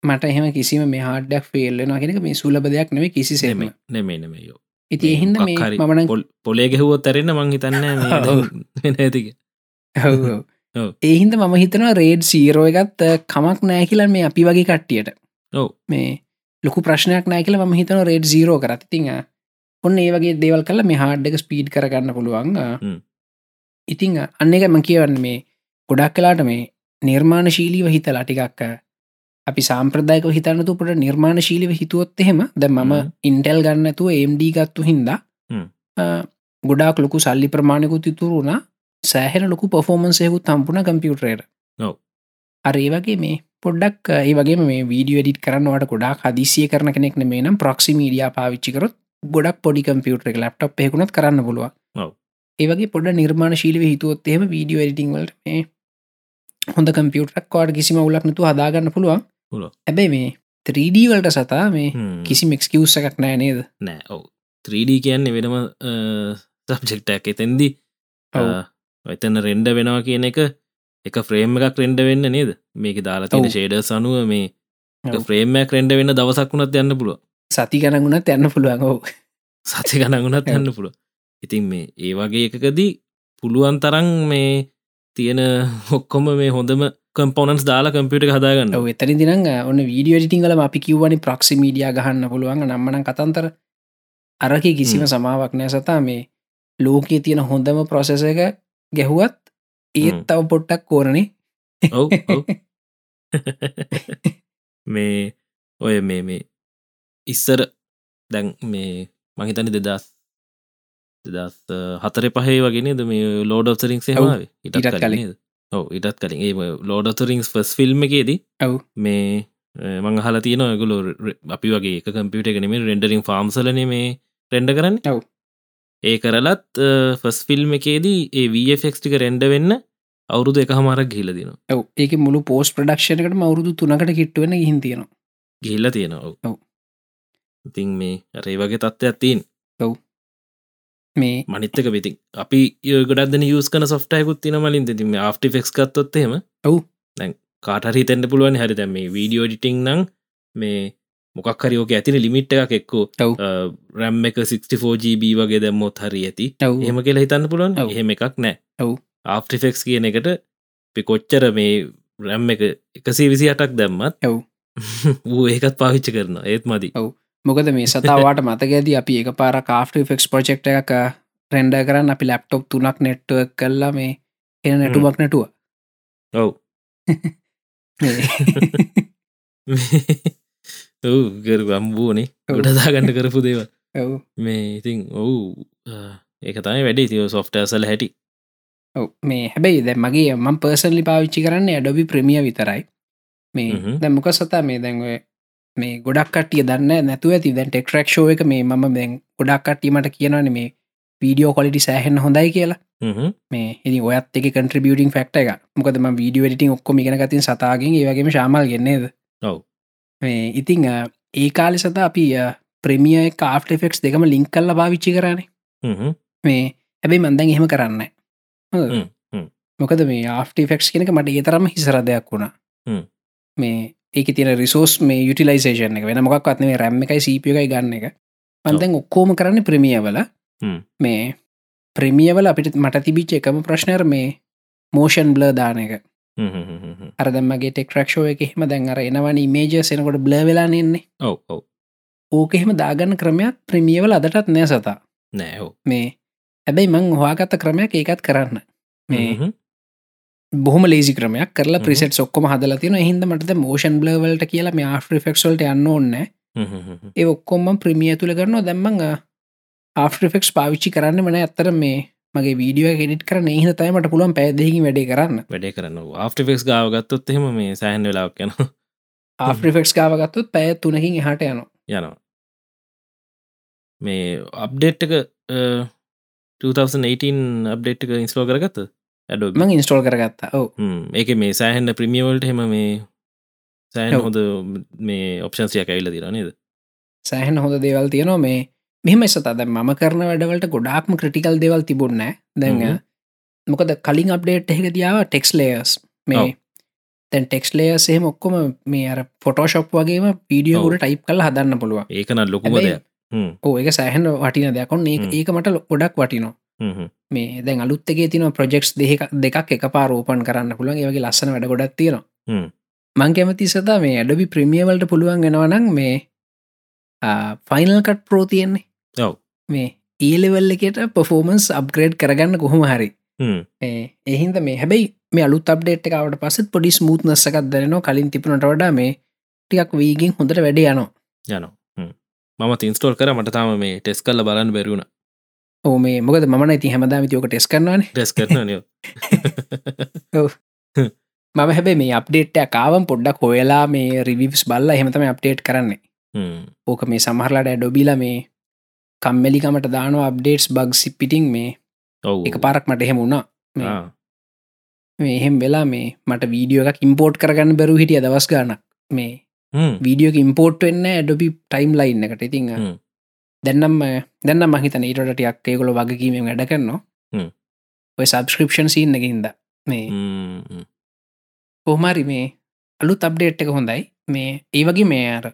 [SPEAKER 3] මට එහෙම කිසිම මේ හාඩ්ඩක් ෆෙල්ලෙනවා කියෙනක මේ සුලබ දෙයක් නෙවේ කිසිසේම
[SPEAKER 2] නෙමේ නෙමේ නෙමේ යෝ
[SPEAKER 3] ඉති එහින්ද මේ
[SPEAKER 2] මොකක් හරි
[SPEAKER 3] මමන
[SPEAKER 2] පොල්- පොලේ ගැහුවෝ තැරෙන්න මං හිතන්න මේ
[SPEAKER 3] ඔව්.
[SPEAKER 2] දැන් වෙන ඇතික ඔව්.
[SPEAKER 3] ඒහින්ද මම හිතනවා රේඩ් සීරෝ එකත් අ, කමක් නෑ කියලා මේ අපි වගේ කට්ටියට
[SPEAKER 2] ඔව්.
[SPEAKER 3] මේ ලොකු ප්‍රශ්නයක් නෑ කියලා ම හිතන රේඩ් සීරෝ කරත් ඉතිං අ, ඔන්න ඒ වගේ දෙවල් කල මේ හාඩ්ඩක ස්පීඩ් කරගන්න පුළුවන් අ.
[SPEAKER 2] හ්ම්.
[SPEAKER 3] ඉතිං අ, අන්න එක ම කියවන්න මේ ගොඩක් කලාට මේ නිර්මාණශීලීව හිතලා ටිකක් අ, අපි සාම්ප්‍රදායක හිතන්නතු පට නිර්මාණශීලිව හිතුවොත් එහෙම ද මම
[SPEAKER 2] හ්ම්.
[SPEAKER 3] ඉන්ටෙල් ගන්නතුව එම්ඩ ගත්තු හින්දා
[SPEAKER 2] හ්ම්.
[SPEAKER 3] අ, ගොඩාක් ලොකු සල්ලි ප්‍රමාණයකුත් ඉතුරුුණ සෑහෙන ලොකු පොෆෝමන්සයකුත් තම්පුන කම්පියුටරයට
[SPEAKER 2] ඔව්.
[SPEAKER 3] අරේ වගේ මේ පොඩ්ඩක් ඒ වගේ මේ වීඩිය ඩිට කරන්නවට ගොඩක් හදිසිය කරන කෙනෙක් මේ නම් ප්‍රක්සි මීඩිය පාවිච්චිකරොත් ගොඩක් පොඩි කම්පියුටර එක ලප්ටප් හෙකුණත් කරන්න පුළුව
[SPEAKER 2] ඔව්.
[SPEAKER 3] ඒවගේ පොඩ නිර්මාණශීලිව හිතුවොත් එම වීඩියෝ එඩිටිංවල්ට මේ හොඳ කම්පියුටක් කාඩ් කිසිම උලක් නතු හදාගන්න පුළුවන්
[SPEAKER 2] පුළුවන්.
[SPEAKER 3] ඇබැයි මේ 3D වලට සතා මේ කිසි මෙක්ස්කියවස එකක් නෑ නේද
[SPEAKER 2] නෑ ඔව 3D කියන්නේ වෙනම සබ්ජෙක්ටක් එතෙන්දී
[SPEAKER 3] ඔව්.
[SPEAKER 2] අ, එතන රෙන්ඩ වෙනවා කියන එක එක ෆ්‍රේම් එකක් රෙන්ඩ වෙන්න නේද මේක දාලා තියෙන
[SPEAKER 3] ඔව්.
[SPEAKER 2] ෂේඩර් සනුව මේ
[SPEAKER 3] ඔව්.
[SPEAKER 2] ෆ්‍රේම්මයක් රෙන්ඩ වෙන්න දවසක් වුණත් යන්න පුළුව
[SPEAKER 3] සති ගණගුණත් යන්න පුළුවන් ඔව
[SPEAKER 2] සති ගණගුණත්
[SPEAKER 3] ඔව්.
[SPEAKER 2] යන්න පුළුව ඉතින් මේ ඒ වගේ එකකදී පුළුවන් තරන් මේ තියෙන හොක්කොම මේ හොඳම කම්පෝනන්ස් දාලා කම්පියට හදාගන්න
[SPEAKER 3] ඔව එතනි දින ඔන්න වීඩියෝ ඩිටිංගල අපි කිව්වනි ප්‍රක්ෂි මීඩිය ගහන්න පුළුවන් නම්මන කතන්තර අරකි කිසිම
[SPEAKER 2] හ්ම්.
[SPEAKER 3] සමාවක් නෑ සතා මේ ලෝකයේ තියෙන හොඳම ප්‍රොසෙස එක ගැහුවත් ඒත්
[SPEAKER 2] හ්ම්.
[SPEAKER 3] තව පොට්ටක් කෝරණේ
[SPEAKER 2] ඔව් ඔව් මේ ඔය මේ මේ ඉස්සර දැන් මේ මහිතනි දෙදස් දෙදස් හතර පහේ වගෙනද මේ ලෝඩ රිින්
[SPEAKER 3] ඔව්,
[SPEAKER 2] සේමාව
[SPEAKER 3] ඊටත් කලින්.
[SPEAKER 2] ඔව ඉටත් කලින් ඒ ලෝඩ රිින්ස් ෆස් ෆිල්ම් එකේදී
[SPEAKER 3] ඔව්.
[SPEAKER 2] මේ මං හලා තියන ගුල අපි වගේ කම්පියට එකනම රෙන්ඩරින් ෆාම්සලන මේ රෙන්ඩ කරන්න
[SPEAKER 3] ඔව්.
[SPEAKER 2] ඒ කරලත් ෆස් ෆිල්ම් එකේදී ඒ වෆෙක්ටික රෙන්ඩ වෙන්න අවුරුදු එක හමරක් ගිහිල දෙන
[SPEAKER 3] ඔව ඒක මුළු පෝස් ප්‍රඩක්ෂණකට මවරුදු තුනකට කිට්ටුවෙන හින්තියෙනවා
[SPEAKER 2] ගිහිල්ල තියෙනවා ඔව්.
[SPEAKER 3] ඔව්.
[SPEAKER 2] ඉතින් මේ අරේ වගේ තත්ත්වයක් තින්
[SPEAKER 3] මේ
[SPEAKER 2] මනිත්තක පිතින් අපි ගොඩදන යස් කන සොෆ්ටයකුත් තින මලින් තිම ආෆ්ටිෆෙක්ස් කත්තොත්තෙම
[SPEAKER 3] ඔව්.
[SPEAKER 2] දැන් කාටරි තැන්න පුළුවන් හරි දැම මේ වීඩියෝ ඩිටිං නම් මේ මොකක් හරිෝක ඇතින ලිමිට් එකක් එක්කෝ
[SPEAKER 3] ඔව්.
[SPEAKER 2] රැම් එක 64GB වගේ දැම්මොත් හරි ඇති
[SPEAKER 3] ඔව්.
[SPEAKER 2] එහෙම කියලා හිතන්න පුළුවන්
[SPEAKER 3] ඔව්.
[SPEAKER 2] එහෙම එකක් නෑ
[SPEAKER 3] ඔව්.
[SPEAKER 2] ආෆ්ටිෆෙක්ස් කියන එකට පිකොච්චර මේ රැම් එක එකසේ විසි අටක් දැම්මත්
[SPEAKER 3] ඔව්.
[SPEAKER 2] ඌ ඒකත් පාවිච්ච කරන ඒත් මදි
[SPEAKER 3] මොකද මේ සතාවට මතක ඇති අපි එක පාර කාෆ්ට ෆෙක්ස් පොජෙක්් එක රෙන්ඩ uh, කරන්න අපි ලැප්ටොප් තුනක් නෙට්ුවක් කල්ලා මේ එන නැටුමක් නැටුව
[SPEAKER 2] ඔව් ඔව් කර ගම්බූනේ
[SPEAKER 3] ඔව්.
[SPEAKER 2] ගොඩදාගන්න කරපු දේව
[SPEAKER 3] ඔව
[SPEAKER 2] මේ ඉතින් ඔවු ඒකතයි වැඩි තිය සොෆ්ටසල හැටි
[SPEAKER 3] ඔව මේ හැබැයි දැ මගේ මම් පර්සල්ලි පාවිච්චි කරන්න ඇඩොබි ප්‍රමිය විතරයි මේ
[SPEAKER 2] හ්ම්.
[SPEAKER 3] දැ මොක සතා මේ දැන්ව මේ ගොඩක් කටිය දන්න නැතුව ඇති දැන් ටෙක්රක්ෂෝ එක මේ මම දැන් ගොඩක් කටීමට කියනන මේ වීඩියෝ කොලිටි සෑහෙන් හොඳයි කියලා
[SPEAKER 2] හ්ම්.
[SPEAKER 3] මේ එනි ඔයත් එක කට්‍රබියටින් ෆක්ට එක මොකදම වීඩිය වැඩටින් ඔක්කොම ගෙන ගතින් සතාගෙන් ඒවගේම ශාමල් ගෙන්නේද
[SPEAKER 2] ඔව්.
[SPEAKER 3] මේ ඉතිං අ, ඒ කාලෙ සත අපි ප්‍රමිය කාෆ්ට ෆෙක්ස් දෙකම ලිංක් කල්ල භාවිච්චි කරන
[SPEAKER 2] හ්ම්.
[SPEAKER 3] මේ හැබැයි මන්දැන් එහෙම කරන්න හොඳද?
[SPEAKER 2] හ්ම්, හ්ම්.
[SPEAKER 3] මොකද මේ ආෆ්ට ෆෙක්ස් කෙනක මට ඒතරම හිසරදයක් වුණා
[SPEAKER 2] හ්ම්.
[SPEAKER 3] මේ ඒක තින රිසෝස් මේ යුටිලයිසේෂන එක වෙන මොක්වත් මේ රැම් එකයි සීපිය එකයි ගන්න එක මන්දැන් ඔක්කෝම කරන්න ප්‍රමියවල
[SPEAKER 2] හ්ම්.
[SPEAKER 3] මේ ප්‍රමියවල අපිට මට තිබිච්ච එකම ප්‍රශ්නර මේ මෝෂන් බ්ල දාන එක
[SPEAKER 2] හ්ම්. හ්ම්. හ්ම්. හ්ම්.
[SPEAKER 3] අරදමගේ ටෙක්රක්ෂෝ එක හෙම දැන් අර එනවන මේජ සෙනකොට බ්ල වෙලා නෙන්නේ
[SPEAKER 2] ඔව් ඔව්
[SPEAKER 3] ඕක එහෙම දාගන්න ක්‍රමයක් ප්‍රමියවල අදටත් නෑ සතා
[SPEAKER 2] නෑ ඔව්
[SPEAKER 3] මේ හැබැයි මං හවාගත්ත ක්‍රමයක් ඒකත් කරන්න මේ
[SPEAKER 2] හ්ම්.
[SPEAKER 3] බොහම ලේසි ක්‍රමයක් කරලා
[SPEAKER 2] හ්ම්.
[SPEAKER 3] ප්‍රිසෙට් ඔක්කොම හදලා තියෙන හින්ද මට මෝෂන් බ්ලවලට කියලා මේ ආෆිෆෙක්ස්වල්ට යන්න ඕන්න ඒ ඔක්කොම ප්‍රමිය තුළ කරනවා දැම්මඟ ආෆිෆෙක්ස් පාවිච්චි කරන්න මන ඇත්තර මේ මගේ වීඩියෝ ගෙඩිට කරන හිතයිමට පුළුවන් පැදහි වැඩේ කරන්න
[SPEAKER 2] වැඩේ කරන්න ආෆ්ටිෆෙක්ස් ගාවගත්තොත් එහෙම මේ සෑහන් වෙලාක් යන
[SPEAKER 3] ආෆිෆෙක්ස් කාවගත්තුත් පැය තුනකින් එහට යන
[SPEAKER 2] යනවා මේ අප්ඩේට් එක අ, 2018 අප්ඩේට් එක ඉස්ලෝ කරගත ඇඩෝ
[SPEAKER 3] මං ඉන්ස්ටෝල් කරගත්තා ඔව
[SPEAKER 2] ඒක මේ සෑහෙන්න්න ප්‍රමියවල්ට හෙම මේ සෑහන්
[SPEAKER 3] ඔව්.
[SPEAKER 2] හොඳ මේ ඔප්ෂන්සියක් ඇවිල දිරනේද
[SPEAKER 3] සෑහන හොඳ දේවල් තියනවා මේ මෙහම සතද ම කරන වැඩවලට ගොඩාක්ම ක්‍රටිකල් දෙවල් තිබුන්න
[SPEAKER 2] හ්ම්.
[SPEAKER 3] දැන් මොකද කලින් අප්ඩේට් එක දියාව ටෙක්ස් ලේස්
[SPEAKER 2] ඔව්.
[SPEAKER 3] මේ තැන් ටෙක්ස් ලේස් එහෙම ඔක්කොම මේ අර ෆොටෝශප් වගේම
[SPEAKER 2] ඔව්.
[SPEAKER 3] පීඩියෝගුට ටයිප් කල හදන්න පුළුව
[SPEAKER 2] ඒකන ලොකුම
[SPEAKER 3] හැබැයි-
[SPEAKER 2] දෙයක් හ්ම්,
[SPEAKER 3] ඕ ඒක සෑහන වටින දෙකොන් ඒ
[SPEAKER 2] හ්ම්.
[SPEAKER 3] ඒක මට ලො- ගොඩක් වටිනවා
[SPEAKER 2] හ්ම්, හ්ම්.
[SPEAKER 3] මේ දැන් අලුත්තගේ තින ප්‍රජෙක්ස් දෙක දෙකක් එක පාරෝපන් කරන්න පුළුවන් ඒවගේ ලස්සන වැඩ ගොඩක් තියෙනවා
[SPEAKER 2] හ්ම්.
[SPEAKER 3] මං කැමති සතා මේ ඇඩබි ප්‍රමියවලට පුළුවන් ගෙනවනන් මේ ෆයිනල් කට් ප්‍රෝ තියෙන්නේ
[SPEAKER 2] ඔව්.
[SPEAKER 3] මේ E ඒලෙවල් එකට පොෆෝමන්ස් අප්ග්‍රේඩ් කරගන්න කොහොම හරි
[SPEAKER 2] හ්ම්,
[SPEAKER 3] මේ එහින්ද මේ හැබැයි මේ අලු අප්ඩේට් එකවට පසත් පොඩි ස්මූත්නස්සකක් දරනවා කලින් තිබුණට වඩා මේ ටිකක් වීගින් හොඳට වැඩ යනවා
[SPEAKER 2] යනවා හ්ම්. මම තින්ස්ටෝල් කර මට තාම මේ ටෙස් කල්ල බලන්න බැරුණ
[SPEAKER 3] ඕ මේ මොකද මන ති හැමදාම තිෝක ටෙස් කරන්නවාන
[SPEAKER 2] ටෙස් කරන නිය
[SPEAKER 3] මම හැබැ මේ අප්ඩේට්ට කාවම් පොඩ්ඩක් හොයලා මේ රිවිස් බල්ල හෙමතම අප්ඩේට් කරන්නේ ඕක මේ සමහරලාට ඇඩොබිල මේ කම්මෙලිකමට දානෝ අප්ඩේට්ස් බග් සිප්පිටිං මේ
[SPEAKER 2] ඔව්
[SPEAKER 3] එක පාරක් මට එහෙම වුණා මේ-
[SPEAKER 2] ආ,
[SPEAKER 3] මේ එහෙම වෙලා මේ මට වීඩියෝ එකක් ඉම්පෝට් කරගන්න බැරු හිටිය දවස් ගානක් මේ
[SPEAKER 2] හ්ම්,
[SPEAKER 3] වීඩියෝ ඉම්පෝට් වෙන්න ඇඩොබි ටයිම් ලයින් එකට ඉතිං
[SPEAKER 2] හ්ම්.
[SPEAKER 3] දැන්නම් දැන්න මහිතන ඊටටයක් ඒකොල වගකීමෙන් වැඩ කරනවා
[SPEAKER 2] හ්ම්.
[SPEAKER 3] ඔය සබස්ක්‍රපෂන් සිීන්නකින්ද මේ
[SPEAKER 2] හ්ම්, හ්ම්.
[SPEAKER 3] කොහමරි මේ අලු තබ්ඩේට් එක හොඳයි මේ ඒ වගේ මේ අර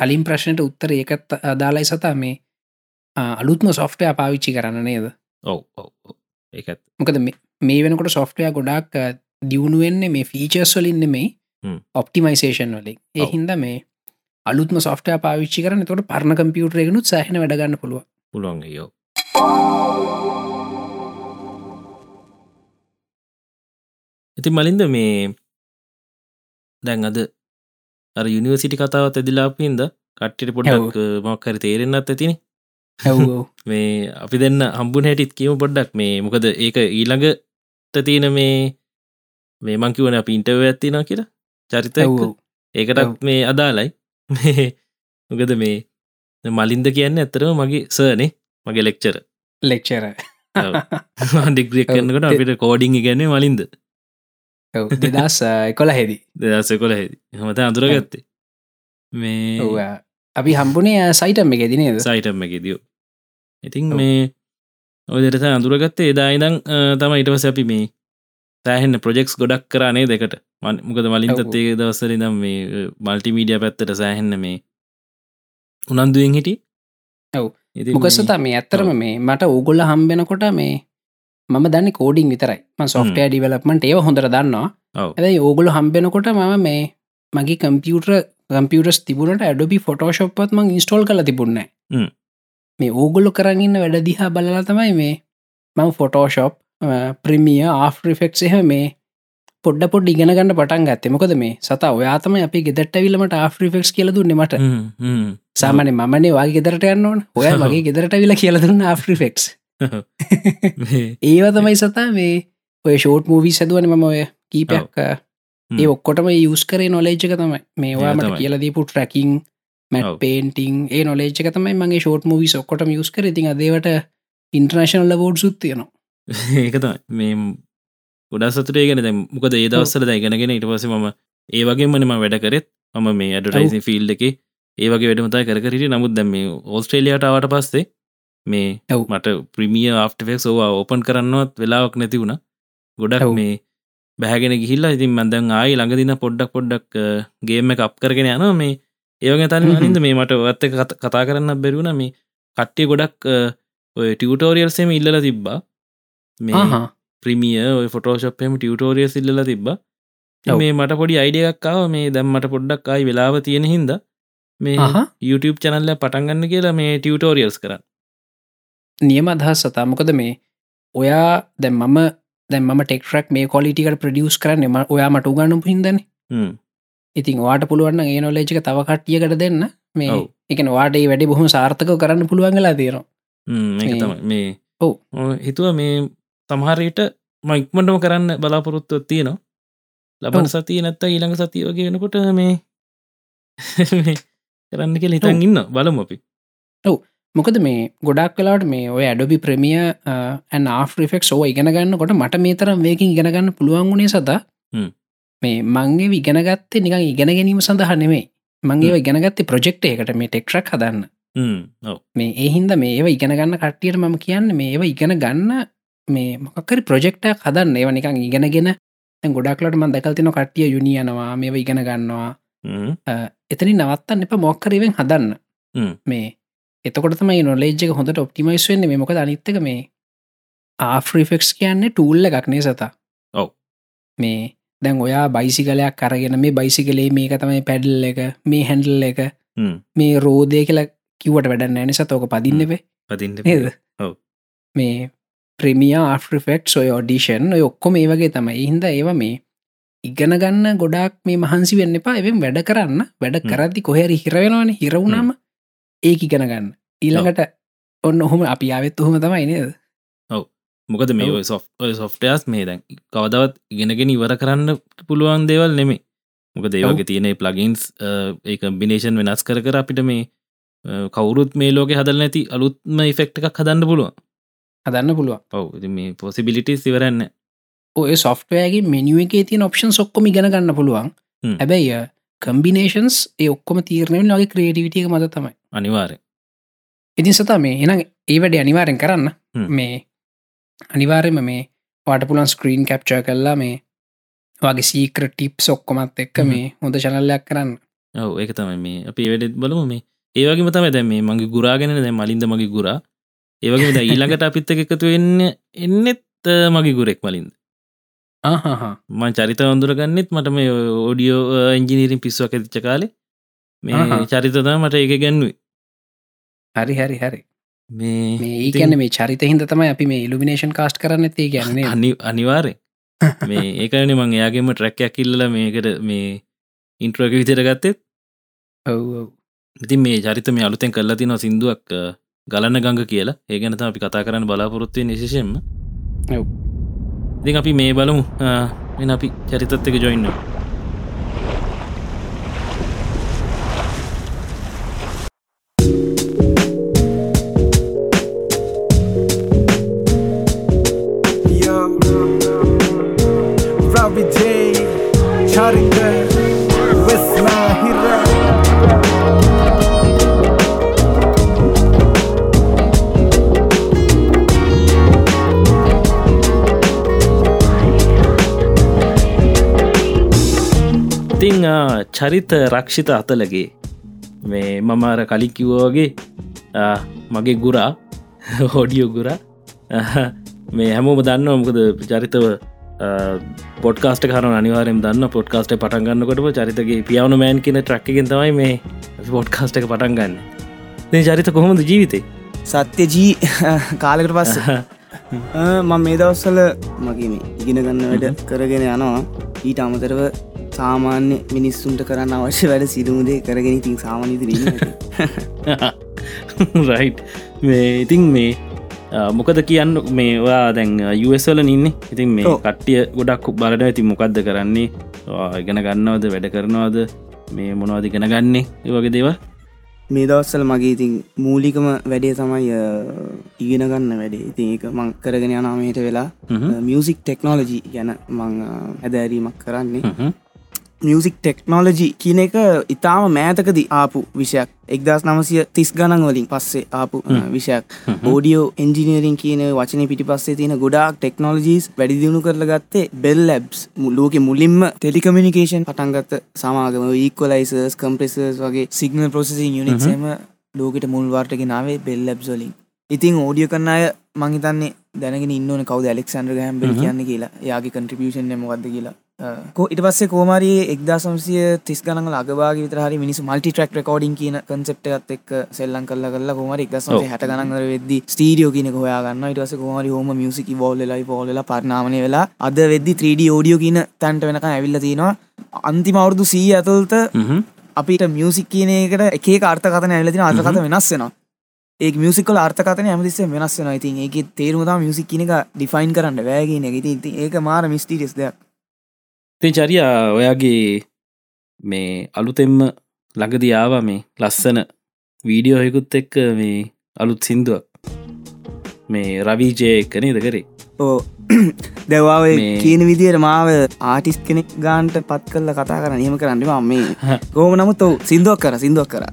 [SPEAKER 3] කලින් ප්‍රශ්නයට උත්තර ඒකත් අදාලයි සතා මේ අ, අලුත්ම සොෆ්ටය පාවිච්චි කරන්න නේද
[SPEAKER 2] ඔව් ඔව් ඔව්. ඒකත්
[SPEAKER 3] මොකද මේ- මේ වෙනකොට සොෆ්ටය ගොඩක් අ, දියුණුවෙන්නේ මේ ෆීචර්ස් වලින්න මේ
[SPEAKER 2] හ්ම්.
[SPEAKER 3] ඔප්ටිමයිසේෂන් වලින්
[SPEAKER 2] ඔව්.
[SPEAKER 3] ඒහින්ද මේ අලුත්ම සොෆ්ටය පාවිච්චි කරන තොට පරණ කම්පියුටරයකනුත් සහන වැඩගන්න පුළුව
[SPEAKER 2] පුළුවන් යෝ ඉති මලින්ද මේ දැන් අද අර යුනිවසිටි කතාවත් ඇදිලාපින්ද කට්ටිට පොඩ්ඩක් මක්කර තේරෙන්න්නත් ඇතින
[SPEAKER 3] හැවෝ
[SPEAKER 2] මේ අපි දෙන්න හම්බුන හැටිත් කියම පොඩ්ඩක් මේ මොකද ඒක ඊළඟට තියෙන මේ මේ මංකිවන අප ඉන්ටව ඇත්තිනා කියලා චරිත එක්ක.
[SPEAKER 3] හැවෝ
[SPEAKER 2] ඒකටත් මේ අදාලයි මේ මොකද මේ මලින්ද කියන්න ඇත්තරම මගේ සර්නේ මගේ ලෙක්චර
[SPEAKER 3] ලෙක්චර
[SPEAKER 2] ඔව්. ඩිග්‍රිය කරන්නකට
[SPEAKER 3] ඔව්.
[SPEAKER 2] අපිට කෝඩිං ගැන්නේ මලින්ද
[SPEAKER 3] දෙදස් එකොළ හෙදි
[SPEAKER 2] දෙදස කොළ හෙදි හමත අඳුරගත්තේ මේ
[SPEAKER 3] අපි හම්බුනේ අ, සයිටම් එක දිනේද
[SPEAKER 2] සයිටම් එක දියෝ ඉතින්
[SPEAKER 3] ඔව්.
[SPEAKER 2] මේ ඔදරස අඳුරගත්තේ එදායිදං තම ඉටවස අපි මේ සෑහෙන්න ප්‍රජෙක්ස් ගොඩක් කරනේ දෙකට මන්- මොකද
[SPEAKER 3] ඔව්.
[SPEAKER 2] මලින්තත්තේ දවස්සර දම් මේ මල්ටිමීඩිය පැත්තට සෑහෙන්න මේ උනන්දුවෙන් හිටි
[SPEAKER 3] ඔව්.
[SPEAKER 2] ඉතින්
[SPEAKER 3] මොකස්සත මේ ඇත්තරම මේ මට ඕගොල්ල හම්බෙනකොට මේ මම දන්න කෝඩින් විතරයි සොෆ්ටය ඩිවලප්මට ඒව හොඳර දන්නවා
[SPEAKER 2] ඔව්.
[SPEAKER 3] ඇයි ඕගොල හම්බෙනකොට මම මේ මගේ කම්පියුටර කම්පියටස් තිබුණට ඇඩොබි ෆොටෝශප්පත් ම ඉස්ටෝල් කල තිබුන්න
[SPEAKER 2] හ්ම්.
[SPEAKER 3] මේ ඕගොල්ලො කරන්න වැඩ දිහා බලලා තමයි මේ මම ෆොටෝශප් ප්‍රමිය ආෆ්‍රිෆෙක්ස් එහ මේ පොඩ පොඩ් ඉගෙනගන්න පටන් ගත්තේ මොකද මේ සතා ඔයාතම අපි ගෙදට විලමට ආෆ්‍රිෆෙක්ස් කියලදු නෙමට
[SPEAKER 2] හ්ම්, හ්ම්.
[SPEAKER 3] සාමන මනේ වාගේ ගෙදරට යන්න ඕන ඔය
[SPEAKER 2] ඔව්.
[SPEAKER 3] මගේ ගෙදරට විල කියලදන්න ආෆ්‍රිෆෙක්ස්
[SPEAKER 2] මේ
[SPEAKER 3] ඒව තමයි සතා මේ ඔය ෂෝට් මූවී සැදුවන මම ඔය කීපයක්
[SPEAKER 2] හ්ම්.
[SPEAKER 3] ඒ ඔක්කොටම යස් කරේ නොලේජ්ක තමයි මේවාමට
[SPEAKER 2] තමයි.
[SPEAKER 3] කියලදීපු ට්‍රැකින්
[SPEAKER 2] ඔව්.
[SPEAKER 3] මැට් පේන්ටිං ඒ නොලේජ්ක තමයි මගේ ෂෝට් මූවී ඔක්කොට යස් කර ඉතින් අදේවට ඉන්ට්‍රනශනල් ලබෝඩ් සුත්තියනවා
[SPEAKER 2] ඒකත මේ ගොඩා සතුරේ ගැන දැ මොකද ඒ දවස්සල දැගෙනගෙන ඉට පස ම ඒ වගේ මනම වැඩ කරෙත් මම මේ ඇඩටයිසි ෆිල්් එක ඒ වගේ වැඩමතා කරට නමුත් දැම මේ ඕස්ට්‍රේලියටාවට පස්සේ මේ
[SPEAKER 3] ඔව්.
[SPEAKER 2] මට ප්‍රමිය ආෆ්ටෆෙක් ඕවා ඕපන් කරන්නවත් වෙලාවක් නැති වුණ ගොඩක්
[SPEAKER 3] ඔව්.
[SPEAKER 2] මේ බැහගෙන ගිහිල්ලා ඉතින් මන්දන් ආයි ළඟදින පොඩ්ඩක් පොඩ්ඩක් ගේම එක අප් කරගෙන යන මේ ඒවගේ තන
[SPEAKER 3] හ්ම් හ්ම්.
[SPEAKER 2] නින්ද මේ මට ඔත් එක්ක කත- කතා කරන්න බැරිවුණ මේ කට්ටිය ගොඩක් අ, ඔය ටියටෝරියල්සේම ඉල්ල තිබ්බා මේ
[SPEAKER 3] ආහා
[SPEAKER 2] ප්‍රමිය ඔය ෆොටෝශප්යම ටියටෝරිය සිල්ල තිබ
[SPEAKER 3] ඔව්.
[SPEAKER 2] මේ මට පොඩි අයිඩියක්කාව මේ දැම්මට පොඩ්ඩක් අයි වෙලාව තියෙන හින්ද මේ
[SPEAKER 3] ආහා
[SPEAKER 2] YouTube චනල්ල පටන්ගන්න කියලා මේ ටියටෝරියල්ස් කරන්න
[SPEAKER 3] නියම අදහස් සතා මොකද මේ ඔයා දැම් මම දැන් ම ටෙක්ටරක් මේ කොලිටිකට ප්‍රඩියස් කරන්න ම ඔයා මට උගන්න පුහින්දන
[SPEAKER 2] හ්ම්.
[SPEAKER 3] ඉතින් වාට පුළුවන් ඒ නොලේජික තව කට්ටියකට දෙන්න මේ
[SPEAKER 2] ඔව්.
[SPEAKER 3] එකන වාටේ වැඩි බොහොම සාර්ථක කරන්න පුළුවන්ගලා දේරන
[SPEAKER 2] හ්ම්, ඒක
[SPEAKER 3] මේ-
[SPEAKER 2] තමයි මේ
[SPEAKER 3] ඔව්.
[SPEAKER 2] හිතුව මේ සමහරයට මයික්මටම කරන්න බලාපොරොත්තුව තියෙනවා ලබන
[SPEAKER 3] ඔව්.
[SPEAKER 2] සතිය නැත්ත ඊළඟ සතිය වගේ වෙනකොට මේ මේ කරන්න කෙ හිතන් ඉන්න බලම අපි
[SPEAKER 3] මොකද මේ ගොඩක් කලාට මේ ඔය uh, ඇඩොබි ප්‍රමිය ඇන් ආෆිෆෙක් ෝ ඉගෙන ගන්න කොට මට මේ තරම් වේකින් ඉගෙනගන්න පුළුවන් වුණේ සතා
[SPEAKER 2] හ්ම්.
[SPEAKER 3] මේ මංගේ ඉගෙනගත්තේ නිකං ඉගෙන ගැනීම සඳහනෙමේ මංගේ ඉගෙනගත්තේ ප්‍රජෙක්ට එකට මේ ටෙක්ටරක් හදන්න
[SPEAKER 2] හ්ම්, ඔව්.
[SPEAKER 3] මේ ඒහින්ද මේ ඒව ඉගෙන ගන්න කට්ටියට මම කියන්න මේ ඒව ඉගෙන ගන්න මේ මොකරි ප්‍රජෙක්ටක් හදන්න ඒව නිකං ඉගෙනගෙන දැන් ගොඩක්ලට මන් දැකල්තින කට්ටිය යුනියනවා මේව ඉගෙන ගන්නවා
[SPEAKER 2] හ්ම්,
[SPEAKER 3] එතනි නවත්තන්න එප මොක්කරවෙන්
[SPEAKER 2] හ්ම්.
[SPEAKER 3] හදන්න මේ එතකොටම නොලේජ්ක හොඳට ඔප්ටිමයිස් වෙන්න මේ මොකද අනිත්තක මේ ආෆ්‍රිෆෙක්ස් කියන්නේ ටූල්ල එකක්නේ සතා
[SPEAKER 2] ඔව්.
[SPEAKER 3] මේ දැන් ඔයා බයිසිකලයක් කරගෙන මේ බයිසිකලේ මේක තමයි පැඩල් එක මේ හැන්ඩල් එක
[SPEAKER 2] හ්ම්.
[SPEAKER 3] මේ රෝදය කියලා කිවට වැඩන්න ඇනිස තෝක පදින්නවේ
[SPEAKER 2] පදින්න
[SPEAKER 3] නේද
[SPEAKER 2] ඔව්.
[SPEAKER 3] මේ ප්‍රමිය ආෆිෆෙක්් ඔය ෝඩිෂන් ඔය ඔක්කොම ඒ වගේ තමයි හින්ද ඒව මේ ඉගෙන ගන්න ගොඩක් මේ මහන්සි වෙන්න එපා එවෙන් වැඩ කරන්න වැඩ
[SPEAKER 2] හ්ම්.
[SPEAKER 3] කරදි කොහැර හිරවෙනවාන හිරවුණාම ඒක ඉගෙන ගන්න ඊළඟට ඔන්න ඔහොම අපි ආවෙත් ඔහොම තමයි නේද
[SPEAKER 2] මොකද මේ
[SPEAKER 3] ඔව්.
[SPEAKER 2] ඔය සොෆ් ඔය සොෆ්ටයස් මේ දැන් කවදවත් ඉගෙනගෙන ඉවර කරන්න පුළුවන් දේවල් නෙමේ මොක
[SPEAKER 3] ඔව්.
[SPEAKER 2] දේවගේ තියෙන ප්ලගින්ස් ඒ බිනේෂන් වෙනස් කර කර අපිට මේ අ, කවුරුත් මේ ලෝක හදල් නැති අලුත්ම ඉෆෙක්් එකක් හදන්න පුළුවන්
[SPEAKER 3] හදන්න පුළුව
[SPEAKER 2] ඔව් ඉතින් මේ පොසිබිලිටස් ඉවරන්න
[SPEAKER 3] ඔය සොෆ්ටවෑගේ මෙනිුව එකේ තිය ඔප්ෂන් ඔක්කොම ඉගෙන ගන්න පුළුවන්
[SPEAKER 2] හ්ම්.
[SPEAKER 3] හැබැයි කම්බිනේෂන්ස් ඒ ඔක්කොම තීරණයෙන් වගේ ක්‍රේටිවිටිය මත තමයි
[SPEAKER 2] අනිවාරය
[SPEAKER 3] ඉතින් සතා මේ එනම් ඒ වැඩේ අනිවාරෙන් කරන්න
[SPEAKER 2] හ්ම්.
[SPEAKER 3] මේ අනිවාර්යම මේ පටපුලන් ස්ක්‍රීන් කැප්චා කල්ලා මේ වගේ සීක්‍ර ටිප් සොක්කොමත් එක්ක
[SPEAKER 2] හ්ම්.
[SPEAKER 3] මේ හොඳ චනල්ලයක් කරන්න
[SPEAKER 2] ඔව ඒක තමයි මේ අපි වැඩෙත් බලමු මේ ඒවගේ තම දැ මේ මගේ ගුරාගෙන දැ මලින්ද මගේ ගුරා ඒවගේ ද ඊළඟට අපිත්ත එකතු එන්න එන්නෙත් අ, මගේ ගුරෙක් මලින්ද
[SPEAKER 3] ආහා
[SPEAKER 2] මං චරිත වඳුරගන්නෙත් මට මේ ඕඩියෝ එන්ජිනීරින් පිස්සුවක් ඇතිච්ච කාලේ මේ
[SPEAKER 3] අහහ.
[SPEAKER 2] චරිතද මට ඒක ගැන්නුයි
[SPEAKER 3] හරි හරි හරි
[SPEAKER 2] මේ
[SPEAKER 3] මේ
[SPEAKER 2] ඉතින්-
[SPEAKER 3] ඒකැන මේ චරිතහින්ද තමයි අපි මේ ඉල්ිනේෂන් කාස්ට කරන්න ඇති ගැන්නේ
[SPEAKER 2] අනි අනිවාරය මේ ඒකන මං එයාගේම ට්‍රැක්යක් කිල්ල මේකට මේ ඉන්ට්‍රක විතර ගත්තෙත්
[SPEAKER 3] ඔව්
[SPEAKER 2] ඉතින් මේ චරිත මේ අලුතෙන් කල්ලා තින සිින්දුවක් අ, ගලන්න ගංග කියලා ඒගැනත අපි කතා කරන්න බලාපොරොත්තුවය නිශෂයෙන්ම
[SPEAKER 3] ඔව්.
[SPEAKER 2] ඉතින් අපි මේ බලමු අ, එන අපි චරිතත් එක ජොයින්න
[SPEAKER 4] Yo, Ravi J, Charita, Vesna Hira.
[SPEAKER 2] ඉතිං ආ, චරිත රක්ෂිත අතලගේ මේ මම අර කලින් කිව්වාගේ ආ, මගේ ගුරා හෝඩියෝ ගුරා අහ, මේ හැමෝම දන්න මොකද චරිතව පොඩ්කාස්ට කරන අනිවාරෙන් දන්න පොඩ්කාස්ට පටන් ගන්නකොටම චරිතගේ පියාවන මෑන් කියන ට්‍රක්කෙන් තමයි මේ පොඩ්කාස්ට එක පටන් ගන්න මේ චරිත කොහොමද ජීවිතේ
[SPEAKER 5] සත්‍ය ජී කාලකට පස්ස මම මේ දවස්සල මගේ මේ ඉගෙන ගන්න වැඩ කරගෙන යනවා ඊට අමතරව සාමාන්‍ය මිනිස්සුන්ට කරන්න අවශ්‍ය වැඩ සිදුමුදේ කරගෙන ඉතින් සාමානීතිරන්න
[SPEAKER 2] රයි් මේ ඉතින් මේ අ, මොකද කියන්න මේ ඔයා දැන් යුවස්වල ඉන්න ඉතින් මේ
[SPEAKER 5] ඔව්.
[SPEAKER 2] කට්ටිය ගොඩක් බලට ඇති මොකක්ද කරන්නේ ආ, ඉගෙන ගන්නවද වැඩ කරනවාද මේ මොනවද ඉගෙන ගන්නේ ඒ වගේ දේව
[SPEAKER 5] මේ දවස්සල මගේ ඉතින් මූලිකම වැඩේ තමයි අ, ඉගෙන ගන්න වැඩේ ඉතින් ඒක මං කරගෙන යනාමයට වෙලා මියසික් ටෙක්නෝලජී ගැන මං අ, හැදෑරීමක් කරන්නේ මියසික් ටෙක්නෝලජි කියන එක ඉතාම මෑතකද ආපු විෂයක් එක්දස් නමසය තිස් ගණන් වලින් පස්සේ ආපු අ, විෂයක් ෝඩියෝ එන්ජිනීරින් කියන වචන පිටි පස්සේ තියෙන ගොඩාක් ටෙක්නෝලජීස් වැඩිදිුණු කරල ගත්තේ බෙල් ලැබ්ස් ලෝක මුලින්ම ටෙලිකමිනිකේෂන් පටන්ගත්ත සමාගම ඒක්වලයිසර්ස් කම්පෙසර්ස් වගේ සිගනල් පොසසින් යුනිසම ලෝකට මුල්වාර්ටක නාවේ බෙල් ලැබ්ස් වලින් ඉතින් ෝඩිය කන්න අය මහිතන්නේ දැනගෙන ඉන්නන කවද ලෙක්සන්ඩ හැම්බෙල් කියන්න කියලා යාගේ කන්ට්‍රිියෂන් නමගද කියලා කෝ ඉට පස්සේ කෝමරයේ එක්දා සම්සිය තිස් ගන ලගවාගේ විතරහරි මිනිස් මල්ටි ට්‍රක් රකෝඩින් කියන කන්සප්ටත් එක් සෙල්ලන් කල්ල කල්ල කොමර එක්දසම
[SPEAKER 2] ඔව්.
[SPEAKER 5] හට ගනන්ර වෙද ස්ටීඩියෝ කියන හොයාගන්න ඉටස කොමරි හෝම මියසික බෝල්ලයි පෝල්ල පරණාමණය වෙලා අද වෙද්දි 3D ෝඩියෝ කියන තැන්ට වෙනක ඇවිල්ල තියෙනවා අන්තිමවුරුදු සී ඇතුල්ත
[SPEAKER 2] හ්ම්.
[SPEAKER 5] අපිට මියසික් කියන එකට එකේ අර්ථකතන ඇලතින අර්ථකත වෙනස් වෙනවා ඒ මියසිකල් අර්ථකතන ඇමතිස්සේ වෙනස් වෙන ඉතින් ඒක තේරුමතා මියසික් කියන එක ඩිෆයින් කරන්න වැෑගෙන ගෙති ඉති ඒක මාර මිස්ටිරිස් දෙයක්
[SPEAKER 2] ඉතින් චරියා ඔයාගේ මේ අලුතෙම්ම ළඟදි ආවා මේ ලස්සන වීඩියෝයකුත් එක්ක මේ අලුත් සින්දුවක් මේ රවීජය එක්ක නේද කරේ
[SPEAKER 5] ඕ දැවාව
[SPEAKER 2] මේ-
[SPEAKER 5] කියන විදියට මාව ආටිස් කෙනෙක් ගාන්ට පත් කල්ල කතා කරන නියම කරන්නම මේ ගෝම නමුත් ඔව සිින්දුවක් කර සිින්දුවක් කර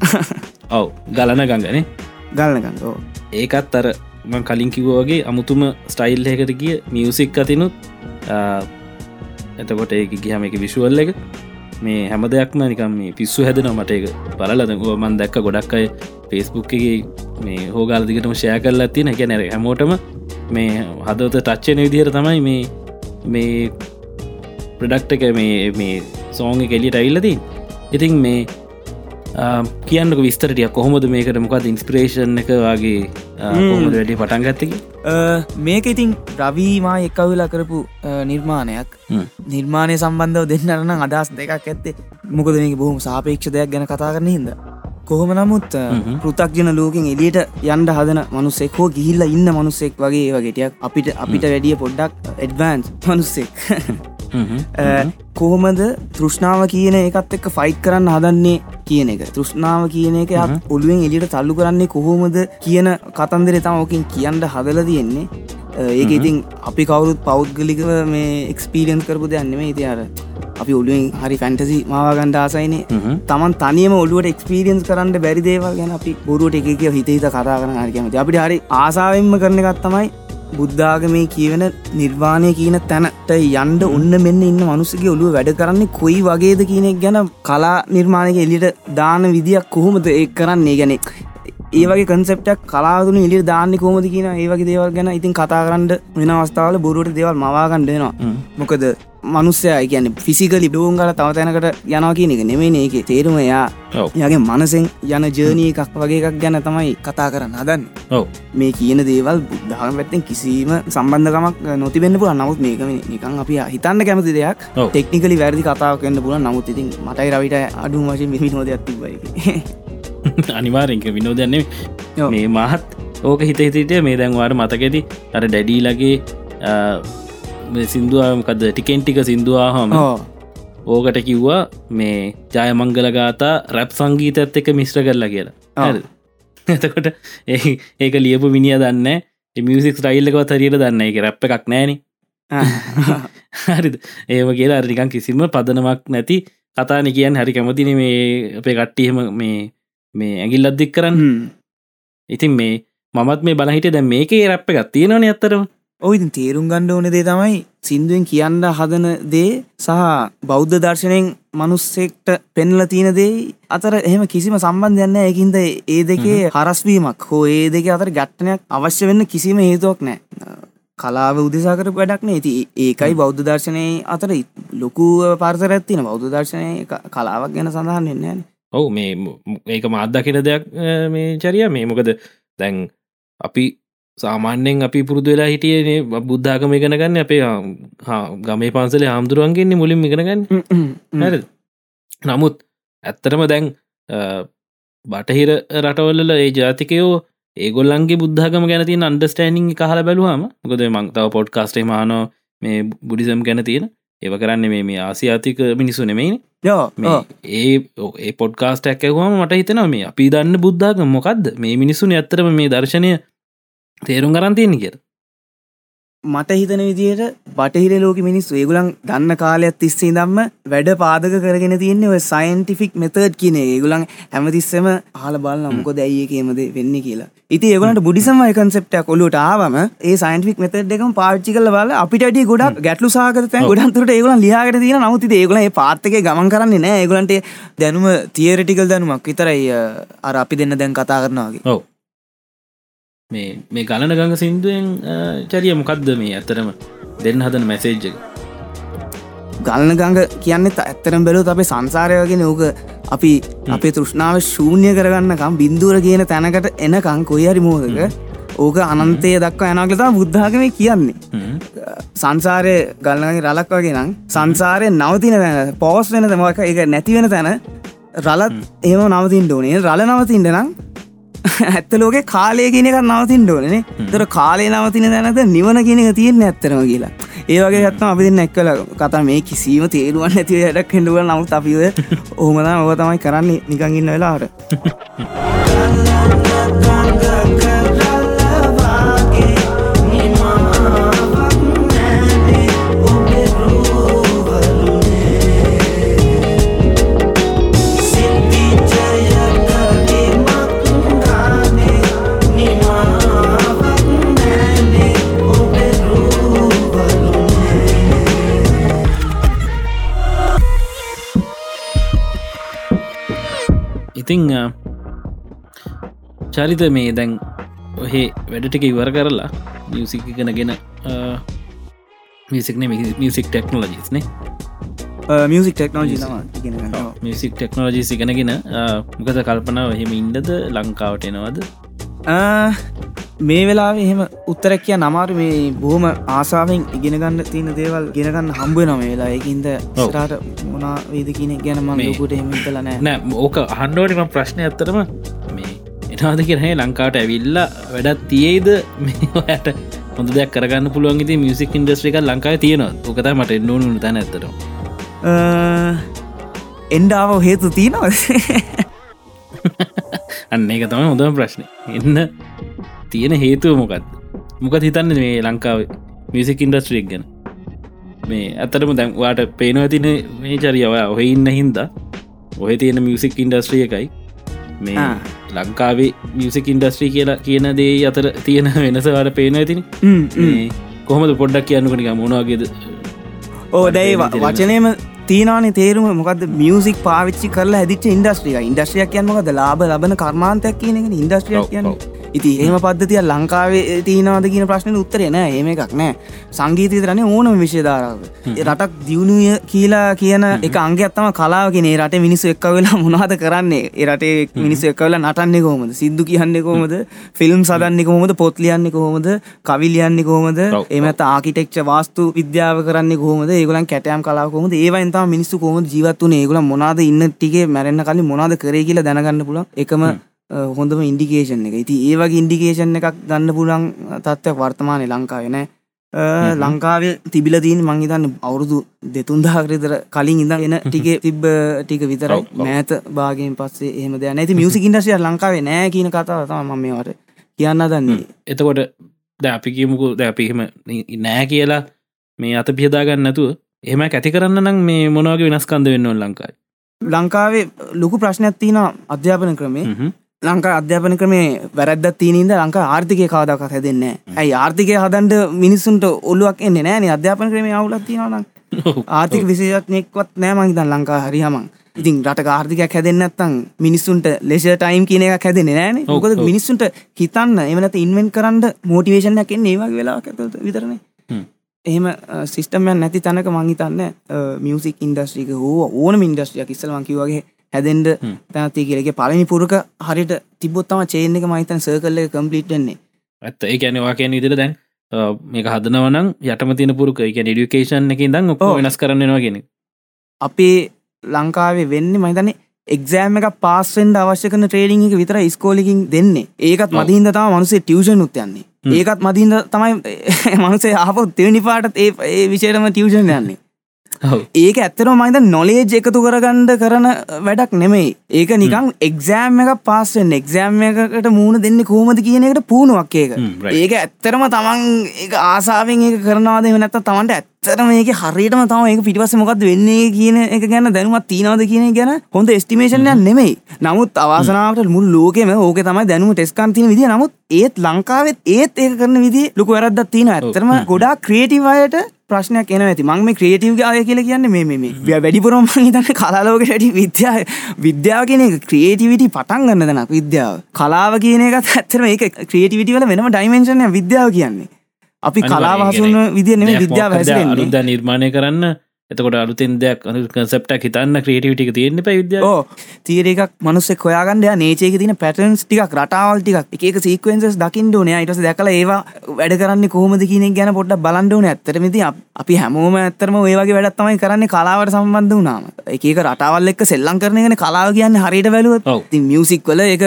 [SPEAKER 2] ඔව් ගලන ගංගනේ
[SPEAKER 5] ගල්ලගන්න ඕ
[SPEAKER 2] ඒකත් අර මං කලින් කිව්වා වගේ අමුතුම ස්ටයිල් එකට ගිය මියසික් අතිනුත් ආ, එතකොට ඒ ගිහම එක විශුවල් එක මේ හැම දෙයක්ම නිකම් මේ පිස්සු හැදෙන මට එක බලලදකුව මන් දැක්ක ගොඩක් අය පේස්බුක් එක මේ හෝගාලදිකටම ෂය කරලා තියෙන එක නැර හැමෝටම මේ හදවත ටච්චන විදිහර තමයි මේ මේ ප්‍රඩක්ට එක මේ මේ සෝන් කෙලියට ඇල්ලදී ඉතින් මේ ආ, කියන්නක විස්තරටිය කොහොමද මේකට මොකද ඉන්ස්පිරේෂන් එක වගේ කොහොමද වැඩි පටන්ගත්තක
[SPEAKER 5] මේක ඉතින් රවීමා එකවුලා කරපු අ, නිර්මාණයක්
[SPEAKER 2] හ්ම්.
[SPEAKER 5] නිර්මාණය සම්බන්ධව දෙන්නරන අදස් දෙකක් ඇත්තේ මොකද මේ බොහම සාපේක්ෂ දෙයක් ගැන කතා කරන හිද කොහොම නමුත්
[SPEAKER 2] හ්ම්.
[SPEAKER 5] පෘතක්ජන ලෝකින් එලියට යන්ඩ හදන මනුස්සෙක් හෝ ගිහිල්ල ඉන්න මනුස්සෙක් වගේ වගේටයක් අපිට අපිට වැඩිය පොඩ්ඩක් එඩ්වන්ස් මනුස්සෙක් අ, කොහොමද තෘෂ්ණාව කියන එකත් එක්ක ෆයිට් කරන්න හදන්නේ කියන එක තෘෂ්ණාව කියන එක යත් ඔළුවෙන් එලියට තල්ලු කරන්නේ කොහොමද කියන කතන්දර තම ඕකින් කියන්න හදල තියෙන්නේ අ, ඒක ඉතින් අපි කවුරුත් පෞද්ගලිකව මේ එක්ස්පීරියන්ස් කරපු දෙයන්නෙම ඉති අර අපි ඔළුවෙන් හරි කැන්ටසි මාවාගන්ඩ ආසයිනේ තමන් තනියම ඔලුවට එක්ස්පීරියන්ස් කරන්න බැරි දේවල් ගැන අපි බොරුවට එක එක හිත හිත කතා කරන හරි කැමති අපිට හරි ආසාවෙන්ම කරන එකත් තමයි බුද්ධාගමේ කියවෙන නිර්වාණය කියන තැනට යන්ඩ ඔන්න මෙන්න ඉන්න මනුසගේ ඔලුව වැඩ කරන්නේ කොයි වගේද කියනෙක් ගැන කලා නිර්මාණයක එලියට දාන විදියක් කොහොමද ඒ කරන්නේ ගැනෙක් ඒවගේ කන්සප්ටක් කලාතුන එලි දාන්න කෝමද කියන ඒවගේ දේවල් ගැන ඉතින් කතා කරන්න වෙන අවස්ථාවල බොරුවට දේවල් මවාගණ්ඩයනවා මොකද මනුස්්‍යය කියන ෆිසිකලි ඩෝන් කල තවතැනකට යනවා කියන එක නෙමේ ඒක තේරුම එයා
[SPEAKER 2] ඔව්
[SPEAKER 5] යගේ මනසෙන් යන ජර්නී එකක් වගේ එකක් ගැන තමයි කතා කරන්න හදන්න
[SPEAKER 2] ඔව්
[SPEAKER 5] මේ කියන දේවල් බුද්ධාගම පැත්තෙන් කිසිීම සම්බන්ධකමක් නොතිබෙන්න්න පුල නමුත් මේකම නිකන් අපි හිතන්න කැමති දෙයක්
[SPEAKER 2] ඔව්.
[SPEAKER 5] ටෙක්නිකලි වැරදි කතාව කන්න පුල නමුත් ඉතින් මටයි රවිට අඩු වශයෙන් මිහිනෝදයක් තිබයි
[SPEAKER 2] අනිවාරෙන්ක විනෝදන්නේ
[SPEAKER 5] ඔව්.
[SPEAKER 2] මේ මහත් ඕක හිතහිතට මේ දැන්වාට මතකෙති අර ඩැඩීලගේ සිින්දුවමකද ටිකෙන්ටික සිින්දවාහම
[SPEAKER 5] ඕ
[SPEAKER 2] ඕකට කිව්වා මේ ජය මංගල ගාතා රැප් සංගීතත් එක මිශ්‍ර කරලා කියලා
[SPEAKER 5] ඔව්.
[SPEAKER 2] හරිද? එතකොට ඒ- ඒක ලියපු මිනිිය දන්න මියසික් රයිල්ලකව තරියට දන්න එක රැප් එකක් නෑනේ හරිද ඒම කියලා අරිකන් කිසිම පදනමක් නැති කතාන කියන් හරි කැමතින මේ අපේ කට්ටියම මේ මේ ඇගිල් අද්දික් කරන්න ඉතින් මේ මමත් මේ බලහිට දැ මේකේ රැප්ප එකක් තියෙනවන අත්තරම
[SPEAKER 5] ඔයිතින් තේරුම් ගණ්ඩ ඕන දේ තමයි සින්දුවෙන් කියන්න හදන දේ සහ බෞද්ධ දර්ශනයෙන් මනුස්සෙක්ට පෙන්ල තියෙන දේ අතර එහෙම කිසිම සම්බන්ධයන්න ඒකින්ද ඒ දෙකේ හරස්වීමක් හෝ ඒ දෙක අතර ගැට්ටනයක් අවශ්‍ය වෙන්න කිසිම හේතුවක් නෑ කලාව උදෙසාකර වැඩක්න ඇති ඒකයි බෞද්ධ දර්ශනය අතර ලොකු පර්සර ඇත්තින බෞද්ධ දර්ශනය ක- කලාවක් ගැන සඳහන් වෙන්න න
[SPEAKER 2] ඔවු මේ ම- මේක මාත්දකින දෙයක් අ, මේ චරිය මේ මොකද දැන් අපි සාමාන්‍යෙන් අපි පුරුදු වෙලා හිටියනේ බුද්ධාගම ඉගෙනගන්න අපේ හාම්- හා ගමේ පන්සලේ හාමුදුරුවන්ගෙන්නේ මුලින් ඉගෙනගන්න හැර නමුත් ඇත්තරම දැන් අ, බටහිර රටවල්ල ඒ ජාතිකයෝ ඒගොල්ලන්ගේ බුද්ධගම ගැනති අන්ඩස්ටෑනිං කහල බැලුවම ගොද මං තාව පොඩ් කාස්ටේ මානෝ මේ බුඩිසම් ගැන තියෙන ඒව කරන්න මේ මේ ආසියාතික මිනිසු නෙමයිනි
[SPEAKER 5] යෝ
[SPEAKER 2] මේ ඒ ඔ- ඒ පොඩ්කාස්ට ඇකවම මට හිතනවා මේ අපි දන්න බුද්ධාගම මොකක්ද මේ මිනිසුන ඇත්තරම මේ දර්ශනය තේරුම් කරන්තියන්නේ කිය
[SPEAKER 5] මට හිතන විදියට බටහිර ලෝක මිනිස් ඒගුලන් දන්න කාලයක් තිස්සේ දම්ම වැඩ පාදක කරගෙන තියන්නේ ඔය සයින්ටිෆික් මෙතඩ් කියන එක. ඒගුලන් හැමතිස්සම හල බල නමුකො දැයියකේමද වෙන්න කියලා ඉති ඒගලට බුඩිසම කන්සප්ට කොලුට ආවම ඒ සයින්ටික් මෙතඩ් එකම පාච්චි කල බල අපිට ගොඩක් ගැටලු සාකත ගොඩන්තුරට ඒගුලන් ලියාගට තියෙන නමුති ඒගුලන් ඒ පාත්තක ගමන් කරන්නේ නෑ ඒගුලන්ට දැනුම තියරටිකල් දැනුමක් විතරයි අ, අර අපි දෙන්න දැන් කතා කරනවාගේ
[SPEAKER 2] ඔව මේ මේ ගලන ගඟ සින්දුවෙන් චරිය මොකක්ද මේ ඇතරම දෙන්න හදන මැසේජ්ජක
[SPEAKER 5] ගලන ගඟ කියන්න ඇත්තරම් බැලුත් අපේ සංසාරයගෙන ඕක අපි අපේ තෘෂ්ණාව ශූන්‍ය කරගන්නකම් බින්දුවර කියන තැනකට එනකං කොයිහරි මෝදක ඕක අනන්තය දක්වා යනගතා බුද්ධාගමය කියන්නේ සංසාරය ගල්නගේ රලක් වගේ නම් සංසාරය නවතින තැන පෝස් වෙන තමක එක නැතිවෙන තැන රලත් ඒම නවතින් ඕනේ රල නවතින්ට නම් ඇත්ත ලෝක කාලය කියනක නවතින් ඕනනේ තොර කාලය නවතින දැනත නිවන කියනක තියෙන් ඇත්තරම කියලා ඒවගේ ඇත්ම අපි නැක්කල කතා මේ කිසිීම තේරුවන් ඇතිව වැඩක් හෙඩුව නමුත් අපිව ඕහමදා ඔව තමයි කරන්නේ නිකඟඉන්න වෙලාට
[SPEAKER 2] ඉතිං අ, චරිත මේ දැන් ඔහේ වැඩටික ඉවර කරලා මියසික් ගෙන ගෙන මිසික්න මියසික් ටෙක්නෝලජිස්නේ
[SPEAKER 5] මියසික් ටෙක්නෝජි ඉගෙනගන්න. ඔව්.
[SPEAKER 2] මියසික් ටෙක්නෝජී සිගෙනගෙන මොකද කල්පනාව එහෙම ඉන්ඩද ලංකාවට එනවද
[SPEAKER 5] ආ, මේ වෙලා එහෙම උත්තරැක් කිය නමාරු මේ බොහම ආසාාවෙන් ඉගෙනගන්න තියෙන දේවල් ගෙනගන්න හම්බ නොම වෙලා ඒකින්ද රට මොනා වේද කියන ගැන
[SPEAKER 2] මේ-
[SPEAKER 5] මලකුට එමතලනෑ
[SPEAKER 2] නෑ ඕක හන්ඩෝටම ප්‍රශ්නය ඇත්තරම මේ එනවාද කියරහේ ලංකාවට ඇවිල්ල වැඩත් තියේද මේට හොඳ දෙයක් කරගන්න පුළුවන් ති මියසික් ඉන්ඩස්්‍රි එක ලංකාව තියෙනවා ඕකත මට එන්නනු තැන ඇතර
[SPEAKER 5] එන්ඩාව හේතු තියනවද
[SPEAKER 2] අන්න එක තම හොඳම ප්‍රශ්නය එන්න තියෙන හේතුව මොකක්ද මොකද හිතන්න මේ ලංකාව මියසික් ඉන්ඩස්ට්‍රික් ගැන මේ ඇතරම දැන් වාට පේනවා තින මේ චරියව ඔහෙ ඉන්න හින්දා ඔහෙ තියෙන මියසික් ඉන්ඩස්ට්‍රිය එකයි මේ
[SPEAKER 5] ආ.
[SPEAKER 2] ලංකාවේ මියසික් ඉන්ඩස්ට්‍රී කියලා කියන දේ අතර තියෙන වෙනසවාට පේන ඇතින කොහොමද පොඩ්ඩක් කියන්නකනික මොනවාගේද
[SPEAKER 5] ඕ දැයි වචනයම තියනන තේරුම මොකද මියසික් පාවිච්චි කරලා ඇදිච ඉන්ඩස්ට්‍රිය ඉන්ඩස්ට්‍රියක් කියන්නමකද ලාබ ලබන කර්මාන්තයක් කියන එක ඉන්ඩස්ට්‍රියක්
[SPEAKER 2] ඔව්,
[SPEAKER 5] කියන්න
[SPEAKER 2] ඔව්.
[SPEAKER 5] ඉති ඒම පද්ධතිය ලංකාවේ තියනවාද කියන ප්‍රශ්නයට උත්තරෙන ඒම එකක් නෑ සංගීතීතරන්නේ ඕනම විශේධාරාව රටක් දියුණුය කියලා කියන එක අංගත්තම කලාවගෙන රට මිනිස්සු එක්ක වෙලා මොනාද කරන්නේ ඒ රටේ මිනිස්සු එක්ක වෙලා නටන්නේ කොහොමද සිද්දු කියන්නේ කොහොමද ෆිල්ම් සදන්නේ කොහොමද පොත් ලියන්නේ කොහොමද කවි ලියන්නේ කොහොමද
[SPEAKER 2] ඔව්, ඔව්.
[SPEAKER 5] එම ඇත ආකිටෙක්ච වාස්තු විද්‍යාව කරන්න කොහොමද ඒගලන් කැටයම් කලාකොමද ඒවන්තම මිනිස්සු කොම ජීවත්වන ඒගල මොනාද ඉන්න ටිගේ මැරෙන්න්න කලින් මොනාද කරේ කියලා දැනගන්න පුලන් එකම අ, හොඳම ඉන්ඩිකේෂන් එක ඉති ඒවගේ ඉන්ඩිකේෂන් එකක් ගන්න පුලන් තත්ත්වයක් වර්තමානය ලංකාවනෑ ලංකාව තිබිලදීන් මංහිතන්න අවුරුදු දෙතුන්දාහකරතර කලින් ඉඳ එන ටිගේ තිබ්බ ටික විතරයි
[SPEAKER 2] ඔව්, ඔව්.
[SPEAKER 5] මෑත භාගෙන් පස්සේ එහම දෑ ඇති මියසික ඉන්ඩසිය ලංකාවේ නෑ කියන කතාව තම මේවට කියන්න දන්නේ
[SPEAKER 2] එතකොට ද අපි කියමුකු ද අපිහෙම නෑ කියලා මේ අත පියදාගන්නතුව එහම ඇති කරන්න නම් මේ මොනවගේ වෙනස්කන්ද වෙන්න ඕන ලංකායි
[SPEAKER 5] ලංකාවේ ලොකු ප්‍රශ්නයක් තින අධ්‍යාපන ක්‍රමේ
[SPEAKER 2] හ්ම්.
[SPEAKER 5] ලංකා අධ්‍යාපන ක්‍රමේ වැරද්ද තිීනද ලංකා ආර්ථිකය කාදක් හැදෙන්න ඇයි ආර්ථිකය හදන්ට මිනිස්සුන්ට ඔල්ලුවක් එන්න නෑන අධ්‍යාපන ක්‍රමේ අවුලත් තිනන
[SPEAKER 2] ඔව්.
[SPEAKER 5] ආර්ථික විසිත්නෙක්වත් නෑමං තන් ලංකා හරිහමන් ඉතින් රට ආර්ථිකයක් හැදෙන්න්නත්තං මිනිස්සුන්ට ලෙෂ ටයිම් කියන එක හැදෙන නෑන
[SPEAKER 2] ඔව්,
[SPEAKER 5] මොකද
[SPEAKER 2] ඔව්.
[SPEAKER 5] මිනිස්සුන්ට හිතන්න එමනත ඉන්වෙන් කරන්න මෝටිවේෂන් එකෙන් ඒවගේ වෙලා ඇත විතරන
[SPEAKER 2] හ්ම්.
[SPEAKER 5] එහෙම සිිස්ටමයන් නැති තැනක මංහිතන්න මියසික් ඉන්ඩස්ට්‍රික හෝ ඕන මින්ඩස්ට්‍රියක් ඉස්සලමකිවගේ හැදෙන්ඩ තැනති කියලගේ පලමි පුරක හරිට තිබොත්තම චේන එක මහිතන් සර්කල්ල කම්පලිට්න්නේ
[SPEAKER 2] ඇත්ත ඒ ඇනවා කියන ඉදිර දැන් අ, මේක හදනවනම් යටම තින පුරුක එක ඩියුකේෂන් එක දං ඔප
[SPEAKER 5] ඔව්.
[SPEAKER 2] වෙනස් කරන්නවාගෙන
[SPEAKER 5] අපේ ලංකාවේ වෙන්න මහිතන්නේ එක්ෑම එක පස්සෙන්ට අවශ්‍යකන ට්‍රේඩිං එක විතර ස්කෝලිකින් දෙන්නේ ඒකත්
[SPEAKER 2] ඔව්.
[SPEAKER 5] මදින්ද තම මනුසේ ටියෂන් උත්යන්නේ ඒකත් මදින්ද තමයි මනුසේ හපොත් තෙවනි පාටත් ඒ ඒ විෂයටම ටියෂන් යන්නේ
[SPEAKER 2] හව
[SPEAKER 5] ඒක ඇත්තරම මයිද නොලේජ් එකතු කරගණ්ඩ කරන වැඩක් නෙමෙයි ඒක නිකං එක්සෑම් එක පස්සෙන් එක්සෑම් එකට මූුණ දෙන්න කෝමද කියන එකට පූුණුවක් ඒක
[SPEAKER 2] හ්ම්, right.
[SPEAKER 5] ඒක ඇත්තරම තමන් ඒ ආසාාවෙන් ඒක කරනවාද වෙනත්ත තමන්ට ඇත්තරම ඒක හරියටම තම ඒක පිටිවසමකක්ද වෙන්නේ කියන එක ගැන දැනුවත් තිනවද කියන එක ගැන හොඳ ස්ටිමේෂන්ය නෙමයි නමුත් අවාසනාවට මුල් ලෝකෙම ඕක තමයි දැනුම ටෙස්කන්තින විදි නමුත් ඒත් ලංකාවෙත් ඒත් ඒක කරන විදි ලොක වැරදත් තින ඇත්තරම ගොඩා ක්‍රේටිවයට ප්‍රශ්නයක් එන ඇති මං මේ ක්‍රේටව් ආය කියල කියන්න මේ මේ මේ. වැ- වැඩිපුරම හිතන්න කලාලෝක ටි විද්‍යා විද්‍යාව කියන එක ක්‍රේටිවිටි පටන් ගන්න දෙනක් විද්‍යාව කලාව කියන එකත් ඇත්තර මේ ක්‍රේටිවිටිවල වෙනම ඩයිමෙන්ශනය විද්‍යාව කියන්නේ අපි කලාව හසුන විදිනෙම විද්‍යාව
[SPEAKER 2] අලුද
[SPEAKER 5] හැසරෙන්නේ
[SPEAKER 2] නිර්මාණය කරන්න එතකොට අලුතෙන් දෙයක් සප්ටක් හිතන්න ක්‍රේටවිටික තියෙන්න පයිවිද
[SPEAKER 5] ඕ තීර එකක් මනුස්සෙක් හොයාගන්න යා නේචයක තින පැටන්ස් ටිකක් රටාවල් ටිකක් එක සීක්වෙන්සස් දකිින්ඩෝන අයිටස දැකල ඒවා වැඩ කරන්න කොහොමද කියන ගැන පොට බලන්ඩෝන ඇතරමති අපි හැමෝම ඇත්තරම ඒවාගේ වැඩත්තමයි කරන්නේ කලාවට සම්බන්ධ වනාම එක රටවල් එක් සෙල්ලං කරනගෙන කලාව කියන්න හරිට වැලුවත්
[SPEAKER 2] ඔව්.
[SPEAKER 5] ති මියසික් වල එක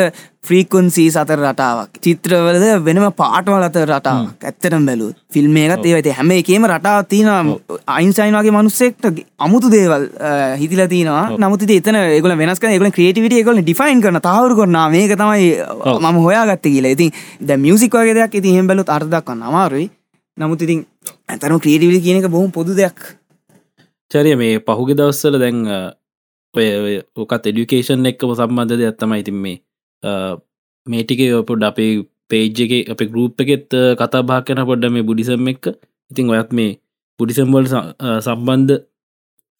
[SPEAKER 5] ෆ්‍රීකොන්සී සතර රටාවක් චිත්‍රවලද වෙනම පාටවල අත රටාවක් ඇත්තටම් බැලුත් ෆිල්ම් එකත් ඒවති හැම එකේම රටාව තියෙන අයින්සයින් වගේ මනුස්සෙක්ට අමුතු දේවල් අ, හිතිලා තියෙනවා නමුති එතන ඒගල වෙනස් ඒකල ක්‍රේටිවිට එකකල ඩිෆයින් කරන තහවරු කරන මේක තමයි මම හොයාගත්ත කියලා ඉතින් ද මියසික් වගේ දෙයක් ඉති හෙම් බැලුත් අර්දක්න්න අමාරුයි නමුත් ඉතින් ඇතරම ක්‍රේටිවිට කියනක බොහම පොදු දෙයක්
[SPEAKER 2] චරිය මේ පහුගේ දවස්සල දැන් අ, ඔය ඔය ඕකත් එඩිකේෂන් එක්කම සම්බන්ධ දෙයක් තමයි ඉතින් මේ අ, මේ ටිකේ ඔය පොඩ්ඩ අපේ පේජ් එක අප ගරුප් එකෙත් අ, කතා බා කන පොඩ්ඩ මේ බුඩිසම් එක්ක ඉතින් ඔයත් මේ බුඩිසම්වල් සම්බන්ධ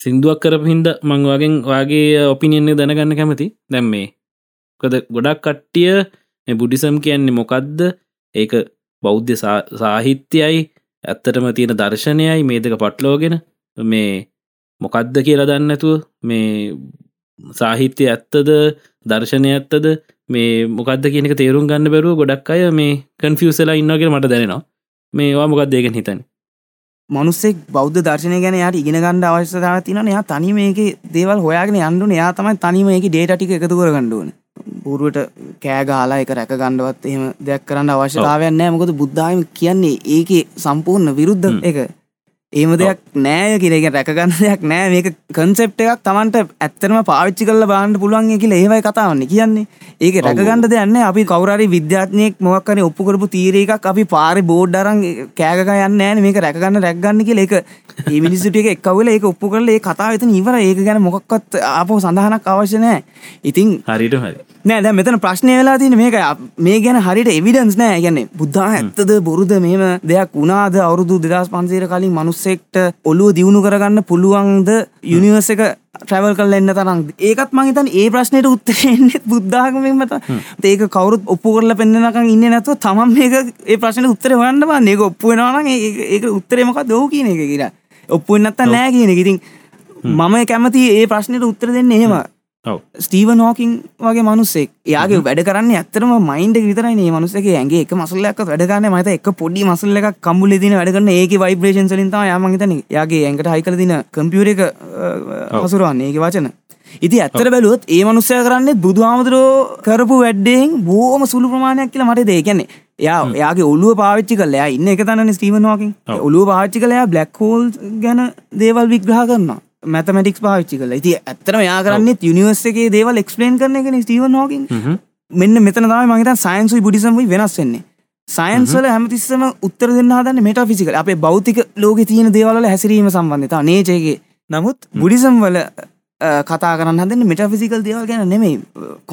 [SPEAKER 2] සිින්දුවක් කරපහින්ද මංවාගෙන් වගේ ඔපිනියන්නේ දැනගන්න කැමති දැම් මේ කද ගොඩක් කට්ටිය මේ බුඩිසම් කියන්නේ මොකක්ද ඒක බෞද්ධ සා- සාහිත්‍යයයි ඇත්තටම තියෙන දර්ශනයයි මේ දෙක පට්ලෝගෙන මේ මොකක්ද කියලා දන්නතුව මේ සාහිත්‍ය ඇත්තද දර්ශනය ඇත්තද මේ මොකක්ද කියනක තේරුම් ගන්න බැරුව ගොඩක් අය මේ කන්ෆියසලා ඉන්නගෙන මට දැනෙනවා මේවා මොකක් දෙකෙන් හිතන්
[SPEAKER 5] මනුස්සෙක් බෞද්ධ දර්ශනය ගැන යාට ඉගෙනගන්න අවශ්‍යතාව තින එයා තනිම ඒක දේවල් හොයාගෙන යන්ඩුන එයා තමයි තනිම ඒක ඩේට ටික එකතු කර ගණ්ඩුවන පුරුවට කෑගාලා එක රැක ගණ්ඩවත් එහෙම දෙයක් කරන්න අවශ්‍යතාවයන්න මොකද බුද්ධායම කියන්නේ ඒක සම්පූර්ණ විරුද්ධ එක ඒම දෙයක් නෑය කිරේක රැකගන්න දෙයක් නෑ මේක කන්සෙප් එකක් තමන්ට ඇත්තරම පාවිච්චි කල්ල බාන්න පුළුවන් කියල ඒවයි කතාවන්න කියන්නේ ඒක රැකගන්න දෙයන්න අපි කවරරි විද්‍යාත්නයෙක් මොක්කන ඔප්පුකරපු තීරේකක් අපි පාරි බෝඩ්ඩරන් කෑගක යන්න ෑන මේක රැකගන්න රැක්ගන්න කිය එක ඒ මිනිස්සුට එක එක්කවල ඒ ඔප්පු කරල ඒ කතා වෙතන ඉවර ඒක ගැන මොකක්වත් අපෝ සඳහනක් අවශ්‍යනෑ ඉතින්
[SPEAKER 2] හරිට හරි
[SPEAKER 5] නෑද මෙතන ප්‍රශ්නය වෙලා තින මේක අප- මේ ගැන හරිට එවිඩන්ස් නෑ ගැන බුද්ධා ඇත්තද බොරුද මෙම දෙයක් වුණාද අවුරුදු දෙදස් පන්සේර කලින් මනුස්සෙක්ට ඔලුව දියුණු කරගන්න පුළුවන්ද යුනිවර්ස එක ට්‍රැවල් කල් එන්න තරම් ඒකත් මහිතන් ඒ ප්‍රශ්නයට උත්තරෙන්ෙත් බුද්ධාගමමත ඒක කවරුත් ඔප්පු කරල පෙන්න්නනකම් ඉන්න නැතුව තමන් මේක ඒ ප්‍රශ්න උත්තර හොයන්න බන්න ඒක ඔප්පු වෙනවාන ඒක උත්තරේමක දෝ කියන එක කියලා ඔප්පු වෙන්නත්ත නෑ කියන එක. ඉතින් මම කැමති ඒ ප්‍රශ්නයට උත්තර දෙන්න එහෙම
[SPEAKER 2] ඔව
[SPEAKER 5] ස්ටීවන් හෝකින් වගේ මනුස්සෙක් යාගේ වැඩ කරන්න ඇතරම මයින්ඩ විතරයි මනුස්සක ඇගේ එක මසල්ලක් වැඩගන්න මත එක පොඩි මසල්ල එකක් කම්බුල දින වැඩගන්න ඒක වයිබ්‍රේෂන් සලින්ත යමගතන යාගේ ඇඟට හයිකල දින කම්පියර එක හසුරුවන්න ඒක වචන ඉති ඇත්තර බැලුවොත් ඒ මනුස්සය කරන්නේ බුදුහාමුදුරෝ කරපු වැඩ්ඩෙන් බෝම සුළු ප්‍රමාණයක් කියලා මට දේකන්නේ යා යාගේ ඔලුව පාච්චි කලයා ඉන්න එක තන්න ස්ටීවන් හෝකින් ඔලුව පාච්චි කලයා බ්ලක්හෝල් ගැන දේවල් විග්‍රහ කරන්නවා මැතමටික් පාච්චි කල ති ඇතරම යාකරන්නෙත් යනිවර්සගේ දේවල් එක්ස්පලේන් කරන එකන ස්ටීවන් හෝකින් මෙන්න මෙතන තම මගේත සයින්සුයි බුඩිසම්යි වෙනස් වෙන්නේ සයින්ස්වල හැමතිස්සම උත්තර දෙන්න හදන්න මෙට ෆිසිකල අපේ බෞතික ලෝක තියෙන දේවල හැසිරීම සම්බන්ධතා නේචයගේ නමුත් බුඩිසම් වල අ, කතා කරන්න හදන්න මෙට ෆිසිකල් දේවල් ගැන නෙමෙයි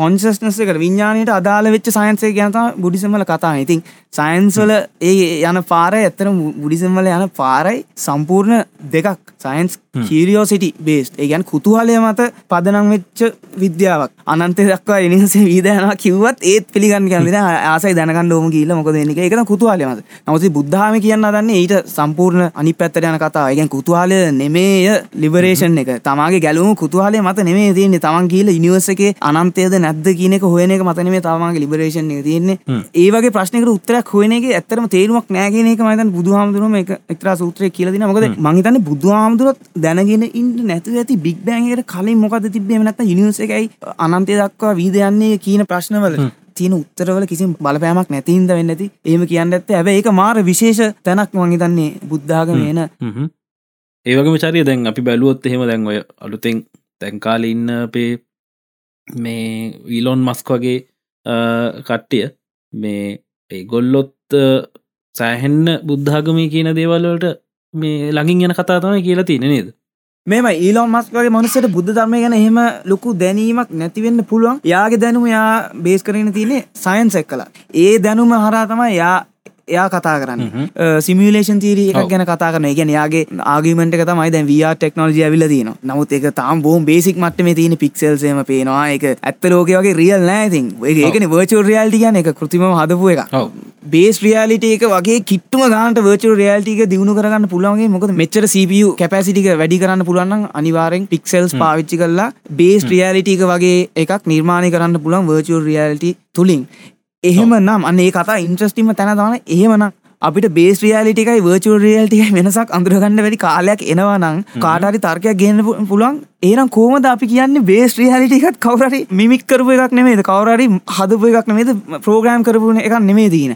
[SPEAKER 5] කොන්සස්නසක විඤ්ඥානයට අදාළ වෙච්ච සයින්සේ ගැනත බුඩිසම්වල කතා ඉතින් සයින්ස්වල ඒ යන පාරය ඇත්තර බුඩිසම්වල යන පාරයි සම්පූර්ණ දෙකක් සයින්ස් කීරියෝ සිටි බේස් ඒගැන් කුතුහලය මත පදනම් වෙච්ච විද්‍යාවක් අනන්තය දක්වා එනිසේ වීදයනවා කිව්වත් ඒත් පිළිගන්න කැන්දින ආසයි දැනකන්න ෝම කියීල මොකද එක එක කුතුහලයමත නමුති බුද්ධාම කියන්න දන්නේ ඊට සම්පූර්ණ අනි පැත්තර යන කතා එකගැන් කුතුහලය නෙමේය ලිබරේෂන් එක තමාගේ ගැලුම කුතුහලය මත නෙමේ තියන්නේ තමන් කියීල ඉනිවසගේ අනන්තයද නැද්ද කියනක හොයනක මතනේ තමාගේ ලිබරේෂන් එක තියන්නේ ඒවගේ ප්‍රශ්නකට උත්තරක් හොයනගේ ඇත්තරම තේරුවක් නෑගෙනක මතන් බුදුහාමුදුරුවම එක එක්තර සූත්‍රය කියලදින මොකද මහිතන්න බුදුහාමුදුරත් දැනගෙන ඉන්ට නැතු ඇති බික් බෑන්ගේට කලින් මොකද තිබේ නැත නිස එකයි අනන්තය දක්වා වීදයන්නේ කියන ප්‍රශ්නවල තියෙන උත්තරවල කිසි බලපෑමක් නැතින්ද වෙන්න ඇති ඒම කියන්න ඇත්ත ඇබ ඒක මාර විශේෂ තැනක් මංහිතන්නේ බුද්ධාගම එන
[SPEAKER 2] හ්ම්. ඒවගේම චරිය දැන් අපි බැලුවොත් එහෙම දැන් ඔය අලුතෙන් තැන්කාල ඉන්න අපේ මේ ඊලොන් මස්ක් වගේ අ, කට්ටිය මේ ඒ ගොල්ලොත් අ, සෑහෙන්න බුද්ධාගමී කියන දේවල්වලට මේ ළඟින් යන කතා තමයි කියලා තියෙන නේද
[SPEAKER 5] මෙම ඊලෝ මස්කගේ මනුසට බුද්ධ ධර්මය ගැන එහෙම ලොකු දැනීමක් නැතිවෙන්න පුළුවන් යාගේ දැනුම යා බේස් කරන තියනෙ සයින්ස් එක් කලා ඒ දැනුම හරා තමයි යා එයා කතා කරන්න සිමිලේෂන් තීරී එකක් ගැන කතා කරන ගැන යාගේ ආගිමට එක තමයි දැන් වයා ටෙක්නෝජිය විල දන නමුත් එක තාම් බෝම් බේසික් මට්ටම තියෙන පික්සල්සේම පේනවා එක ඇත්ත ලෝකගේ රියල් නෑතින් ඒකන වර්චෝ රියල්ටි ගැන එක කෘතිම හදපු එක
[SPEAKER 2] ඔව්.
[SPEAKER 5] බේස් රියාලිට එක වගේ කිට්ටම ගාන්ට වර්ච රයාල්ටික දියුණු කරන්න පුළුවන්ගේ මොකද මෙච්චර CPU කැපැසිටික වැඩි කරන්න පුළුවන් අනිවාරෙන් පික්සල්ස් පාවිච්චි කරලා බේස් රියාලිටික වගේ එකක් නිර්මාණය කරන්න පුළුවන් වර්චෝ රියල්ටි තුළින් එහෙම නම් අන්නේ කතා ඉන්ට්‍රස්ටිම තැන දාන එහෙමනම් අපිට බේස් රියලිටිකයි වර්චෝ රියල්ටික වෙනසක් අඳුරගන්න වැඩි කාලයක් එනවා නම් කාටරි තර්කයක් ගන්න පුළුවන් ඒනම් කෝමද අපි කියන්නේ බේස් රියලිටිකත් කවරරි මිමික් කරපු එකක් නෙමේද කවරරි හදපු එකක් නෙමේද ප්‍රෝග්‍රෑම් කරපු එකක් නෙමේ දීන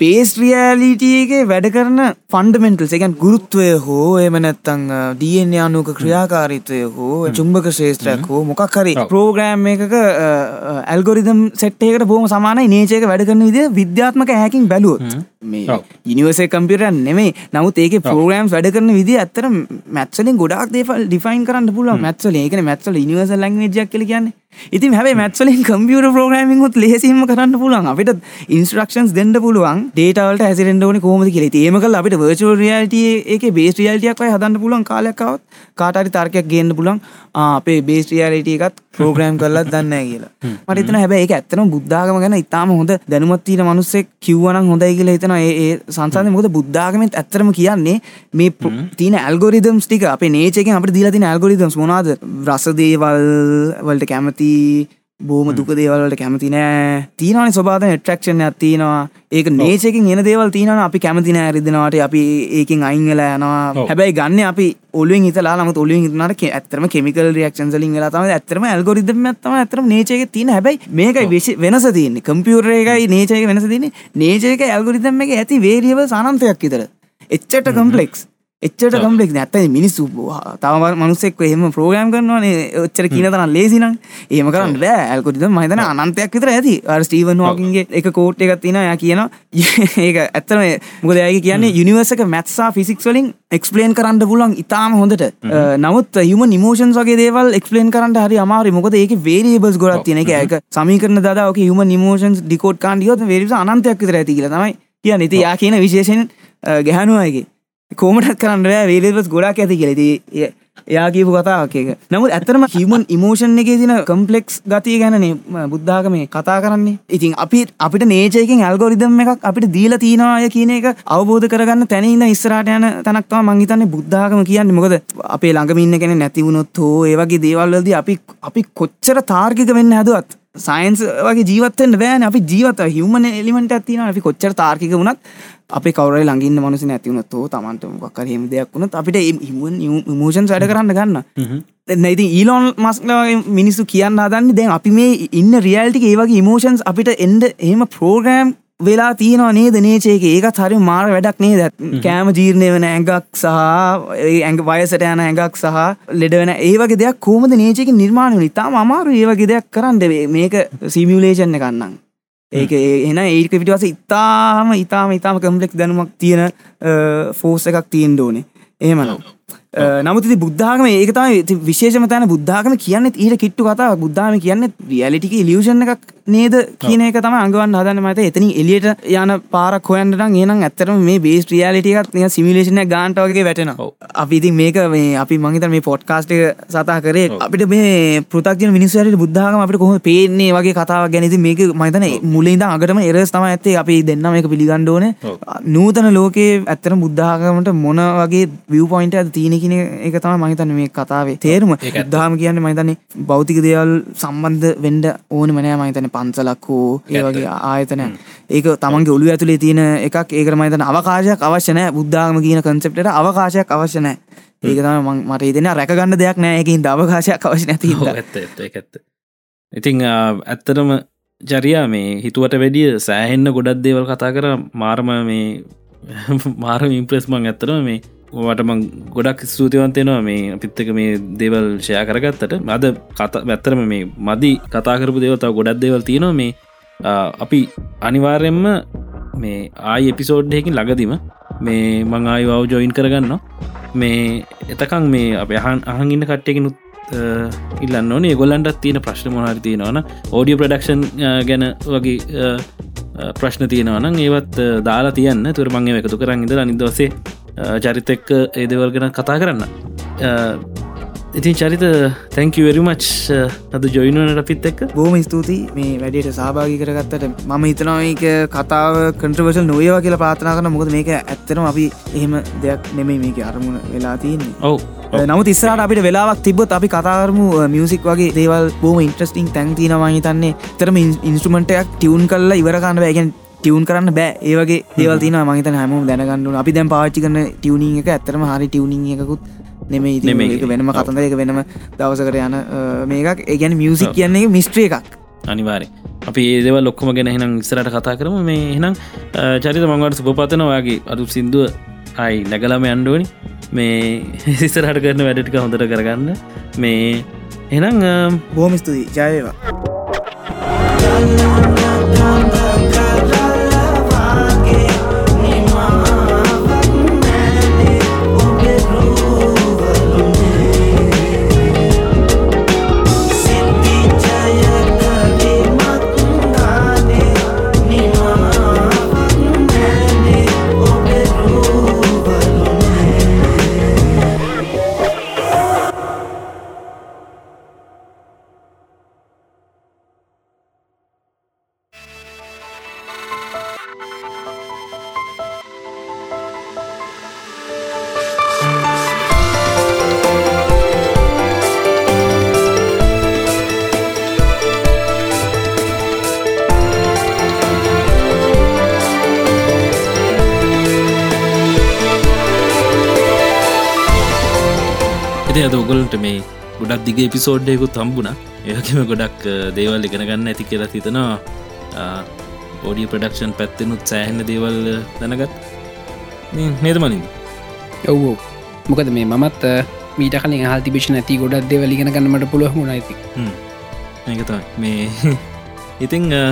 [SPEAKER 5] බේස් රියලිටියගේ වැඩ කරන ෆන්ඩමෙන්ටල් එකන් ගුරුත්වය හෝ uh, එමනැත්තං දියෙන් අනුක ක්‍රියාකාරිත්වය හෝ චුම්භක ශේෂත්‍රයක් හෝ මොකක්හරි ප්‍රෝග්‍රෑම් එකක uh, ඇල්ගොරිදම් සෙට්ටේකට බෝම සමානයි නේචයක වැඩ කරන විදි විද්‍යාත්මක හැකින් බැලුවත් මේ ඉනිවසේ කම්පිරන් නෙමේ නමුත් ඒක ප්‍රෝග්‍රෑම් වැඩ කරන විදි ඇත්තර මැත්සලින් ගොඩක් දේපල් ඩිෆයින් කරන්න පුල මැත්සල ඒක මැත්සල නිවස ලංවේජක් කල කියන්න ඉතින් හැබයි මැත්සලින් කම්පියුට ප්‍රෝග්‍රමින් හොත් ලෙසිම කරන්න පුළුවන් අපිට ඉන්ස්ට්‍රක්ෂන්ස් දෙන්න පුළුවන් ඩේටවලට හැසිරෙන්ඩෝන කෝමද කියල ඒමකල් අපිට වර්චෝ රියල්ටිය ඒක බේස් රියල්ටියක්යි හදන්න පුළුවන් කාලයක්කවත් කාටරි තර්කයක් ගන්න පුලන් අපේ බේස් රියලිටිය එකත් ප්‍රෝග්‍රෑම් කරලත් දන්න කියලා මටතන හැබයි එක ඇත්තන බුද්ධාගම ගැන ඉතාම හොඳ දැනුමත්වීන මනුස්සෙක් කිව්වනම් හොඳයි කියලා හිතන ඒ සංසාධය මොකද බුද්ධාගමත් ඇත්තරම කියන්නේ මේ තින ඇල්ගොරිදම් ටික අප නේචක අප දීලා තින ඇල්ගොරිදම් මොනාද රසදේවල් වලට කැමති බෝම දුක දේවල්ට කැමති නෑ තිීනනි ස්වබාධන ට්‍රක්ෂණ ඇතිනවා ඒක නේචකින් එන දේවල් තියනන අපි කැමතින ඇරිදිනවාට අපි ඒකින් අයිංගලා යනවා හැබැයි ගන්න අපි ඔලුවෙන් ඉතලා නම ඔලුවෙන් ඉතනට ඇතරම කෙමිකල් රියක්ෂන් සලින් ලා තම ඇතරම ඇල්ගොරිදම ඇතම ඇතරම නේචක තින හැබයි මේකයි විශ වෙනස තියන්න කම්පියුර එකයි නේචයක වෙනස තින නේචයක ඇල්ගොරිදම එක ඇති වේරියව සනන්තයක් ඉතර එච්චට කම්පලෙක්ස් එච්චට කම්පෙක් නැත්තයි මිනිස්සු තම මනුසෙක් එහෙම ප්‍රෝග්‍රම් කරනවාන ඔච්චර කියනතරන්න ලේසිනම් ඒම කරන්න බෑ ඇල්කොටිද මහිතන අනන්තයක් විතර ඇති අර ස්ටීවන් වාකින්ගේ එක කෝට් එකක් තින ය කියන ඒක ඇත්තම මුකද යගේ කියන්නේ යුනිවර්සක මැත්සා ෆිසික්ස් වලින් එක්ස්පලේන් කරන්න පුලන් ඉතාම හොඳට Uh, නමුත් හම නිමෝෂන් වගේ දේවල් එක්ස්පලේන් කරන්න හරි අමාරි මොකද ඒක වේරියබස් ගොඩක් තියෙන එක ඒක සමීකරන දදාවක හම නිමෝෂන්ස් ඩිකෝට් කාන්ඩියොත් වේරිස අනන්තයක් විතර ඇති කියල තමයි කිය නති යා කියන විශේෂෙන් ගැහනුවයගේ කෝමටත් කරන්න වේලෙවස් ගොඩක් ඇති කෙලෙදී යාගේපු කතාකක නමුත් ඇතරම හිමන් ඉමෝෂන් එක තින කම්පලෙක්ස් ගතිය ගැනනේ බුද්ධාග මේ කතා කරන්නේ ඉතින් අපි අපිට නේචයකින් ඇල්ගොරිදම් එකක් අපිට දීල තියෙනවාය කියන එක අවබෝධ කරගන්න තැනඉන්න ඉස්රට යන තනක්වා මංහිතන්නේ බුද්ධාගම කියන්න මොකද අපේ ළඟමින්න කෙන නැතිවුණොත් හෝ ඒවගේ දේවල්ලද අපි අපි කොච්චර තාර්ගික වෙන්න හැදුවත් සයින්ස් වගේ ජීවත්තෙන් බෑන අපි ජීවත හිවමන එලිමට ඇතින අපි කොච්චර තාර්කික වුණත් අපි කවර ළඟින් මනස නැතිවුණත් හෝ තමන්ටමක් කරහෙම දෙයක් වුණත් අපිට මෝෂන් වැඩ කරන්න ගන්න නැති ඊලොන් මස්ලගේ මිනිස්සු කියන්න අදන්න දැන් අපි මේ ඉන්න රියල්ටික ඒවගේ ඉමෝෂන්ස් අපිට එන්ඩ එහෙම පෝග්‍රෑම් වෙලා තියෙනවා නේද නේචයක ඒකත් හරි මාර වැඩක් නේ දැත් කෑම ජීර්ණය වන ඇඟක් සහ ඇඟ වයසට යන ඇඟක් සහ ලෙඩ වෙන ඒවගේ දෙයක් කෝමද නේචයක නිර්මාණය නිතා අමාරු ඒවගේ දෙයක් කරන්න දෙවේ මේක සිමියලේෂන්න කන්නම් ඒක එන ඒක පිටිවස ඉතාම ඉතාම ඉතාම කම්පලෙක් දැනුමක් තියෙන ෆෝස එකක් තියෙන් ඕනේ ඒමනම් නමුති බුද්ධාගම ඒකතම විශේෂම තැන බුද්ධාගම කියන්න ඊට කිට්ටු කතා බුද්ධාම කියන්න රියලිටික ලියෂණ එකක් නේද කියන එක තම අඟවන් හදන්න මත එතන එලියට යන පාරක් හොයන්ටන ඒනම් ඇත්තරම මේ බේස් රියලිටිකත් ය සිමිලේෂන ගාන්ටවගේ වැටෙන අපිති මේක මේ අපි මංහිත මේ පොට්කාස්ටක සතා කරේ අපිට මේ පෘතක්ජන මිනිස්සයට බුද්ධාගම අපට කොහොම පේන්නේ වගේ කතාව ගැනති මේක මතන මුලින්ද අගටම එරස් තම ඇත්තේ අපි දෙන්න එක පිළිගණ්ඩෝන නූතන ලෝකයේ ඇත්තර බුද්ධාගමට මොන වගේ විය් පොයින්ට ඇද තියනෙ කියන එක තම මහිතන මේ කතාවේ තේරුම දාම කියන්න මහිතන්නේ බෞතික දේවල් සම්බන්ධ වෙන්ඩ ඕන මනෑ මහිතන පන්සලක් හෝ ඒවගේ ආයතනය ඒක තමන්ගේ ඔලු ඇතුළේ තියෙන එකක් ඒකර මහිතන අවකාශයක් අවශ්‍යනෑ බුද්ධාගම කියන කන්සෙප්ට අවකාශයක් අවශ්‍යනෑ ඒක තම මට දෙන රැකගන්න දෙයක් නෑකින් දවකාශයක් අවශ්‍ය නැති
[SPEAKER 2] ඇත්ත ඇත්ත ඉතිං ඇත්තටම ජරයා මේ හිතුවට වැඩිය සෑහෙන්න ගොඩක් දේවල් කතා කර මාර්ම මේ මාරම ඉම්ප්‍රෙස් මං ඇත්තරම මේ වටම ගොඩක් ස්තුතිවන්තයනවා මේ පිත්තක මේ දේවල් ෂය කරගත්තට අද කත වැත්තරම මේ මදි කතාකරපු දේවතාව ගොඩක් දේවල් තියෙනවා මේ අපි අනිවාර්යෙන්ම මේ ආය එපිසෝඩ්හයකින් ලඟදිම මේ මං ආයවාව ජොයින් කරගන්න මේ එතකං මේ අප අහන් අහගන්න කට්ටයකෙනු ඉල්ලන්න ඕනේ ගොල්ලන්ටත් තියෙන ප්‍රශ්න මොහරි තියෙනවන ෝඩිය ප්‍රඩක්ෂන් ගැන වගේ ප්‍රශ්න තියෙනවනම් ඒවත් දාලා තියන්න තුර මංගේ එකතු කරන්න ඉඳලා නිදවසේ චරිත එක්ක ඒදවල් ගැන කතා කරන්න ඉතින් චරිත තැංකවරිමච් අද ජොයිනනට අපිත් එක්ක
[SPEAKER 5] බෝම ස්තුතියි මේ වැඩට සහභාගි කරගත්තට මම හිතනවාක කතාව කට්‍රවර්ශල් නොයවා කියලා පාතනා කරන මොකද මේක ඇත්තනම් අපි එහෙම දෙයක් නෙමේ මේක අරමුණ වෙලා තියන්නේ
[SPEAKER 2] ඔව්
[SPEAKER 5] නමුත් ඉස්සරට අපිට වෙලාවක් තිබොත් අපි කතාරමු මියසික් වගේ දේවල් බෝම ඉන්ට්‍රස්ටිං තැන්තිනවා හිතන්නේ තරම ඉන්ස්ටමටයක් ටියවන් කල්ලා ඉවරකාන්න බෑගෙන් ටියවන් කරන්න බෑ ඒවගේ දේවල් තින මහිත හැම දැනගන්නු අපි දැන් පාච්චි කරන ටියවනිින් එක ඇතරම හරි ටියවනිින් එකකුත් නෙමේ
[SPEAKER 2] නෙමෙයි.
[SPEAKER 5] ඒක වෙනම කතන්ද එක වෙනම දවසකට යන අ, මේකක් ඒගැන මියසික් කියන්නේ මිස්ට්‍රිය එකක්
[SPEAKER 2] අනිවාරය අපි ඒදව ලොක්කම ගැන හෙනම් ඉස්සරට කතා කරම මේ හෙනම් චරිත මංවට සුපපතනවාගේ අරු සිින්දුව අයි නැගලම අන්ඩුවනි මේ සිස්සරහට කරන වැඩටික හොඳට කරගන්න මේ එනම්
[SPEAKER 5] බෝම ස්තුතියි ජයවා
[SPEAKER 2] එති අද ඔගොලන්ට මේ ගොඩක් දිග පිසෝඩ්ඩයකුත් තම්බුණ ඒකම ගොඩක් දේවල් එකනගන්න ඇති කියලා හිතනවා ඕඩිය ප්‍රඩක්ෂන් පැත්තෙනුත් සෑහෙන දේවල් දැනගත් නේතමලින්
[SPEAKER 3] ඔව්ෝ මොකද මේ මත් මීට කලින් හල් තිබිෂ නැති ගොඩක් දෙවලිගෙන ගන්නට පුළුව ුණයිති
[SPEAKER 2] ඒකතයි මේ ඉතිං අ,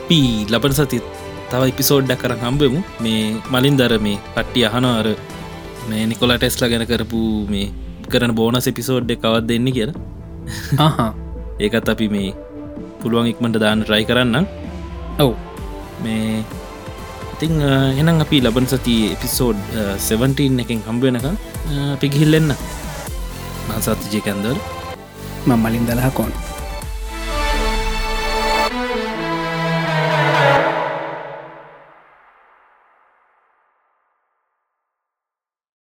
[SPEAKER 2] අපි ලබන සති තව ඉපිසෝඩ්ඩක් කර හම්බෙමු මේ මලින් දර මේ කට්ටි අහනාර මේ නිකොලා ටෙස්ලා ගැන කරපු මේ කරන බෝනස් එපිසෝඩ්ඩ කවත් දෙන්න කියලා
[SPEAKER 3] හා
[SPEAKER 2] ඒකත් අපි මේ පුළුවන් ඉක්මට දාන්න රයි කරන්න
[SPEAKER 3] ඔව්
[SPEAKER 2] මේ ඉතිං එනම් අපි ලබන සති එපිසෝඩ් 17 එකෙන් හම්බුවෙනක පිගිහිල්ලෙන්න මසාතිජය කැන්දල්
[SPEAKER 3] මං මලින් දලහ කොන්
[SPEAKER 6] Thank